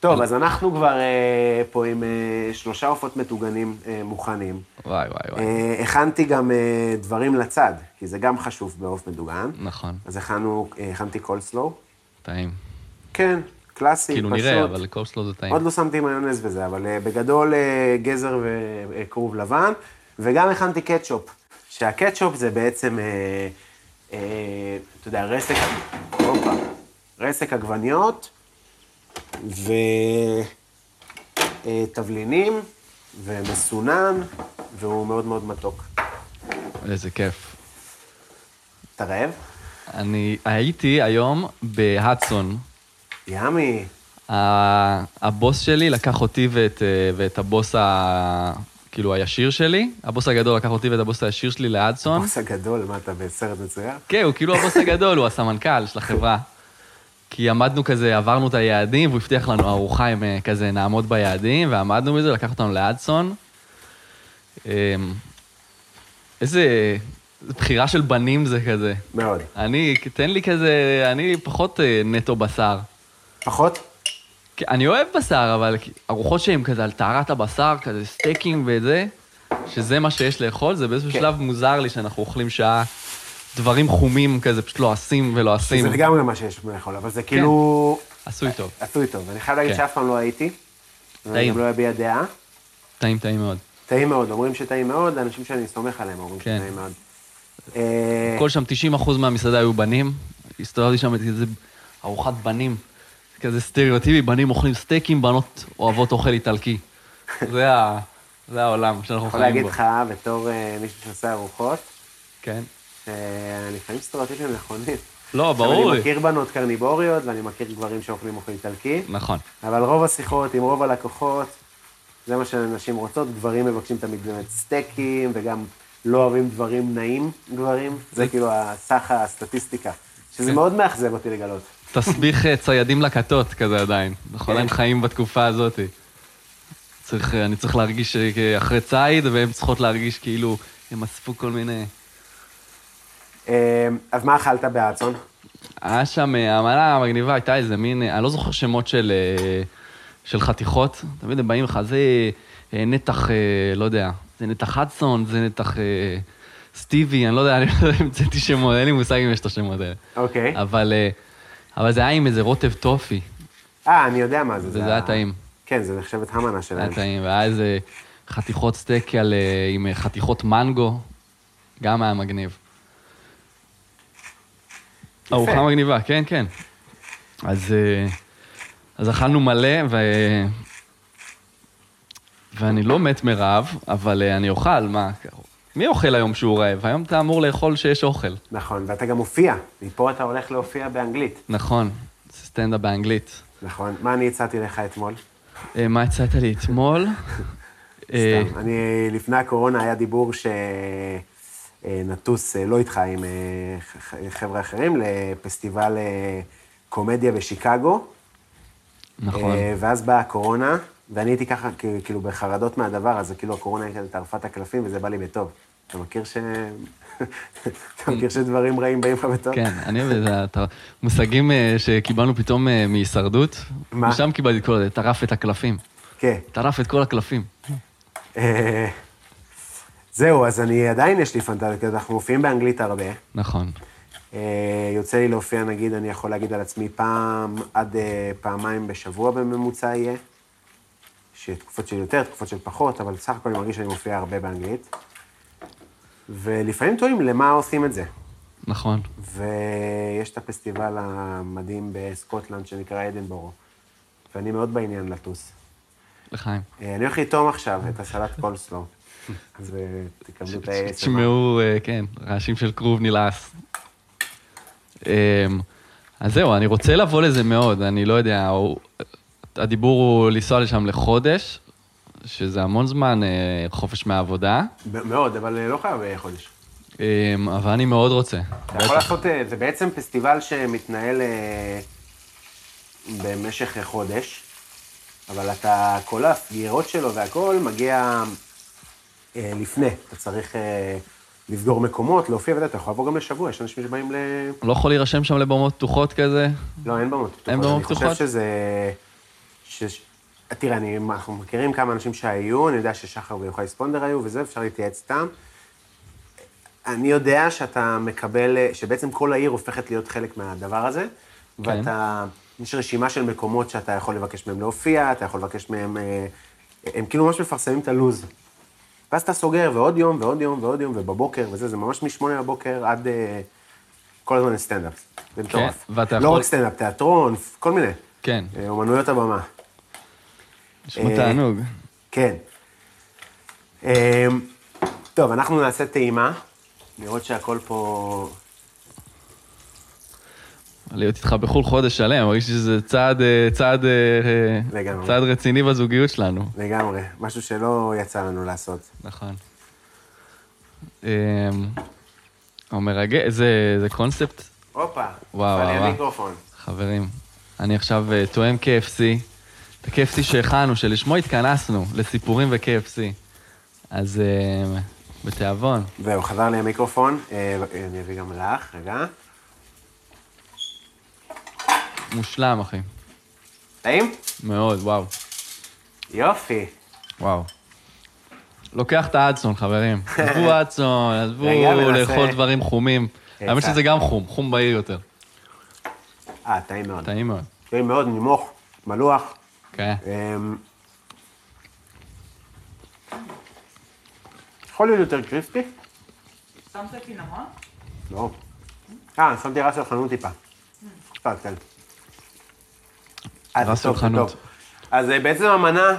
Speaker 1: טוב, אז אנחנו כבר אה, פה עם אה, שלושה עופות מטוגנים אה, מוכנים.
Speaker 3: וואי וואי וואי.
Speaker 1: אה, הכנתי גם אה, דברים לצד, כי זה גם חשוב בעוף מטוגן.
Speaker 3: נכון,
Speaker 1: אז הכנו, אה, הכנתי קולסלואו.
Speaker 3: טעים.
Speaker 1: כן, קלאסי,
Speaker 3: כאילו
Speaker 1: פשוט.
Speaker 3: נראה, אבל כן. קורסלו זה טעים.
Speaker 1: עוד לא שמתי מיונז וזה, אבל אה, בגדול אה, גזר וכרוב לבן, וגם הכנתי קטשופ, שהקטשופ זה בעצם, אה, אה, אתה יודע, רסק, הופה, רסק עגבניות ותבלינים אה, ומסונן, והוא מאוד מאוד מתוק. לא-
Speaker 3: איזה כיף.
Speaker 1: אתה רעב?
Speaker 3: אני הייתי היום בהדסון.
Speaker 1: ימי.
Speaker 3: ה- הבוס שלי לקח אותי ואת, אה, ואת הבוס ה... כאילו הישיר שלי, הבוס הגדול לקח אותי ואת הבוס הישיר שלי להדסון.
Speaker 1: הבוס הגדול, מה אתה בסרט מצויר?
Speaker 3: כן, הוא כאילו הבוס הגדול, הוא הסמנכ"ל של החברה. כי עמדנו כזה, עברנו את היעדים, והוא הבטיח לנו ארוחה עם אה, כזה, נעמוד ביעדים, ועמדנו בזה, לקח אותנו לאדסון. אמ, איזה בחירה של בנים זה כזה.
Speaker 1: מאוד.
Speaker 3: אני, תן לי כזה, אני פחות אה, נטו בשר.
Speaker 1: פחות?
Speaker 3: כי אני אוהב בשר, אבל ארוחות שהן כזה על טהרת הבשר, כזה סטייקים וזה, שזה מה שיש לאכול, זה באיזשהו
Speaker 1: כן.
Speaker 3: שלב מוזר לי שאנחנו אוכלים שעה דברים חומים כזה, פשוט לא לועסים ולועסים.
Speaker 1: זה לגמרי מה שיש לאכול, אבל זה כאילו...
Speaker 3: עשוי טוב,
Speaker 1: עשוי טוב. אני חייב להגיד
Speaker 3: כן.
Speaker 1: שאף פעם לא הייתי. ואני
Speaker 3: טעים.
Speaker 1: גם לא אביע דעה.
Speaker 3: טעים טעים מאוד.
Speaker 1: טעים מאוד, אומרים שטעים מאוד, האנשים שאני סומך עליהם אומרים
Speaker 3: כן.
Speaker 1: שטעים מאוד. אה,
Speaker 3: כל שם 90% מהמסעדה היו בנים, הסתובבתי שם איזה ארוחת בנים, כזה סטריאוטיבי, בנים אוכלים סטייקים, בנות אוהבות אוכל איטלקי. זה ה- זה העולם שאנחנו
Speaker 1: יכול
Speaker 3: חיים
Speaker 1: להגיד
Speaker 3: בו.
Speaker 1: לך, בתור אה, מישהו שעושה ארוחות,
Speaker 3: כן.
Speaker 1: אה, לפעמים סטריאוטיפים נכונים.
Speaker 3: לא,
Speaker 1: עכשיו,
Speaker 3: ברור
Speaker 1: אני
Speaker 3: לי.
Speaker 1: מכיר בנות קרניבוריות, ואני מכיר גברים שאוכלים אוכל איטלקי,
Speaker 3: נכון.
Speaker 1: אבל רוב השיחות עם רוב הלקוחות, זה מה שנשים רוצות, גברים מבקשים תמיד באמת סטייקים, וגם לא אוהבים דברים נעים, גברים. זה כאילו הסך הסטטיסטיקה. שזה מאוד מאכזב אותי לגלות.
Speaker 3: תסביך אה, ציידים לקטות כזה עדיין. אנחנו עדיין חיים בתקופה הזאת. צריך, אני צריך להרגיש אה, אחרי ציד, והן צריכות להרגיש כאילו הם אספו כל מיני...
Speaker 1: אה, אז מה אכלת בהאצון?
Speaker 3: היה שם, אה, המנה המגניבה הייתה איזה מין, אה, אני לא זוכר שמות של, אה, של חתיכות. תמיד הם באים לך, זה אה, נתח, אה, לא יודע, זה נתח הדסון, זה נתח אה, סטיבי, אני לא יודע, אני לא יודע, המצאתי שמות, אין לי מושג אם יש את השמות האלה.
Speaker 1: אוקיי.
Speaker 3: אבל, אה, אבל זה היה עם איזה רוטב טופי,
Speaker 1: אה, אני יודע מה זה.
Speaker 3: וזה היה
Speaker 1: ה-
Speaker 3: טעים.
Speaker 1: כן, זה נחשבת המנה שלהם.
Speaker 3: היה טעים, והיה איזה אה, חתיכות סטייק על, אה, עם אה, חתיכות מנגו, גם היה מגניב. ארוחה מגניבה, כן, כן. אז, אה, אז אכלנו מלא, ו... ואני לא מת מרעב, אבל אה, אני אוכל, מה? מי אוכל היום שהוא רעב? היום אתה אמור לאכול שיש אוכל.
Speaker 1: נכון, ואתה גם מופיע. מפה אתה הולך להופיע באנגלית.
Speaker 3: נכון, זה סטנדאפ באנגלית.
Speaker 1: נכון. מה אני הצעתי לך אתמול?
Speaker 3: אה, מה הצעת לי אתמול? אה,
Speaker 1: סתם. אני, לפני הקורונה היה דיבור שנטוס, לא איתך, עם אה, ח- ח- חבר'ה אחרים, לפסטיבל אה, קומדיה בשיקגו.
Speaker 3: נכון.
Speaker 1: אה, ואז באה הקורונה, ואני הייתי ככה, כ- כאילו, בחרדות מהדבר הזה, כאילו, הקורונה הייתה טרפת הקלפים, וזה בא לי בטוב. אתה מכיר ש... אתה מכיר שדברים רעים באים לך בטוב?
Speaker 3: כן, אני אוהב את ה- את המושגים אה, שקיבלנו פתאום אה, מהישרדות.
Speaker 1: מה?
Speaker 3: משם קיבלתי את כל זה, טרף את הקלפים.
Speaker 1: כן.
Speaker 3: טרף את כל הקלפים.
Speaker 1: אה, זהו, אז אני, עדיין יש לי פנטזיה, כי אנחנו מופיעים באנגלית הרבה.
Speaker 3: נכון.
Speaker 1: אה, יוצא לי להופיע, נגיד, אני יכול להגיד על עצמי פעם עד אה, פעמיים בשבוע בממוצע יהיה. שתקופות של יותר, תקופות של פחות, אבל בסך הכל אני מרגיש שאני מופיע הרבה באנגלית. ולפעמים טועים למה עושים את זה.
Speaker 3: נכון.
Speaker 1: ויש את הפסטיבל המדהים בסקוטלנד שנקרא אדנבורו, ואני מאוד בעניין לטוס.
Speaker 3: לחיים.
Speaker 1: אה, אני הולך לטעום עכשיו את הסלט קולסלו, אז אה, תקבלו את ה...
Speaker 3: תשמעו, אה, כן, רעשים של כרוב נלעס. אמ, אז זהו, אני רוצה לבוא לזה מאוד, אני לא יודע, הוא- הדיבור הוא לנסוע לשם לחודש, שזה המון זמן אה, חופש מהעבודה,
Speaker 1: מאוד, אבל אה, לא חייב אה, חודש.
Speaker 3: אמ, אבל אני מאוד רוצה.
Speaker 1: אתה יכול לעשות, אה, זה בעצם פסטיבל שמתנהל אה, במשך חודש, אבל אתה, כל הסגירות שלו והכל מגיע אה, לפני. אתה צריך אה, לסגור מקומות, להופיע, ואתה יכול לבוא גם לשבוע, יש אנשים שבאים ל...
Speaker 3: לא יכול להירשם שם לבמות פתוחות כזה?
Speaker 1: לא, אין במות פתוחות.
Speaker 3: אין במות
Speaker 1: אני
Speaker 3: פתוחות?
Speaker 1: חושב שזה... שש... תראה, אני, אנחנו מכירים כמה אנשים שהיו, אני יודע ששחר ויוחאי ספונדר היו וזה, אפשר להתייעץ איתם. אני יודע שאתה מקבל, שבעצם כל העיר הופכת להיות חלק מהדבר הזה, כן. ואתה, יש רשימה של מקומות שאתה יכול לבקש מהם להופיע, אתה יכול לבקש מהם, אה, הם כאילו ממש מפרסמים את הלו"ז. ואז אתה סוגר, ועוד יום, ועוד יום, ועוד יום, ובבוקר, וזה, זה ממש משמונה בבוקר עד... אה, כל הזמן סטנדאפ. זה מטורף.
Speaker 3: כן, ואתה
Speaker 1: לא
Speaker 3: יכול-
Speaker 1: רק סטנדאפ, תיאטרון, כל מיני.
Speaker 3: כן.
Speaker 1: אה, אומנויות הבמה.
Speaker 3: נשמע
Speaker 1: אה,
Speaker 3: תענוג.
Speaker 1: כן. אה, טוב, אנחנו נעשה טעימה, לראות שהכל פה...
Speaker 3: להיות איתך בחו"ל חודש שלם, מרגיש שזה צעד, אה, צעד, אה, אה,
Speaker 1: לגמרי.
Speaker 3: צעד רציני בזוגיות שלנו.
Speaker 1: לגמרי, משהו שלא יצא לנו לעשות.
Speaker 3: נכון. אמ, הוא מרגש, זה, זה קונספט,
Speaker 1: הופה,
Speaker 3: וואו,
Speaker 1: נפל לי
Speaker 3: וואו.
Speaker 1: המיקרופון.
Speaker 3: חברים. אני עכשיו אה, תואם KFC, את ה-KFC שהכנו, שלשמו התכנסנו, לסיפורים ו-KFC. אז אמ, בתיאבון,
Speaker 1: זהו, חזר לי המיקרופון, אה, אני אביא גם לך, רגע.
Speaker 3: מושלם, אחי.
Speaker 1: טעים?
Speaker 3: מאוד, וואו.
Speaker 1: יופי.
Speaker 3: וואו. לוקח את האדסון, חברים. עזבו אדסון, עזבו
Speaker 1: רגע, מנסה.
Speaker 3: לאכול דברים חומים. האמת
Speaker 1: קצת.
Speaker 3: שזה גם חום, חום בהיר יותר.
Speaker 1: אה, טעים מאוד.
Speaker 3: טעים מאוד.
Speaker 1: טעים מאוד, נימוך, מלוח.
Speaker 3: כן.
Speaker 1: אמ, יכול להיות יותר קריספי?
Speaker 4: שמת קינמון?
Speaker 1: לא. אה, שמתי רס על חנות טיפה. קצת, כן. אה, זה
Speaker 3: רס על
Speaker 1: טוב, זה
Speaker 3: חנות.
Speaker 1: טוב. אז אה, בעצם המנה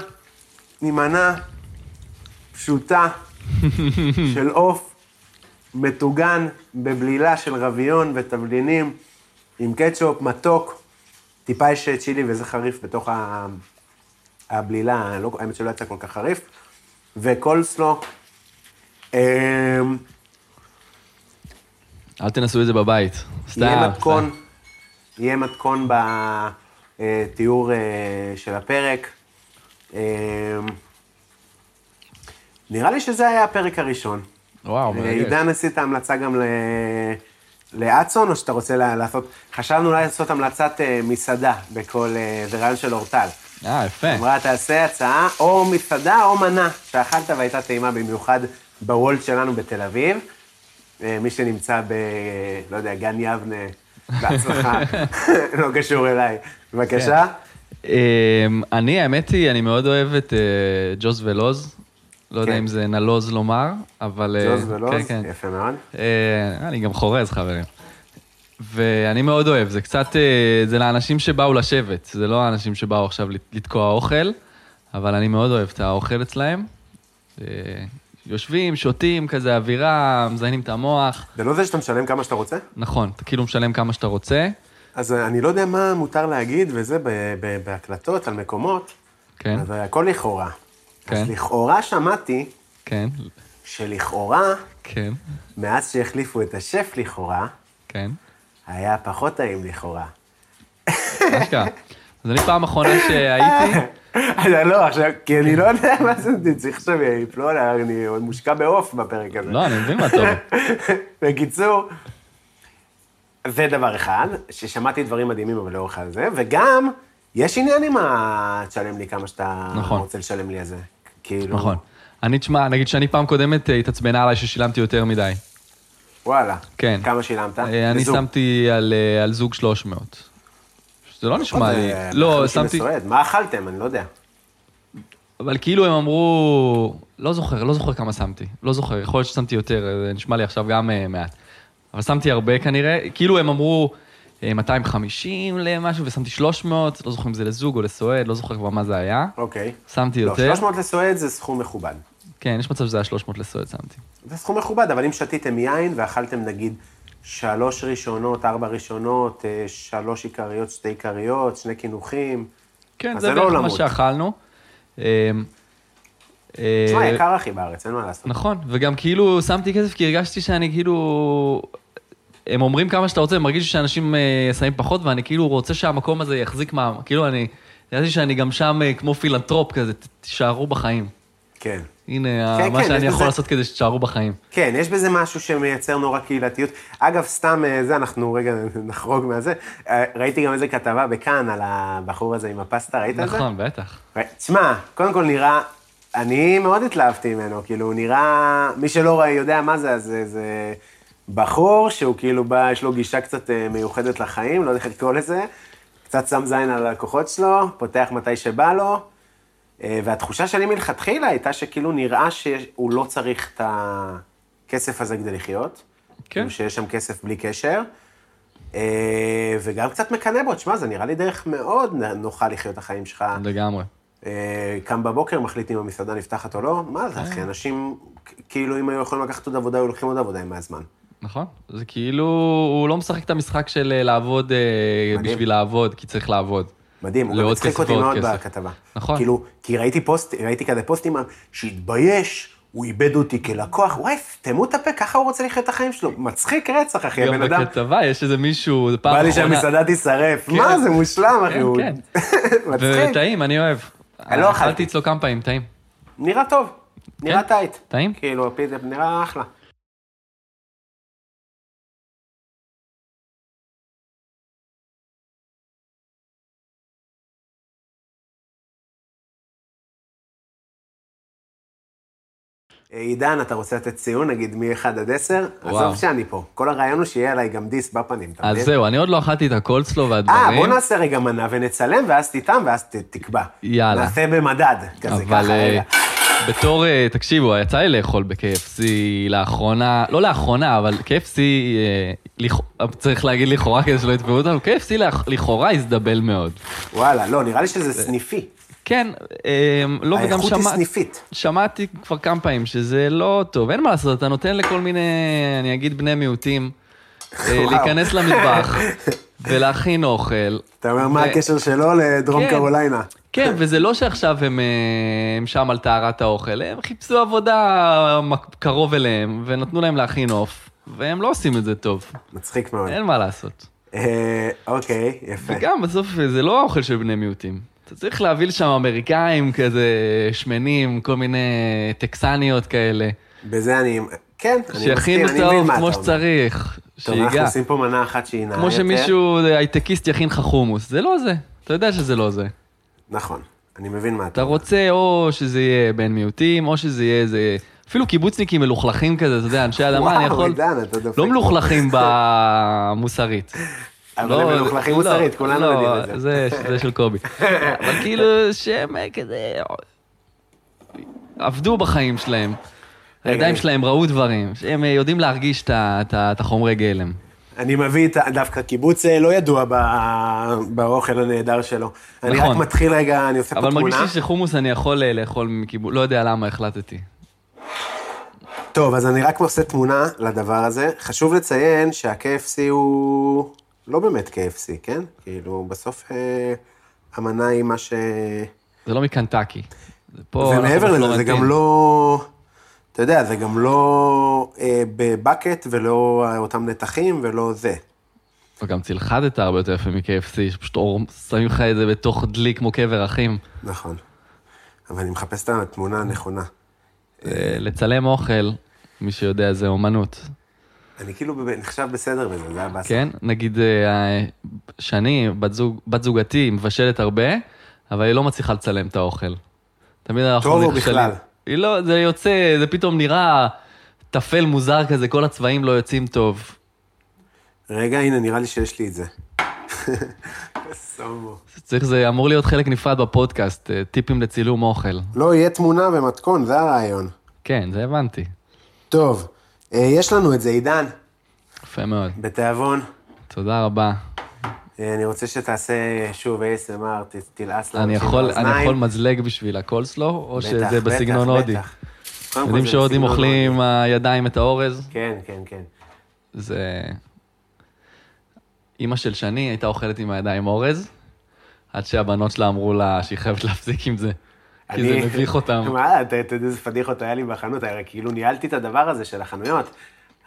Speaker 1: היא מנה פשוטה של עוף מטוגן בבלילה של רביון ותבלינים עם קטשופ, מתוק, טיפה יש אה, צ'ילי וזה חריף בתוך ה- הבלילה, לא, האמת שלא יצא כל כך חריף, וקולסלו. אמ,
Speaker 3: אל תנסו את זה בבית. סתם.
Speaker 1: יהיה
Speaker 3: סתם.
Speaker 1: מתכון, יהיה מתכון בתיאור אה, של הפרק. אה, נראה לי שזה היה הפרק הראשון.
Speaker 3: וואו,
Speaker 1: אה,
Speaker 3: מרגש.
Speaker 1: עידן, עשית המלצה גם ל... לאצון, או שאתה רוצה לה- לעשות... חשבנו אולי לעשות המלצת אה, מסעדה בכל... אה, זה רעיון של אורטל.
Speaker 3: אה, יפה.
Speaker 1: אמרה, תעשה הצעה או מסעדה או מנה שאכלת והייתה טעימה במיוחד בוולט שלנו בתל אביב. אה, מי שנמצא ב... לא יודע, גן יבנה, בהצלחה, לא קשור אליי. בבקשה.
Speaker 3: כן. אמ, אני, האמת היא, אני מאוד אוהב את אה, ג'וז ולוז. לא יודע
Speaker 1: כן.
Speaker 3: אם זה נלוז לומר, אבל... אה,
Speaker 1: זוז ולוז,
Speaker 3: כן, כן.
Speaker 1: יפה מאוד.
Speaker 3: אה, אני גם חורז, חברים. ואני מאוד אוהב, זה קצת, אה, זה לאנשים שבאו לשבת, זה לא האנשים שבאו עכשיו לת- לתקוע אוכל, אבל אני מאוד אוהב את האוכל אצלהם. אה, יושבים, שותים, כזה אווירה, מזיינים את המוח.
Speaker 1: זה לא זה שאתה משלם כמה שאתה רוצה?
Speaker 3: נכון, אתה כאילו משלם כמה שאתה רוצה,
Speaker 1: אז אני לא יודע מה מותר להגיד, וזה ב- ב- בהקלטות על מקומות,
Speaker 3: כן,
Speaker 1: אז אה, הכל לכאורה.
Speaker 3: כן.
Speaker 1: אז לכאורה שמעתי
Speaker 3: כן,
Speaker 1: שלכאורה,
Speaker 3: כן,
Speaker 1: מאז שהחליפו את השף לכאורה,
Speaker 3: כן.
Speaker 1: היה פחות טעים לכאורה.
Speaker 3: אשכרה. אז אני פעם אחרונה שהייתי,
Speaker 1: אז לא, עכשיו, כי אני לא יודע מה זה, אני צריך עכשיו יפלו עליי, אני עוד מושקע בעוף בפרק הזה.
Speaker 3: לא, אני מבין מה טוב.
Speaker 1: בקיצור, זה דבר אחד, ששמעתי דברים מדהימים, אבל לאורך הזה, וגם, יש עניין עם ה... תשלם לי כמה שאתה
Speaker 3: נכון.
Speaker 1: רוצה לשלם לי על זה. כאילו,
Speaker 3: נכון. אני, תשמע, נגיד שאני פעם קודמת אה, התעצבנה עליי ששילמתי יותר מדי.
Speaker 1: וואלה.
Speaker 3: כן.
Speaker 1: כמה שילמת?
Speaker 3: אה, אני
Speaker 1: לזוג.
Speaker 3: שמתי על, אה, על זוג 300. זה לא נשמע לי.
Speaker 1: זה
Speaker 3: לא,
Speaker 1: 50
Speaker 3: שמתי,
Speaker 1: מסועד. אה, מה אכלתם? אני לא יודע.
Speaker 3: אבל כאילו הם אמרו, לא זוכר, לא זוכר כמה שמתי. לא זוכר, יכול להיות ששמתי יותר, אה, זה נשמע לי עכשיו גם אה, מעט. אבל שמתי הרבה כנראה, כאילו הם אמרו אה, 250 למשהו ושמתי 300, לא זוכר אם זה לזוג או לסועד, לא זוכר כבר מה זה היה.
Speaker 1: אוקיי.
Speaker 3: שמתי
Speaker 1: לא,
Speaker 3: יותר.
Speaker 1: 300 לסועד זה סכום מכובד.
Speaker 3: כן, יש מצב שזה היה 300 לסועד שמתי.
Speaker 1: זה סכום מכובד, אבל אם שתיתם יין ואכלתם נגיד שלוש ראשונות, ארבע ראשונות, אה, שלוש עיקריות, שתי עיקריות, שני קינוחים.
Speaker 3: כן,
Speaker 1: אז
Speaker 3: זה
Speaker 1: זה לא
Speaker 3: בערך מה
Speaker 1: עולמות.
Speaker 3: שאכלנו. אה, אה,
Speaker 1: תשמע, יקר אחי בארץ, אין מה לעשות.
Speaker 3: נכון, וגם כאילו שמתי כסף כי הרגשתי שאני כאילו... הם אומרים כמה שאתה רוצה, הם מרגישים שאנשים אה, שמים פחות, ואני כאילו רוצה שהמקום הזה יחזיק מע"מ. כאילו אני, ידעתי שאני גם שם אה, כמו פילנטרופ כזה, "ת- תישארו בחיים.
Speaker 1: כן.
Speaker 3: הנה,
Speaker 1: כן,
Speaker 3: מה
Speaker 1: כן, יש
Speaker 3: שאני
Speaker 1: בזה-
Speaker 3: יכול לעשות כדי שתישארו בחיים.
Speaker 1: כן, יש בזה משהו שמייצר נורא קהילתיות. אגב, סתם אה, זה, אנחנו רגע נחרוג מהזה. אה, ראיתי גם איזה כתבה בכאן על הבחור הזה עם הפסטה, ראית את זה?
Speaker 3: נכון, בטח.
Speaker 1: ר- אוקיי, תשמע, קודם כל נראה, אני מאוד התלהבתי ממנו, כאילו, הוא נראה, מי שלא ראה, יודע מה זה, אז זה, זה בחור שהוא כאילו בא, יש לו גישה קצת אה, מיוחדת לחיים, לא יודע איך לקרוא לזה, קצת שם זין על הלקוחות שלו, פותח מתי שבא לו, אה, והתחושה שלי מלכתחילה הייתה שכאילו נראה שהוא לא צריך את הכסף הזה כדי לחיות.
Speaker 3: כן.
Speaker 1: כאילו שיש שם כסף בלי קשר. אה, וגם קצת מקנא בו, תשמע, זה נראה לי דרך מאוד נ- נוחה לחיות את החיים שלך.
Speaker 3: לגמרי.
Speaker 1: אה, קם בבוקר, מחליט אם המסעדה נפתחת או לא, מה זה,
Speaker 3: אה.
Speaker 1: אחי, אנשים, כ- כאילו, אם היו יכולים לקחת עוד עבודה, היו לוקחים עוד עבודה עם הזמן.
Speaker 3: נכון, זה כאילו, הוא לא משחק את המשחק של אה, לעבוד אה,
Speaker 1: מדהים.
Speaker 3: בשביל לעבוד, כי צריך לעבוד.
Speaker 1: מדהים, הוא גם
Speaker 3: לעוד
Speaker 1: הצחיק
Speaker 3: כסף
Speaker 1: אותי
Speaker 3: ועוד
Speaker 1: מאוד
Speaker 3: כסף.
Speaker 1: בכתבה.
Speaker 3: נכון.
Speaker 1: כאילו, כי ראיתי פוסט, ראיתי כזה פוסטים שהתבייש, הוא איבד אותי כלקוח, וואי, תמו את הפה, ככה הוא רוצה לחיות את החיים שלו. מצחיק רצח, אחי,
Speaker 3: גם
Speaker 1: הבן כן, אדם.
Speaker 3: בכתבה יש איזה מישהו, זה פעם
Speaker 1: בא לי
Speaker 3: אחרונה-
Speaker 1: שהמסעדה תישרף.
Speaker 3: כן.
Speaker 1: מה, זה מושלם, אחי,
Speaker 3: כן,
Speaker 1: הוא...
Speaker 3: כן.
Speaker 1: מצחיק.
Speaker 3: וטעים, אני אוהב.
Speaker 1: אני לא אכלתי.
Speaker 3: אכלתי אצלו כמה פעמים, טעים.
Speaker 1: נראה טוב, נראה
Speaker 3: כן.
Speaker 1: טייט.
Speaker 3: טעים?
Speaker 1: כאילו, פיזה נראה אחלה. אה, עידן, אתה רוצה לתת ציון, נגיד מ-1 עד 10? עזוב
Speaker 3: וואו.
Speaker 1: שאני פה. כל הרעיון הוא שיהיה עליי גם דיס בפנים, אתה
Speaker 3: אז
Speaker 1: מבין?
Speaker 3: זהו, אני עוד לא אכלתי את הקולסלו
Speaker 1: אה,
Speaker 3: והדברים,
Speaker 1: בוא נעשה רגע מנה ונצלם, ואז תטעם, ואז ת- תקבע.
Speaker 3: יאללה.
Speaker 1: נעשה במדד, כזה,
Speaker 3: אבל
Speaker 1: ככה,
Speaker 3: אה,
Speaker 1: רגע.
Speaker 3: בתור, אה, תקשיבו, יצא לי לאכול ב-KFC לאחרונה, לא לאחרונה, אבל KFC, אה, לכ- צריך להגיד לכאורה כדי שלא יתבעו אותנו, KFC לאח- לכאורה הזדבל מאוד.
Speaker 1: וואלה, לא, נראה לי שזה סניפי.
Speaker 3: כן, אה, לא, וגם
Speaker 1: האיכות היא
Speaker 3: שמע-
Speaker 1: סניפית.
Speaker 3: שמעתי כבר כמה פעמים שזה לא טוב, אין מה לעשות, אתה נותן לכל מיני, אני אגיד בני מיעוטים, אה,
Speaker 1: וואו.
Speaker 3: להיכנס למטבח ולהכין אוכל.
Speaker 1: אתה אומר, מה
Speaker 3: ו-
Speaker 1: הקשר שלו לדרום
Speaker 3: כן.
Speaker 1: קרוליינה?
Speaker 3: כן, וזה לא שעכשיו הם, אה, הם אה, שם על טהרת האוכל, הם חיפשו עבודה מק- קרוב אליהם, ונתנו להם להכין עוף. והם לא עושים את זה טוב.
Speaker 1: מצחיק מאוד.
Speaker 3: אין מה לעשות.
Speaker 1: אה, אוקיי, יפה.
Speaker 3: וגם בסוף זה לא האוכל של בני מיעוטים. אתה צריך להביא לשם אמריקאים כזה שמנים, כל מיני טקסניות כאלה,
Speaker 1: בזה אני... כן, אני מסכים,
Speaker 3: שיכינו
Speaker 1: אני מבין
Speaker 3: טוב
Speaker 1: מה אתה
Speaker 3: כמו
Speaker 1: אומר.
Speaker 3: שצריך,
Speaker 1: טוב, אנחנו
Speaker 3: שיגע.
Speaker 1: עושים כן. פה מנה אחת שהיא נעה
Speaker 3: כמו
Speaker 1: יותר.
Speaker 3: שמישהו, הייטקיסט יכין לך חומוס, זה לא זה. אתה יודע שזה לא זה.
Speaker 1: נכון, אני מבין מה אתה
Speaker 3: אתה
Speaker 1: אומר.
Speaker 3: רוצה או שזה יהיה בן מיעוטים, או שזה יהיה איזה... אפילו קיבוצניקים מלוכלכים כזה, אתה יודע, אנשי אדמה, אני
Speaker 1: וואו,
Speaker 3: יכול...
Speaker 1: עידן, אתה דופק.
Speaker 3: לא מלוכלכים לא, במוסרית.
Speaker 1: אבל הם מלוכלכים מוסרית, כולנו יודעים את זה.
Speaker 3: לא, זה. זה של קובי. אבל כאילו, שהם כזה... עבדו בחיים שלהם. הידיים
Speaker 1: אני-
Speaker 3: שלהם ראו דברים, שהם יודעים להרגיש את ה- את ה- את החומרי גלם.
Speaker 1: אני מביא את ה- דווקא קיבוץ אה, לא ידוע ב- באוכל הנהדר שלו. אני רק
Speaker 3: נכון.
Speaker 1: מתחיל רגע, אני עושה פה
Speaker 3: אבל מרגיש
Speaker 1: תמונה.
Speaker 3: לי שחומוס אני יכול אה, לאכול מקיבוץ, לא יודע למה החלטתי.
Speaker 1: טוב, אז אני רק עושה תמונה לדבר הזה. חשוב לציין שה-KFC הוא לא באמת KFC, כן? כאילו, בסוף אה, המנה היא מה ש...
Speaker 3: זה לא מקנטקי. זה פה אנחנו
Speaker 1: ומעבר לזה, זה
Speaker 3: בפלורנטין.
Speaker 1: גם לא... אתה יודע, זה גם לא אה, בבקט ולא אותם נתחים ולא זה.
Speaker 3: וגם צלחדת הרבה יותר יפה מ-KFC, שפשוט אור, שמים לך את זה בתוך דלי כמו קבר אחים.
Speaker 1: נכון. אבל אני מחפש את התמונה הנכונה.
Speaker 3: אה, לצלם אוכל, מי שיודע, זה אומנות.
Speaker 1: אני כאילו ב- נחשב בסדר בזה, זה היה באסה.
Speaker 3: כן? נגיד אה, אה, שאני, בת, זוג, בת זוגתי, מבשלת הרבה, אבל היא לא מצליחה לצלם את האוכל. תמיד אנחנו
Speaker 1: טוב או
Speaker 3: נכשלים.
Speaker 1: בכלל?
Speaker 3: היא לא, זה יוצא, זה פתאום נראה טפל מוזר כזה, כל הצבעים לא יוצאים טוב.
Speaker 1: רגע, הנה, נראה לי שיש לי את זה. סומו.
Speaker 3: צריך, זה אמור להיות חלק נפרד בפודקאסט, אה, טיפים לצילום אוכל.
Speaker 1: לא, יהיה תמונה ומתכון, זה הרעיון.
Speaker 3: כן, זה הבנתי.
Speaker 1: טוב, אה, יש לנו את זה, עידן,
Speaker 3: יפה מאוד.
Speaker 1: בתיאבון.
Speaker 3: תודה רבה.
Speaker 1: אה, אני רוצה שתעשה שוב ASMR, ת- תלעס
Speaker 3: אני
Speaker 1: לאנשים
Speaker 3: יכול, אני
Speaker 1: באוזניים.
Speaker 3: יכול מזלג בשביל הקולסלו, או
Speaker 1: בטח,
Speaker 3: שזה
Speaker 1: בטח,
Speaker 3: בסגנון
Speaker 1: בטח.
Speaker 3: הודי?
Speaker 1: קודם כל
Speaker 3: יודעים
Speaker 1: זה
Speaker 3: שהודים
Speaker 1: בסגנון
Speaker 3: אוכלים
Speaker 1: הודי.
Speaker 3: עם הידיים את האורז?
Speaker 1: כן, כן, כן.
Speaker 3: זה... אימא של שני הייתה אוכלת עם הידיים אורז, עד שהבנות שלה אמרו לה שהיא חייבת להפסיק עם זה, כי זה
Speaker 1: אני-
Speaker 3: מביך אותם.
Speaker 1: מה, אתה אתה יודע איזה פדיחות היה לי בחנות, הרי כאילו ניהלתי את הדבר הזה של החנויות.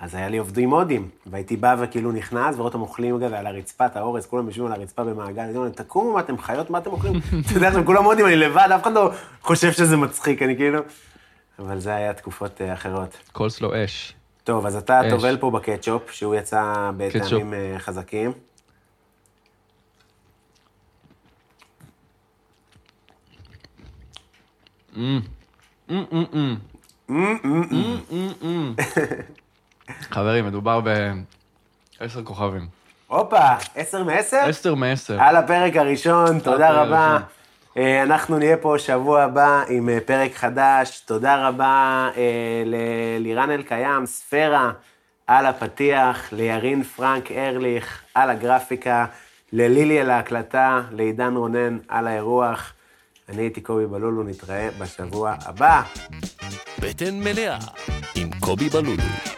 Speaker 1: אז היה לי עובדים הודים, והייתי בא וכאילו נכנס, ורואה אותם אוכלים כזה על הרצפה, את האורז, כולם יושבים על הרצפה במעגל, אני אומר, תקומו, מה אתם חיות, מה אתם אוכלים? אתה יודע, אתם כולם הודים, אני לבד, אף אחד לא חושב שזה מצחיק, אני כאילו... אבל זה היה תקופות אה, אחרות.
Speaker 3: קולסלו אש.
Speaker 1: טוב, אז אתה
Speaker 3: אש.
Speaker 1: טובל פה בקטשופ, שהוא יצא
Speaker 3: קטשופ.
Speaker 1: בטעמים אה, חזקים.
Speaker 3: חברים, מדובר בעשר כוכבים.
Speaker 1: הופה, עשר מעשר?
Speaker 3: עשר מעשר.
Speaker 1: על הפרק הראשון, תודה
Speaker 3: הפרק
Speaker 1: רבה.
Speaker 3: הראשון.
Speaker 1: אה, אנחנו נהיה פה שבוע הבא עם אה, פרק חדש. תודה רבה אה, ל- לירן אלקיים, ספירה, על הפתיח, לירין פרנק ארליך, על הגרפיקה, ללילי על ההקלטה, לעידן רונן על האירוח. אני הייתי קובי בלולו, נתראה בשבוע הבא.
Speaker 2: בטן מלאה עם קובי בלולו.